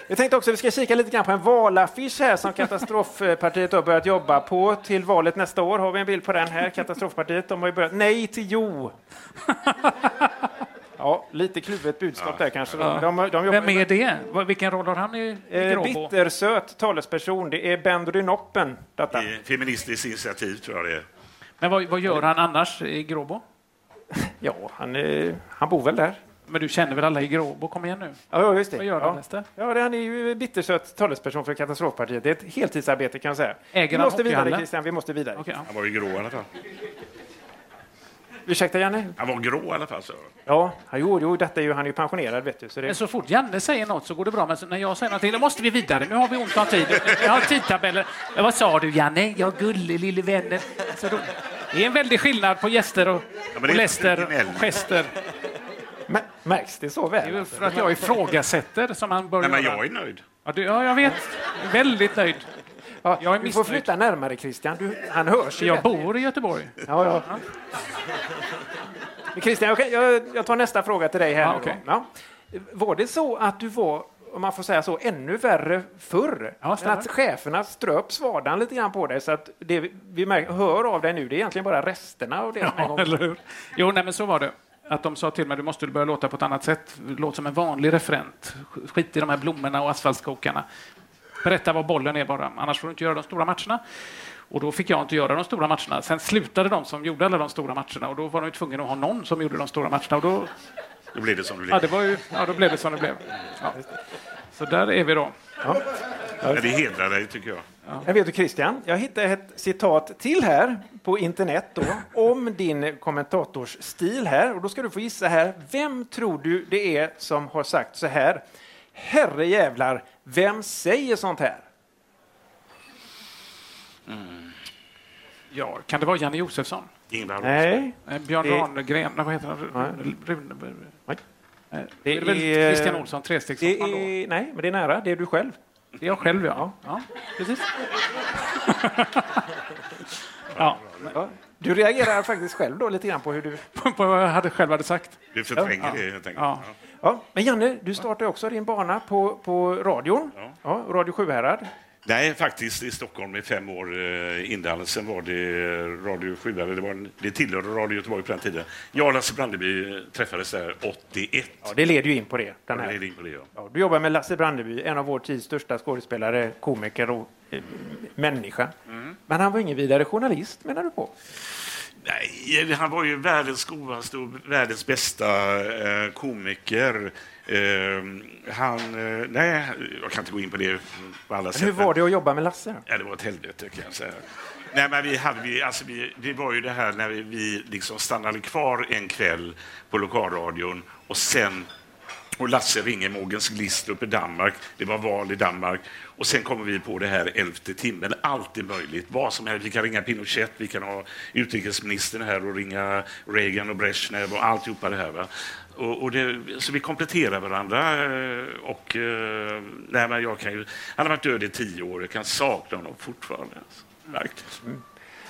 Speaker 3: Jag tänkte också att vi ska kika lite grann på en valaffisch här som Katastrofpartiet har börjat jobba på till valet nästa år. Har vi en bild på den här? Katastrofpartiet, de har ju börjat. Nej till jo! Ja, lite kluvet budskap där kanske.
Speaker 5: Ja.
Speaker 3: De, de jobbar
Speaker 5: Vem är det? Vad- Vilken roll har han i, i
Speaker 3: Eh,
Speaker 5: Gråbo?
Speaker 3: bittersöt talesperson, det är Ben Rynoppen. Detta.
Speaker 6: Feministiskt initiativ tror jag det är.
Speaker 3: eh-
Speaker 5: Men vad, vad gör han annars i Gråbo?
Speaker 3: Ja, han, eh, han bor väl där.
Speaker 5: Men du känner väl alla i Gråbo? Kom igen nu.
Speaker 3: Ja, just det.
Speaker 5: Vad gör
Speaker 3: ja.
Speaker 5: han nästa?
Speaker 3: Ja, det- han är ju bittersöt talesperson för Katastrofpartiet. Det är ett heltidsarbete kan jag säga.
Speaker 5: Äger
Speaker 3: vi
Speaker 5: han
Speaker 3: måste vidare
Speaker 5: hockeyhallen?
Speaker 3: Christian, vi måste vidare.
Speaker 6: Han var ju grå i alla fall.
Speaker 3: Ursäkta Janne?
Speaker 6: Han var grå i alla fall. Så.
Speaker 3: Ja, jo, jo detta är ju, han är ju pensionerad vet du. Så det...
Speaker 5: Men så fort Janne säger något så går det bra, men så- när jag säger någonting, då måste vi vidare. Nu har vi ont om tid. Jag har tidtabeller. Men vad sa du Janne? Jag är gullig lille vännen. Så då, det är en väldig skillnad på gäster och, och läster och gester.
Speaker 3: Märks det så väl? Det är
Speaker 5: väl för att jag ifrågasätter som han börjar
Speaker 6: Nej, men
Speaker 5: göra.
Speaker 6: jag är nöjd.
Speaker 5: Ja, du, ja jag vet. Jag är Väldigt nöjd.
Speaker 3: Ja,
Speaker 5: jag är
Speaker 3: du får
Speaker 5: missnöjd.
Speaker 3: flytta närmare Christian, du, han hörs ju.
Speaker 5: Jag
Speaker 3: bättre.
Speaker 5: bor i Göteborg.
Speaker 3: Ja, ja. Men Christian, jag, kan- jag, jag tar nästa fråga till dig här.
Speaker 5: Ja,
Speaker 3: nu då.
Speaker 5: okej.
Speaker 3: ja. Var det så att du var, om man får säga så, ännu värre förr? men
Speaker 5: stämmer.
Speaker 3: att cheferna ströp svadan lite grann på dig så att det vi- vi märker, hör av dig nu, det är egentligen bara resterna av det som en gång-
Speaker 5: Ja, eller hur? Jo, nej, men så var det. Att de sa till mig, du måste börja låta på ett annat sätt. Låt som en vanlig referent. Skit i de här blommorna och asfaltskokarna. Berätta var bollen är bara, annars får du inte göra de stora matcherna. Och då fick jag inte göra de stora matcherna. Sen slutade de som gjorde alla de stora matcherna och då var de ju tvungna att ha någon som gjorde de stora matcherna. Och då,
Speaker 6: Då blir det som det blir.
Speaker 5: ja, det var ju, ja, då blev det som det blev. Ja. Så där är vi då.
Speaker 6: Men det hedrar dig, tycker jag.
Speaker 3: Jag vet du Christian, jag hittade ett citat till här på internet då, om din kommentatorsstil här. Och då ska du få gissa här, vem tror du det är som har sagt så här? Herre jävlar, vem säger sånt här?
Speaker 5: Ja, kan det vara Janne Josefsson?
Speaker 6: Ingvar
Speaker 3: Nej.
Speaker 5: Eh, Björn
Speaker 3: Det-
Speaker 5: Ranegren, nej, vad heter han? Rune- Rune...
Speaker 3: Nej.
Speaker 5: Eh, Det är väl Christian Olsson,
Speaker 3: det
Speaker 5: trestegshopparen då?
Speaker 3: är, Nej, men det är nära. Det är du själv.
Speaker 5: Det är jag själv, ja. ja.
Speaker 3: (laughs)
Speaker 5: precis. ja.
Speaker 3: Ja. Du reagerar faktiskt själv då lite grann på hur du...
Speaker 5: på vad jag hade själv hade sagt. (laughs)
Speaker 6: Du förtränger
Speaker 3: Ja.
Speaker 6: det, helt enkelt.
Speaker 5: Ja.
Speaker 3: Ja, men Janne, du startade också din bana på, på radion, ja. Radio Sjuhärad.
Speaker 6: Nej, faktiskt i Stockholm i fem år eh, innan. Sen var det eh, Radio 7, eller det, var, en- det tillhörde Radio Göteborg på den tiden. Jag och Lasse Brandeby eh, träffades där 81. Ja,
Speaker 3: det leder ju in på det. Den här.
Speaker 6: Det leder in på det, ja.
Speaker 3: Ja, du jobbar med Lasse Brandeby, en av vår tids största skådespelare, komiker och eh, människa. Men han var ingen vidare journalist, menar du på?
Speaker 6: Nej, han var ju världens godaste och världens bästa eh, komiker. Eh, han, eh, nej, jag kan inte gå in på det på alla
Speaker 3: Men
Speaker 6: sätt.
Speaker 3: hur var det att jobba med Lasse? då?
Speaker 6: Ja, det var ett helvete kan jag säga. Nej, men vi hade, vi, alltså vi, det var ju det här när vi, vi liksom stannade kvar en kväll på lokalradion och sen och Lasse ringer Mogens Glistrup i Danmark. Det var val i Danmark. Och sen kommer vi på det här elfte timmen. Allt är möjligt. Vad som helst. Vi kan ringa Pinochet, vi kan ha utrikesministern här och ringa Reagan och Brezhnev och alltihopa det här. Va? Och, och det, så vi kompletterar varandra. eh, Och, eh, nej, men jag kan ju, han har varit död i tio år. Jag kan sakna honom fortfarande. alltså. Verkligen.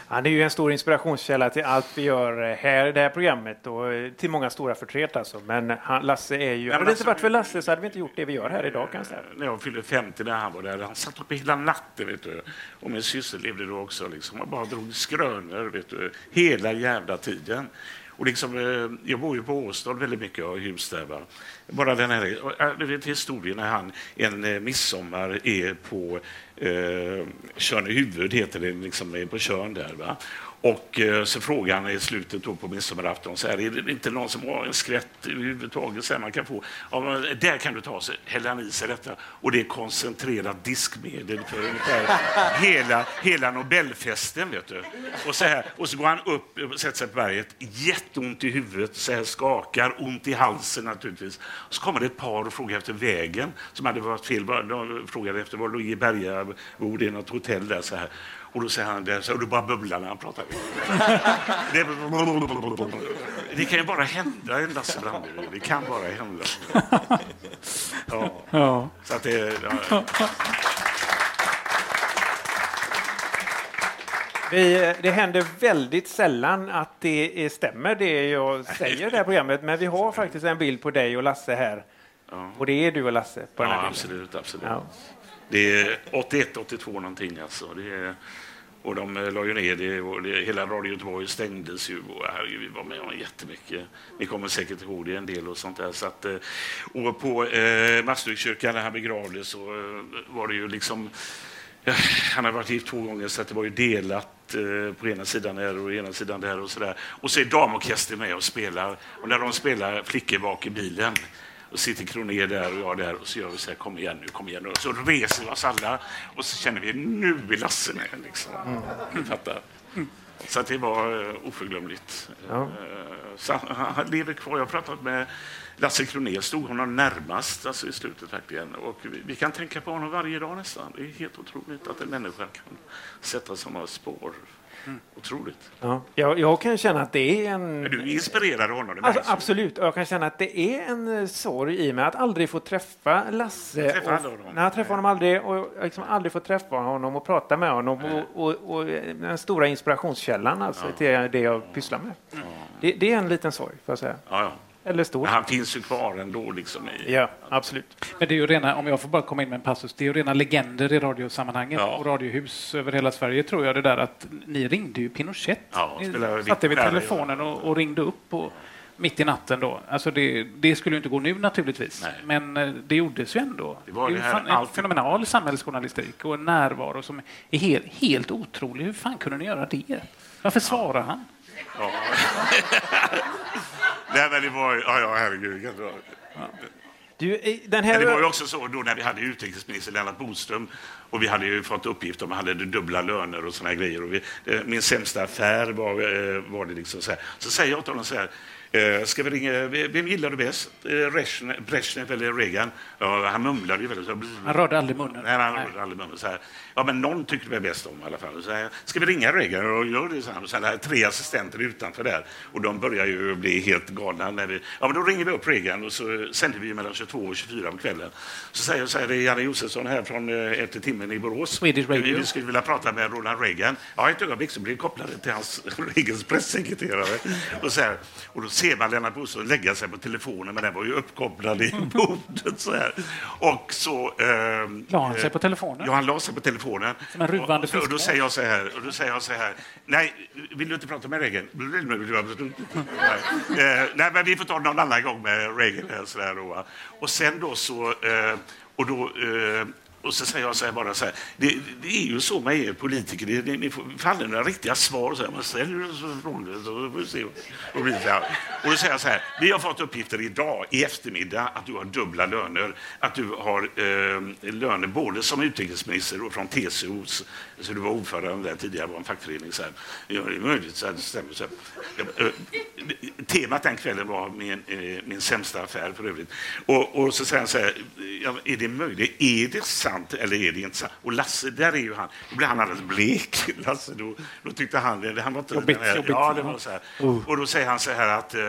Speaker 3: Han är ju en stor inspirationskälla till allt vi gör eh, här i det här programmet och eh, till många stora förtret alltså. Men han, Lasse är ju... hade det inte
Speaker 6: Lasse-
Speaker 3: varit för Lasse så hade vi inte gjort det vi gör här idag kan jag säga.
Speaker 6: när jag fyllde 50 när han var där. Han satt uppe hela natten. Vet du. Och min syster levde då också. Liksom. Han bara drog skrönor vet du, hela jävla tiden. Och liksom, eh, jag bor ju på Åstad väldigt mycket och hus där. Va? Bara den här, ja, du vet historien när han en eh, midsommar är på eh, Tjörn i huvud, heter det, liksom är på Tjörn där. Va? Och eh, så frågar han i slutet då på midsommarafton, så här, är det inte någon som har en skvätt överhuvudtaget så här man kan få? Ja, men där kan du ta, så häller han i sig detta. Och det är koncentrerat diskmedel för ungefär hela, hela Nobelfesten. Vet du. Och, så här, och så går han upp och sätter sig på berget, jätteont i huvudet, så här skakar, ont i halsen naturligtvis. Så kommer det ett par och frågar efter vägen, som hade varit fel. De frågade efter var låg Bergabo, det är något hotell där. Så här. Och då säger han det, så- och då bara bubblar när han pratar. Det, det kan ju bara hända en Lasse Brandeby. Det kan bara hända. Ja.
Speaker 5: Ja.
Speaker 6: Så att det, ja.
Speaker 3: Vi, eh, det händer väldigt sällan att det är- stämmer det jag säger i det här programmet, men vi har faktiskt en bild på dig och Lasse här. Och det är du och Lasse på den här bilden.
Speaker 6: Ja, absolut. absolut. Det är 81, 82 någonting alltså. Det är, och de eh, la ju ner det och det, hela Radio Göteborg stängdes ju. Och herregud, vi var med om jättemycket. Ni kommer säkert ihåg det en del och sånt där. Så att, eh, och på eh, Masturkyrkan när han begravdes så eh, var det ju liksom Ja, Han har varit gift två gånger, så att det var ju delat eh, på ena sidan här och ena sidan där. Och så, där. och så är damorkestern med och spelar. Och när de spelar Flickor bak i bilen och sitter Kronér där och jag där och så gör vi så här, kom igen nu, kom igen nu. Och så reser vi oss alla och så känner vi, nu är Lasse med. Liksom. Du fattar. Mm. Så att det var eh, oförglömligt.
Speaker 3: Ja.
Speaker 6: Eh, så han, han lever kvar. Jag har pratat med Lasse Kronér, stod honom närmast alltså i slutet verkligen. Och vi, vi kan tänka på honom varje dag nästan. Det är helt otroligt att en människa kan sätta sådana spår.
Speaker 3: Mm.
Speaker 6: Otroligt.
Speaker 3: Ja, jag, jag kan känna att det är en...
Speaker 6: Du inspirerade honom. det
Speaker 3: Alltså,
Speaker 6: märks ju.
Speaker 3: absolut, och jag kan känna att det är en eh, sorg i mig att aldrig få träffa Lasse.
Speaker 6: Jag träffade
Speaker 3: och,
Speaker 6: aldrig honom.
Speaker 3: Nej, jag träffade honom aldrig och jag liksom aldrig få träffa honom och prata med honom. Och, och, och, eh, den stora inspirationskällan alltså, till det jag pysslar med. Det, det är en liten sorg, får jag säga.
Speaker 6: Ja, ja.
Speaker 3: Eller stor.
Speaker 6: Men han finns ju kvar ändå. Liksom, i,
Speaker 3: Ja, absolut.
Speaker 5: Men det är ju rena, om jag får bara komma in med en passus, det är ju rena legender i radiosammanhanget och radiohus över hela Sverige tror jag det där att ni ringde ju Pinochet.
Speaker 6: Ja, spelade
Speaker 5: ni satte vid
Speaker 6: vitt där, ja.
Speaker 5: telefonen och, och ringde upp och, mitt i natten då. Alltså det, det skulle ju inte gå nu naturligtvis, men eh, det gjordes ju ändå. Det,
Speaker 6: var
Speaker 5: är
Speaker 6: det
Speaker 5: ju
Speaker 6: här
Speaker 5: fan, en
Speaker 6: allt-
Speaker 5: fenomenal samhällsjournalistik och en närvaro som är helt, helt otrolig. Hur fan kunde ni göra det? Varför svarar han?
Speaker 6: Ja. Nej, men det var ju... Ja, ja, herregud. kan det vara.
Speaker 3: eh, den
Speaker 6: Men det var ju också så då när vi hade utrikesminister Lennart Bodström och vi hade ju fått uppgift om att han hade dubbla löner och såna här grejer. Och vi, eh, min sämsta affär var, eh, var det liksom så här. Så säger jag till honom så här. eh, Ska vi ringa, vem gillar du bäst? Eh, Brezhne- Brezhnev eller Reagan? Ja, han mumlade ju väldigt. så här.
Speaker 5: Han rörde aldrig munnen.
Speaker 6: Nej, han rörde aldrig munnen. Så här. Ja, men någon tyckte vi bäst om i alla fall. Så här, ska vi ringa Reagan? Och gör det, så här. Och sen här, tre assistenter utanför där. Och de börjar ju bli helt galna. När vi, ja, men då ringer vi upp Reagan och så sänder vi ju mellan 22 och 24 på kvällen. Så säger jag så här, det är Janne Josefsson här från eh, Efter timmen i Borås.
Speaker 5: Swedish Radio.
Speaker 6: Vi, vi skulle vilja prata med Ronald Reagan. Ja, ett ögonblick så blir vi kopplade till hans, (laughs) Reagans pressekreterare. Och, så här, och då ser man Lennart Bodström lägga sig på telefonen, men den var ju uppkopplad i (laughs) bordet. Så här. Och så... ehm,
Speaker 5: La han sig
Speaker 6: eh,
Speaker 5: på telefonen?
Speaker 6: Ja, han la sig på telefonen.
Speaker 5: Som en ruvande
Speaker 6: och, och, då
Speaker 5: fiskmås.
Speaker 6: säger jag så här, och då säger jag så här. Nej, vill du inte prata med Reagan? Nej, eh, nej men vi får ta det någon annan gång med Reagan. Här, så där, då, va. Och sen då så... Eh, och då, eh, och så säger jag så här bara så här, det, det är ju så med er politiker, det, ni, ni får får aldrig några riktiga svar. Så här, man ställer ju så frågor så får vi se. Och, blir så här. och då säger jag så här, vi har fått uppgifter idag i eftermiddag att du har dubbla löner, att du har eh, löner både som utrikesminister och från TCO, s- så du var ordförande där tidigare, var en fackförening sen. Ja, det är möjligt, så här, det stämmer. Så här. Eh, eh, Temat den kvällen var min, eh, min sämsta affär för övrigt. Och, och så säger han så här, ja, är det möjligt? Är det sant eller är det inte sant? Och Lasse, där är ju han. Då blev han alldeles blek. (laughs) Lasse, då, då tyckte han det. Han var inte
Speaker 5: Jobbigt,
Speaker 6: den här,
Speaker 5: jobbigt.
Speaker 6: Ja, det var så här.
Speaker 5: Oh.
Speaker 6: Och då säger han så här att eh,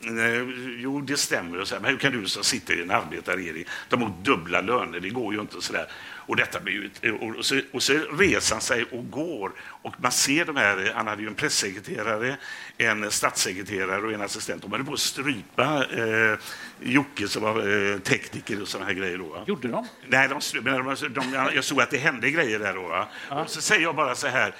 Speaker 6: nej, Jo, det stämmer. Och så här, men hur kan du som sitter i en arbetarregering ta emot dubbla löner? Det går ju inte. Och så där. Och, detta blir ju ett, och, och, så, och så reser han sig och går. Och man ser de här, eh, han hade ju en pressekreterare, en statssekreterare och en assistent. De hade på att strypa eh, Jocke som var eh, tekniker och sådana här grejer. Då, va?
Speaker 5: Gjorde de?
Speaker 6: Nej, de, stru- men de, de, de, jag såg att det hände grejer där då. Va? Och så säger jag bara så här,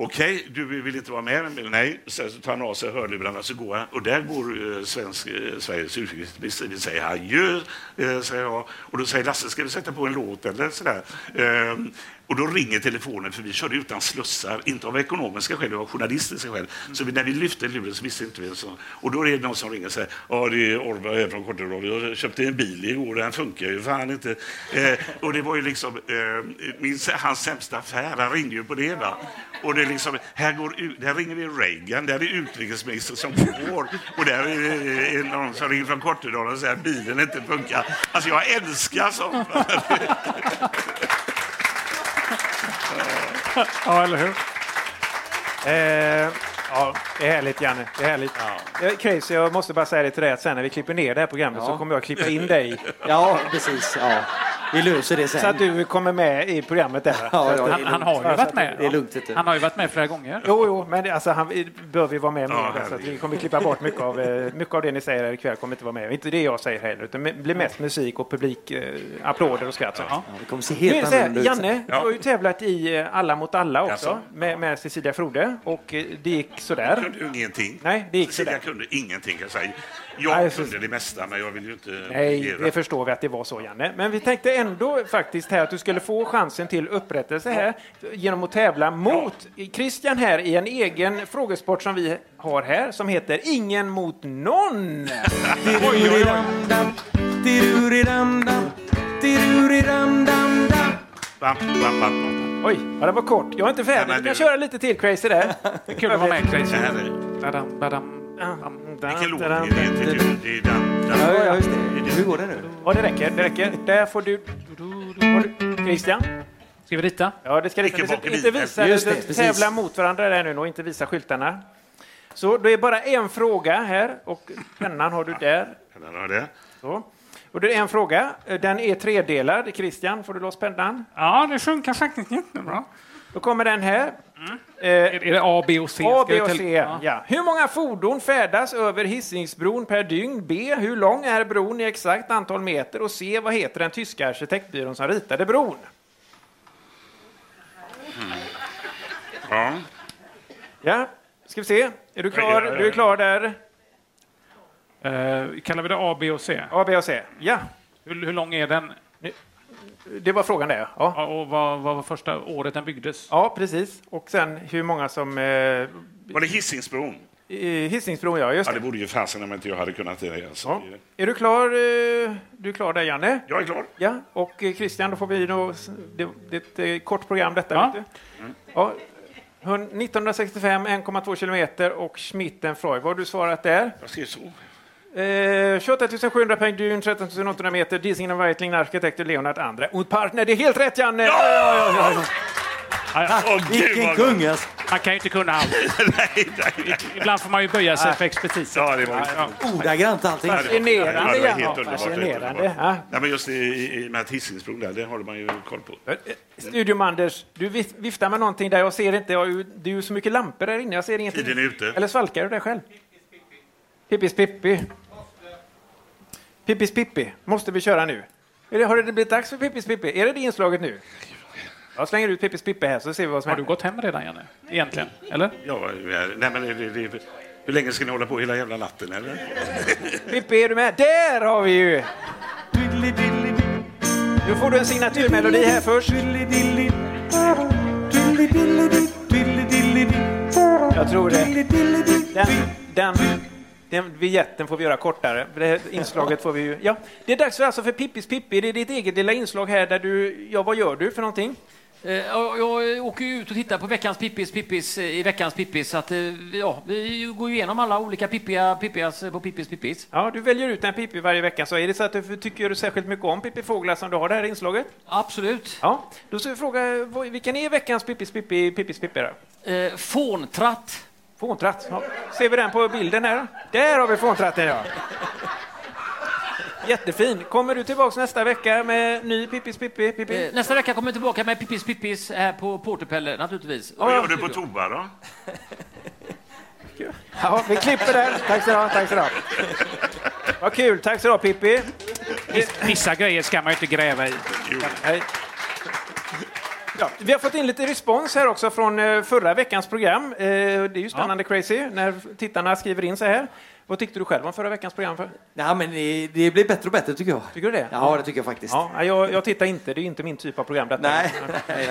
Speaker 6: Okej, du vill inte vara med? Nej. Sen så tar han av sig hörlurarna så går han. Och där går eh, svensk, eh, Sveriges utrikesminister in och säger adjö, eh, säger jag. Och då säger Lasse, ska vi sätta på en låt eller sådär? Ehm, och då ringer telefonen, för vi körde utan slussar, inte av ekonomiska skäl, det var journalistiska skäl. Så vi, när vi lyfte luren så visste inte vi. Så, och då är det någon som ringer och säger, ja det är Orvar här från Kortedradio, jag köpte en bil igår, den funkar ju fan inte. Eh, och det var ju liksom eh, min, hans sämsta affär, han ringde ju på det. Va? Och det är liksom, här, går, ut- där ringer vi Reagan, där är utrikesministern som går och där är är någon som ringer från Kortedala och säger att bilen inte funkar. Alltså jag älskar sånt. va.
Speaker 3: Ja, eller hur? Eh, ja, det är härligt, Janne. Det är härligt. Eh, Chris, jag måste bara säga det till dig att sen när vi klipper ner det här programmet så
Speaker 2: Ja.
Speaker 3: kommer jag klippa in
Speaker 6: (laughs)
Speaker 3: dig.
Speaker 2: Ja, precis. Ja. Vi löser det sen.
Speaker 3: Så att du kommer med i programmet där. va?
Speaker 2: Ja,
Speaker 3: Så
Speaker 2: ja,
Speaker 3: att-
Speaker 5: Han, han har ju varit med.
Speaker 2: Det är lugnt. Vet du.
Speaker 5: Han har ju varit med flera gånger.
Speaker 3: Jo, jo, men det- alltså, han bör vi vara med med. så att vi kommer klippa bort mycket av, eh, mycket av det ni säger här ikväll. kommer inte vara med. Inte det jag säger heller, utan det blir mest musik och publik, eh, applåder och skratt. Ja.
Speaker 2: Det kommer se
Speaker 3: Nu är
Speaker 2: helt
Speaker 3: det så här,
Speaker 2: annorlunda ut sen.
Speaker 3: Janne, du har ju tävlat i eh, Alla mot alla också
Speaker 6: Jaså?
Speaker 3: med, med Cecilia Frode och eh, det gick sådär.
Speaker 6: kunde ju ingenting.
Speaker 3: Nej, det gick sådär.
Speaker 6: Cecilia kunde ingenting kan jag säga. Jag
Speaker 3: Nej, så-
Speaker 6: kunde det mesta, men jag vill ju inte
Speaker 3: Nej,
Speaker 6: regera.
Speaker 3: det förstår vi att det var så, Janne. Men vi tänkte ändå faktiskt här att du skulle få chansen till upprättelse här genom att tävla mot Christian här i en egen frågesport som vi har här som heter Ingen mot någon.
Speaker 6: Bam, bam, bam.
Speaker 3: Oj, ja, det var kort. Jag är inte färdig. Vi kan köra lite till Crazy där. Det är
Speaker 5: kul att vara med, Crazy.
Speaker 6: Det här är-
Speaker 5: Badam, badam.
Speaker 6: Vilken låt är det? Det är ju- det är den- den-
Speaker 3: Ja, ja, just
Speaker 2: Hur går det nu?
Speaker 3: Ja, det räcker. Det räcker. Där får du... Har du- Christian?
Speaker 5: Ska vi rita?
Speaker 3: Ja, det ska
Speaker 5: Icke
Speaker 3: ritas.
Speaker 5: bak i
Speaker 3: Inte
Speaker 5: bilen.
Speaker 3: visa,
Speaker 5: Just det,
Speaker 3: det,
Speaker 5: precis.
Speaker 3: tävla mot varandra där nu och inte visa skyltarna. Så det är bara en fråga här och pennan har du där.
Speaker 6: den har det.
Speaker 3: Så. Och det är en fråga. Den är tredelad. Christian, får du loss pennan?
Speaker 5: Ja, det funkar faktiskt jättebra.
Speaker 3: Då kommer den här. Eh,
Speaker 5: Är det A, B och C?
Speaker 3: A,
Speaker 5: Mm. Ska
Speaker 3: B
Speaker 5: jag
Speaker 3: och
Speaker 5: till-
Speaker 3: C.
Speaker 5: Ja.
Speaker 3: Ja. Hur många fordon färdas över Hisingsbron per dygn? B. Hur lång är bron i exakt antal meter? Och C. Vad heter den tyska arkitektbyrån som ritade bron?
Speaker 6: Ja.
Speaker 3: Ja, ska vi se. Är du
Speaker 5: Ja,
Speaker 3: klar?
Speaker 5: ja, ja.
Speaker 3: Du är klar där.
Speaker 5: Eh, kallar vi det A, B och C?
Speaker 3: A, B och C. Ja.
Speaker 5: Hur, hur lång är den?
Speaker 3: Det var frågan det, ja.
Speaker 5: och vad, vad var första året den byggdes?
Speaker 3: Ja, precis. Och sen hur många som... Eh,
Speaker 6: Var det Hisingsbron?
Speaker 3: Hisingsbron, ja. Just
Speaker 6: Ja, det borde ju fasen om inte jag hade kunnat det. Alltså.
Speaker 3: Är du klar? eh, Du är klar där, Janne?
Speaker 6: Jag är klar.
Speaker 3: Ja, och eh, Christian, då får vi då, det, det är ett eh, kort program detta.
Speaker 6: Ja.
Speaker 3: Vet du? Ja, Hon- 1965, 1,2 kilometer och Schmittenfreude. Vad har du svarat där?
Speaker 6: Jag skrev så.
Speaker 3: Eh, 28 700 poäng dyn, 13 800 meter, Diesingen och Weitling, arkitekter Leonard Andre. Und Partner, det är helt rätt Janne! Ja! Ja, ja, ja.
Speaker 5: Tack,
Speaker 3: Åh, gud, vilken vad kung, bra.
Speaker 6: alltså.
Speaker 5: Man kan ju inte kunna allt.
Speaker 6: (laughs)
Speaker 5: Ibland får man ju böja sig
Speaker 3: Nej.
Speaker 5: för expertis.
Speaker 6: Ja, det var
Speaker 2: Ordagrant allting.
Speaker 6: Ja, det var
Speaker 3: ja.
Speaker 6: helt underbart.
Speaker 3: Fascinerande,
Speaker 6: helt
Speaker 3: ja.
Speaker 6: underbart. Nej, men just i, i, i med att Hisingsbron där, det håller man ju koll på.
Speaker 3: Studium Eh, Anders, du vif- viftar med någonting där, jag ser inte, jag, är ju- det är ju så mycket lampor där inne, jag ser ingenting.
Speaker 6: Tiden är ute.
Speaker 3: Eller svalkar du det själv? Pippis Pippi. Pippis Pippi, måste vi köra nu? Är det, har det blivit dags för Pippis Pippi? Är det det inslaget nu? Jag slänger ut Pippis Pippi här så ser vi vad som
Speaker 5: Har du gått hem redan, Janne? Egentligen? Eller?
Speaker 6: Ja, nej, men det, det, det, hur länge ska ni hålla på hela jävla natten? Eller?
Speaker 3: Pippi, är du med? Där har vi ju! Nu får du en signaturmelodi här först. Jag tror det. Den, den, den vignetten får vi göra kortare. Det här inslaget får vi ju... Ja, det är dags för, alltså för Pippis Pippi. Det är ditt eget lilla inslag här där du... Ja, vad gör du för någonting?
Speaker 4: Eh, Jag, jag åker ju ut och tittar på veckans Pippis Pippis eh, i veckans Pippis. Så att, eh, ja, vi går ju igenom alla olika pippiga Pippias eh, på Pippis Pippis.
Speaker 3: Ja, du väljer ut en Pippi varje vecka. Så är det så att du tycker särskilt mycket om Pippi Fåglar som du har det här inslaget?
Speaker 4: Absolut.
Speaker 3: Ja, då ska vi fråga vad- vilken är veckans Pippis Pippi, Pippis Pippi då?
Speaker 4: Eh, fåntratt.
Speaker 3: Fåntratt. Ja. Ser vi den på bilden här? Där har vi fåntratten ja. Jättefin. Kommer du tillbaks nästa vecka med ny Pippis Pippi? Pippi?
Speaker 4: Eh, nästa vecka kommer jag tillbaka med Pippis Pippis här på Porterpelle naturligtvis.
Speaker 6: Vad gör du på Toba då?
Speaker 3: Ja, vi klipper där. Tack så du ha, Tack så du ha. Vad kul. Tack så du ha, Pippi.
Speaker 4: Eh,
Speaker 5: Vissa grejer ska man ju inte gräva i.
Speaker 3: Nej. Ja, vi har fått in lite respons här också från eh, förra veckans program. Eh, Det är ju spännande crazy när tittarna skriver in så här. Vad tyckte du själv om förra veckans program? För?
Speaker 2: Nej, men det, det blir bättre och bättre tycker jag.
Speaker 3: Tycker du det?
Speaker 2: Ja, det tycker jag faktiskt.
Speaker 3: Ja, nej, jag, jag tittar inte, det är inte min typ av program detta.
Speaker 2: Nej. (laughs)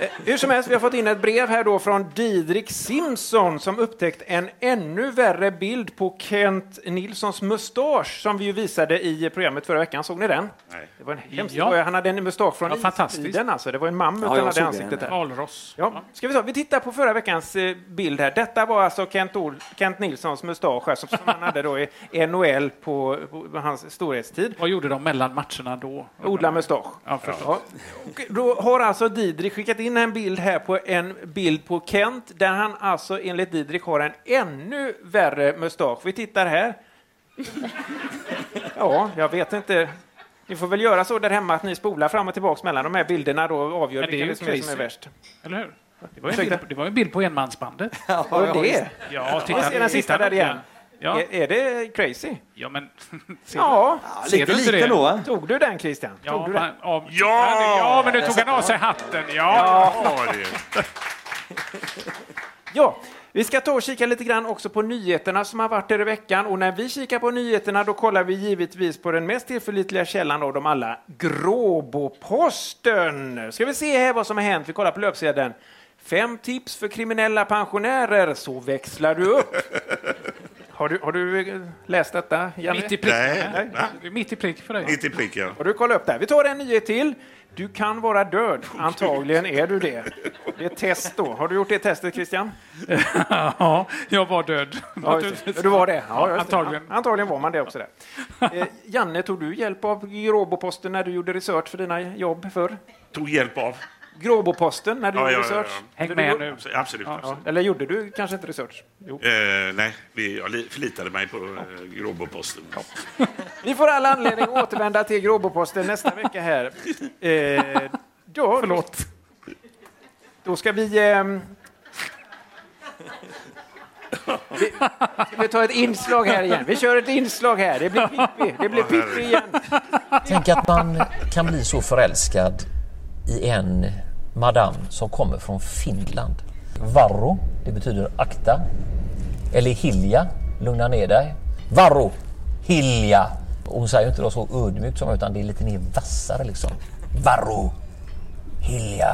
Speaker 3: Eh, Hur som helst, vi har fått in ett brev här då från Didrik Simpson som upptäckt en ännu värre bild på Kent Nilssons mustasch som vi ju visade i programmet förra veckan. Såg ni den?
Speaker 6: Nej.
Speaker 3: Det var en hemsk
Speaker 5: Ja.
Speaker 3: ja. Han hade en mustasch från
Speaker 5: Ja, fantastiskt.
Speaker 3: istiden. Alltså. Det var en mammut
Speaker 5: Ja,
Speaker 3: han
Speaker 5: jag
Speaker 3: hade i
Speaker 5: såg
Speaker 3: ansiktet.
Speaker 5: den.
Speaker 3: Där. Alros. Ja. Ska vi, se, vi tittar på förra veckans eh, bild här. Detta var alltså Kent, Ol Kent Nilssons mustasch här, som, som han hade då i (laughs) NHL på, på hans storhetstid. Vad gjorde de mellan matcherna då? Odla mustasch. Ja, Och Då har alltså Didrik skickat in en bild här på en bild på Kent där han alltså enligt Didrik har en ännu värre mustasch. Vi tittar här. Ja, jag vet inte. Ni får väl göra så där hemma att ni spolar fram och tillbaka mellan de här bilderna då och avgör
Speaker 5: Men det är ju
Speaker 3: vilken som är, som är
Speaker 5: crazy.
Speaker 3: värst.
Speaker 5: Eller hur? Det var, ju en
Speaker 3: Ursäkta?
Speaker 5: bild, det var ju en bild på enmansbandet.
Speaker 3: Ja, Var det ja, det? visst.
Speaker 5: Ja,
Speaker 3: Och
Speaker 5: titta,
Speaker 3: så är den sista
Speaker 5: titta
Speaker 3: där
Speaker 5: på
Speaker 3: igen.
Speaker 5: den. Ja.
Speaker 3: Är, är det crazy?
Speaker 5: Ja, men... (laughs) ser
Speaker 3: Ja,
Speaker 5: du- ser du inte det?
Speaker 3: Tog du den Christian?
Speaker 5: Ja,
Speaker 3: tog du den?
Speaker 5: Ja, ja, men nu tog han av sig hatten. Ja.
Speaker 3: Ja. Ja, vi ska ta och kika lite grann också på nyheterna som har varit här i veckan. Och när vi kikar på nyheterna då kollar vi givetvis på den mest tillförlitliga källan av dem alla, Gråboposten. Ska vi se här vad som har hänt? Vi kollar på löpsedeln. Fem tips för kriminella pensionärer, så växlar du
Speaker 5: (laughs)
Speaker 3: upp. Har du, har du eh, läst detta, Janne?
Speaker 5: Mitt i prick. Nej.
Speaker 3: Mitt i prick för dig.
Speaker 6: Mitt i prick, ja.
Speaker 3: Och du kollar upp det här. Vi tar en nyhet till. Du kan vara död. Antagligen är du det. Det är ett test då. Har du gjort det testet, Christian?
Speaker 5: (laughs) ja, jag var död.
Speaker 3: Ja, just det. du var det? Ja, just det.
Speaker 5: Antagligen.
Speaker 3: Ja, Antagligen var man det också. Där. Eh, Janne, tog du hjälp av Gråboposten när du gjorde research för dina jobb förr?
Speaker 6: Tog hjälp av?
Speaker 3: Gråboposten när du
Speaker 6: Ja,
Speaker 3: gjorde
Speaker 6: ja, ja, ja.
Speaker 3: research?
Speaker 6: Häng
Speaker 3: Du
Speaker 6: med
Speaker 3: gjorde-
Speaker 6: nu. Absolut, absolut, absolut.
Speaker 3: Eller gjorde du kanske inte research? Jo.
Speaker 6: Eh, nej, vi, jag li- förlitade mig på eh, Gråboposten.
Speaker 3: Vi får alla anledning att återvända till Gråboposten nästa vecka här. Eh, då, Förlåt. Då ska vi... ehm, vi, ska vi ta ett inslag här igen. Vi kör ett inslag här. Det blir Pippi. Det blir Pippi igen.
Speaker 19: Tänk att man kan bli så förälskad i en madame som kommer från Finland. Varro, det betyder akta. Eller Hilja, lugna ner dig. Varro, Hilja. Och Hon säger ju inte det så ödmjukt som utan det är lite mer vassare liksom. Varro, Hilja.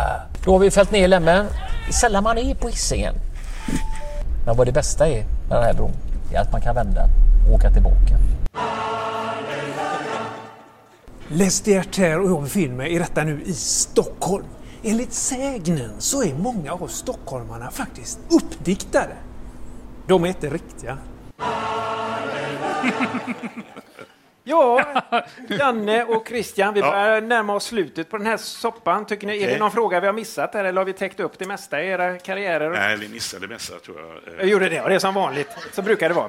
Speaker 19: Då har vi fällt ner lämmen. Det är sällan man är på Hisingen. Men vad det bästa är med den här bron, det är att man kan vända och åka tillbaka.
Speaker 20: Les Diarter och jag befinner mig i detta nu i Stockholm. Enligt sägnen så är många av stockholmarna faktiskt uppdiktade. De är inte riktiga.
Speaker 3: (laughs) Ja, Janne och Christian, vi börjar närma oss slutet på den här soppan. Tycker ni, är det
Speaker 6: Okej.
Speaker 3: någon fråga vi har missat här eller har vi täckt upp det mesta i era karriärer?
Speaker 6: Nej, vi missade mesta, tror jag. Eh,
Speaker 3: Jag gjorde det, och det är som vanligt. Så brukar det vara.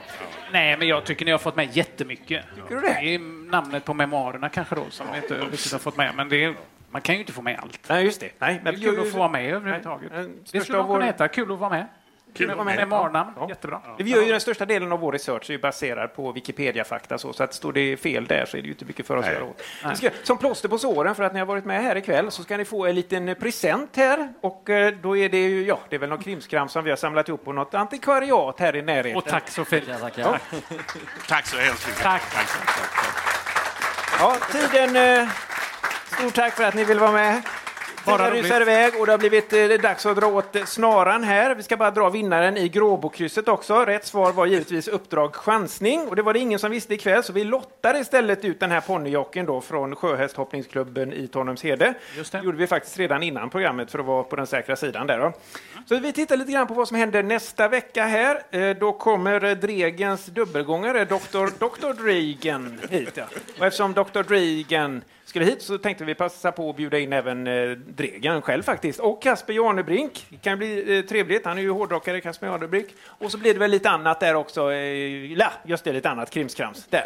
Speaker 5: Nej, men jag tycker ni har fått med jättemycket.
Speaker 3: Tycker du det?
Speaker 5: är namnet på memoarerna kanske då, som vi inte riktigt har fått med. Men det är, man kan ju inte få med allt.
Speaker 3: Nej, just det. Nej, men
Speaker 5: det är kul
Speaker 3: ju-
Speaker 5: att få vara med överhuvudtaget.
Speaker 3: Nej,
Speaker 5: Det
Speaker 3: största
Speaker 5: skulle man
Speaker 3: av vår-
Speaker 5: kunna heta. Kul att vara med.
Speaker 3: Kul att vara med.
Speaker 5: Memoarnamn. Jättebra.
Speaker 3: Vi gör ju den största delen av vår research är ju baserad på Wikipedia-fakta, så, så att står det fel där så är det ju inte mycket för oss att göra åt. Vi Ska, som plåster på såren för att ni har varit med här ikväll så ska ni få en liten present här och eh, då är det ju, ja, det är väl någon krimskrams som vi har samlat ihop på något antikvariat här i närheten.
Speaker 5: Och tack så
Speaker 3: Sofia.
Speaker 5: ja.
Speaker 6: Tack så hemskt mycket.
Speaker 3: Tack.
Speaker 6: tack, tack, tack.
Speaker 3: Ja, tiden... Eh, stort tack för att ni vill vara med.
Speaker 6: Bara
Speaker 3: Bara
Speaker 6: roligt.
Speaker 3: rusar iväg och det har blivit eh, det är dags att dra åt eh, snaran här. Vi ska bara dra vinnaren i Gråbokrysset också. Rätt svar var givetvis uppdrag chansning och det var det ingen som visste ikväll så vi lottar istället ut den här ponnyjocken då från Sjöhästhoppningsklubben i Tanumshede.
Speaker 5: Just
Speaker 3: det. gjorde vi faktiskt redan innan programmet för att vara på den säkra sidan där då. Så vi tittar lite grann på vad som händer nästa vecka här. Eh, Då kommer eh, Dregens dubbelgångare, (laughs) Dr. Dr. Dregen, hit. Ja. Och eftersom Dr. Dregen skulle hit så tänkte vi passa på att bjuda in även eh, Dregen själv faktiskt. Och Kasper Janebrink. Det kan bli eh, trevligt. Han är ju hårdrockare, Kasper Janebrink. Och så blir det väl lite annat där också. eh, Ja, just det, lite annat krimskrams. Där.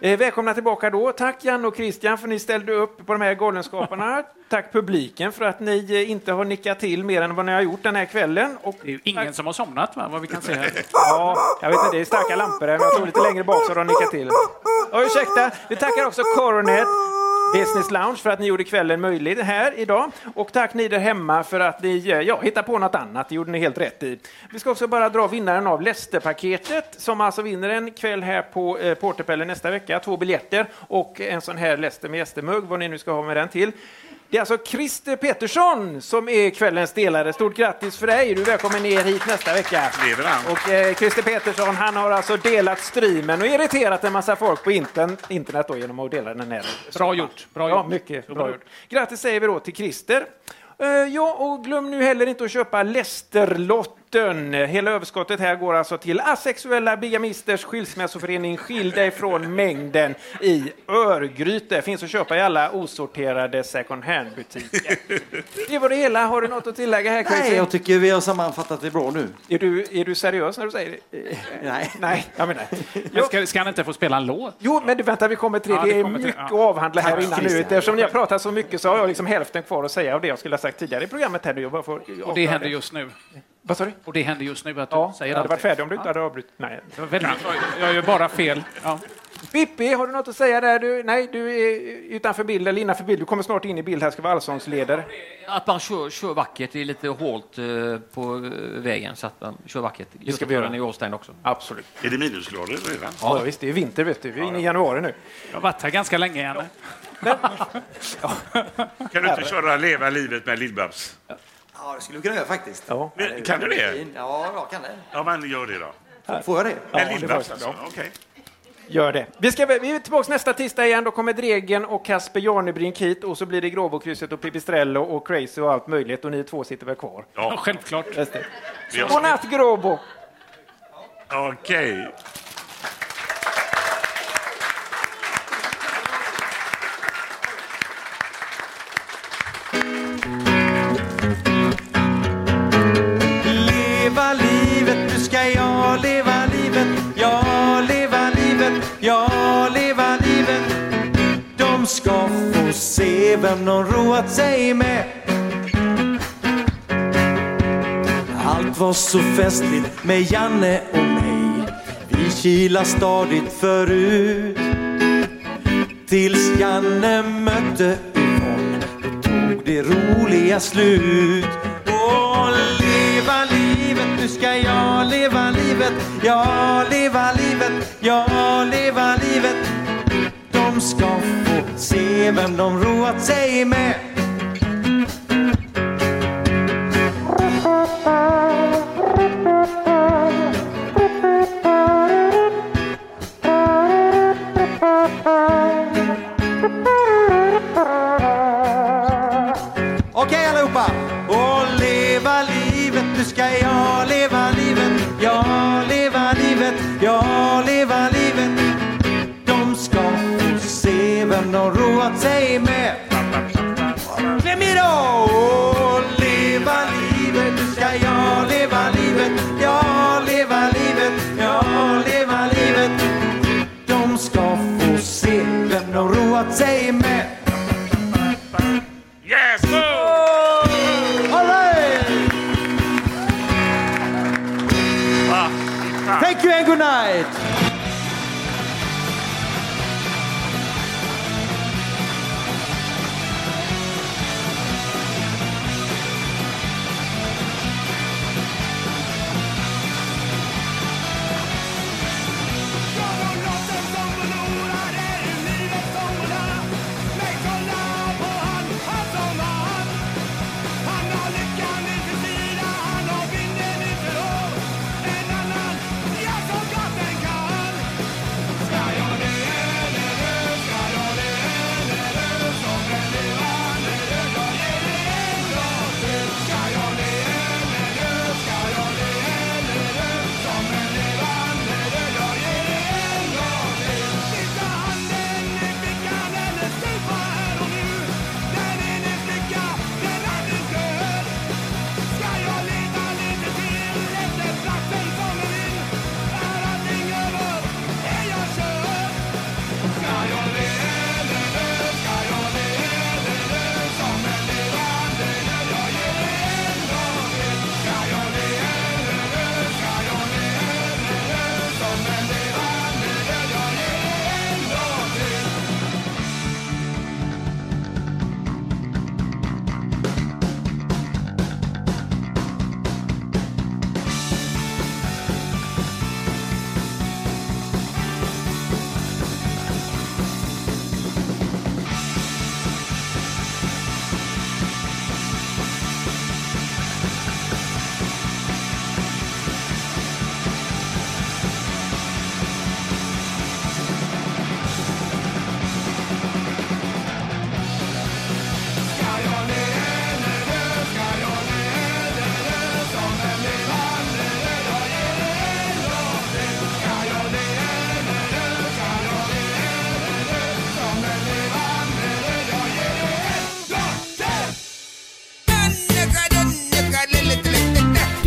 Speaker 3: Eh, välkomna tillbaka då. Tack Jan och Christian för att ni ställde upp på de här galenskaparna. Tack publiken för att ni eh, inte har nickat till mer än vad ni har gjort den här kvällen. Och det är ju
Speaker 5: Ingen som har somnat, va? vad vi kan se här.
Speaker 3: Ja, jag vet inte, det är starka lampor här, men jag tror lite längre bak så har de nickat till. Och ursäkta, vi tackar också Coronet, Business Lounge för att ni gjorde kvällen möjlig här idag. Och tack ni där hemma för att ni eh, ja, hittade på något annat. Det gjorde ni helt rätt i. Vi ska också bara dra vinnaren av Leicester-paketet som alltså vinner en kväll här på eh, Porterpelle nästa vecka. Två biljetter och en sån här Leicester med gästemugg, vad ni nu ska ha med den till. Det är alltså Christer Pettersson som är kvällens delare. Stort grattis för dig! Du är välkommen ner hit nästa vecka. Och eh, Christer Pettersson, han har alltså delat streamen och irriterat en massa folk på inten, internet då, genom att dela den här. Bra gjort! Bra ja,
Speaker 5: gjort.
Speaker 3: mycket
Speaker 5: Så
Speaker 3: bra
Speaker 5: bra
Speaker 3: gjort. Grattis säger vi då till Christer. Eh, ja, och glöm nu heller inte att köpa Lästerlotten. Hela överskottet här går alltså till asexuella bigamisters skilsmässoförening Skilj dig från mängden i Örgryte. Finns att köpa i alla osorterade second hand-butiker. Det var det hela. Har du något att tillägga här,
Speaker 2: Nej,
Speaker 3: Crazy?
Speaker 2: jag tycker vi har sammanfattat det bra nu.
Speaker 3: Är du, är du seriös när du säger det? Nej. Nej, jag menar.
Speaker 5: Men ska, ska han inte få spela en låt?
Speaker 3: Jo, men du, vänta, vi kommer till det.
Speaker 5: Ja, vi
Speaker 3: det är
Speaker 5: kommer till-
Speaker 3: mycket
Speaker 5: ja.
Speaker 3: att avhandla här
Speaker 5: Tack,
Speaker 3: innan nu.
Speaker 5: Christian.
Speaker 3: Eftersom ni har pratat så mycket så har jag liksom hälften kvar att säga av det jag skulle ha sagt tidigare i programmet. Här nu. Jag bara får
Speaker 5: Och det händer just nu.
Speaker 3: Vad sa du?
Speaker 5: Och det händer just nu att du
Speaker 3: Jag
Speaker 5: säger
Speaker 3: hade varit
Speaker 5: allt.
Speaker 3: färdig om du inte hade avbrutit. Nej.
Speaker 5: Det var väldigt bra. Jag gör bara fel. Ja.
Speaker 3: Pippi, har du något att säga där? Du, nej, du är utanför bild eller innanför bild. Du kommer snart in i bild. Här ska vara allsångsledare.
Speaker 4: Att man kör, kör vackert, det är lite hålt eh, på eh, vägen så att man kör vackert. Det
Speaker 3: ska vi göra.
Speaker 4: i Åstein också.
Speaker 3: Absolut.
Speaker 6: Är det minusgrader redan?
Speaker 3: Ja, visst, det är vinter vet du. Vi är inne i januari nu.
Speaker 5: Jag har varit här ganska länge. Janne.
Speaker 6: Kan du inte köra Leva livet med Lill-Babs?
Speaker 2: Ja, det skulle vi kunna göra faktiskt.
Speaker 3: Ja.
Speaker 6: Men, kan du det?
Speaker 2: Ja, jag kan det.
Speaker 6: Ja, men gör det då.
Speaker 2: Får jag det?
Speaker 6: Med
Speaker 3: Ja, det
Speaker 6: Lill-Babs
Speaker 3: får jag.
Speaker 6: alltså? Okej.
Speaker 3: Gör det. Vi, ska, vi är tillbaka nästa tisdag igen. Då kommer Dregen och Kasper Janebrink hit och så blir det Gråbokrysset och Pipistrello och Crazy och allt möjligt och ni två sitter väl kvar.
Speaker 6: Ja,
Speaker 5: självklart.
Speaker 3: Godnatt Gråbo!
Speaker 6: Okej.
Speaker 2: Leva livet, nu ska jag leva livet. Jag leva livet, jag leva livet. De ska få se vem de roat sig med. Allt var så festligt med Janne och mig. Vi kilar stadigt förut. Tills Janne mötte Yvonne, då tog det roliga slut. Åh, leva livet, nu ska jag leva livet. Jag leva livet, jag leva livet. De ska få se vem de roat sig med. Okej allihopa! Och leva livet, nu ska jag leva livet. Jag leva livet, jag leva livet. De ska få se vem de roat sig med. Glöm idag! Och leva livet, nu ska jag leva livet. Jag leva livet, jag leva livet. De ska få se vem de roat sig med.
Speaker 6: Yes!
Speaker 2: All right! Thank you and good night!
Speaker 1: Jag som gav den kan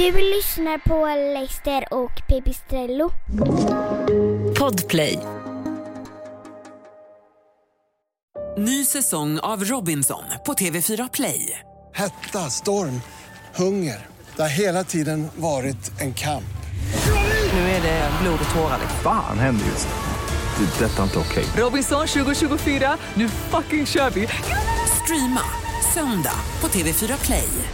Speaker 21: Du lyssnar på Leicester och Pipistrello.
Speaker 16: Podplay.
Speaker 8: Ny säsong av Robinson på TV4 Play.
Speaker 9: Hetta, storm, hunger. Det har hela tiden varit en kamp.
Speaker 8: Nu är det blod och tårar.
Speaker 14: Fan händer just det. Det är detta inte okej.
Speaker 8: Robinson 2024, nu fucking kör vi! Streama söndag på TV4 Play.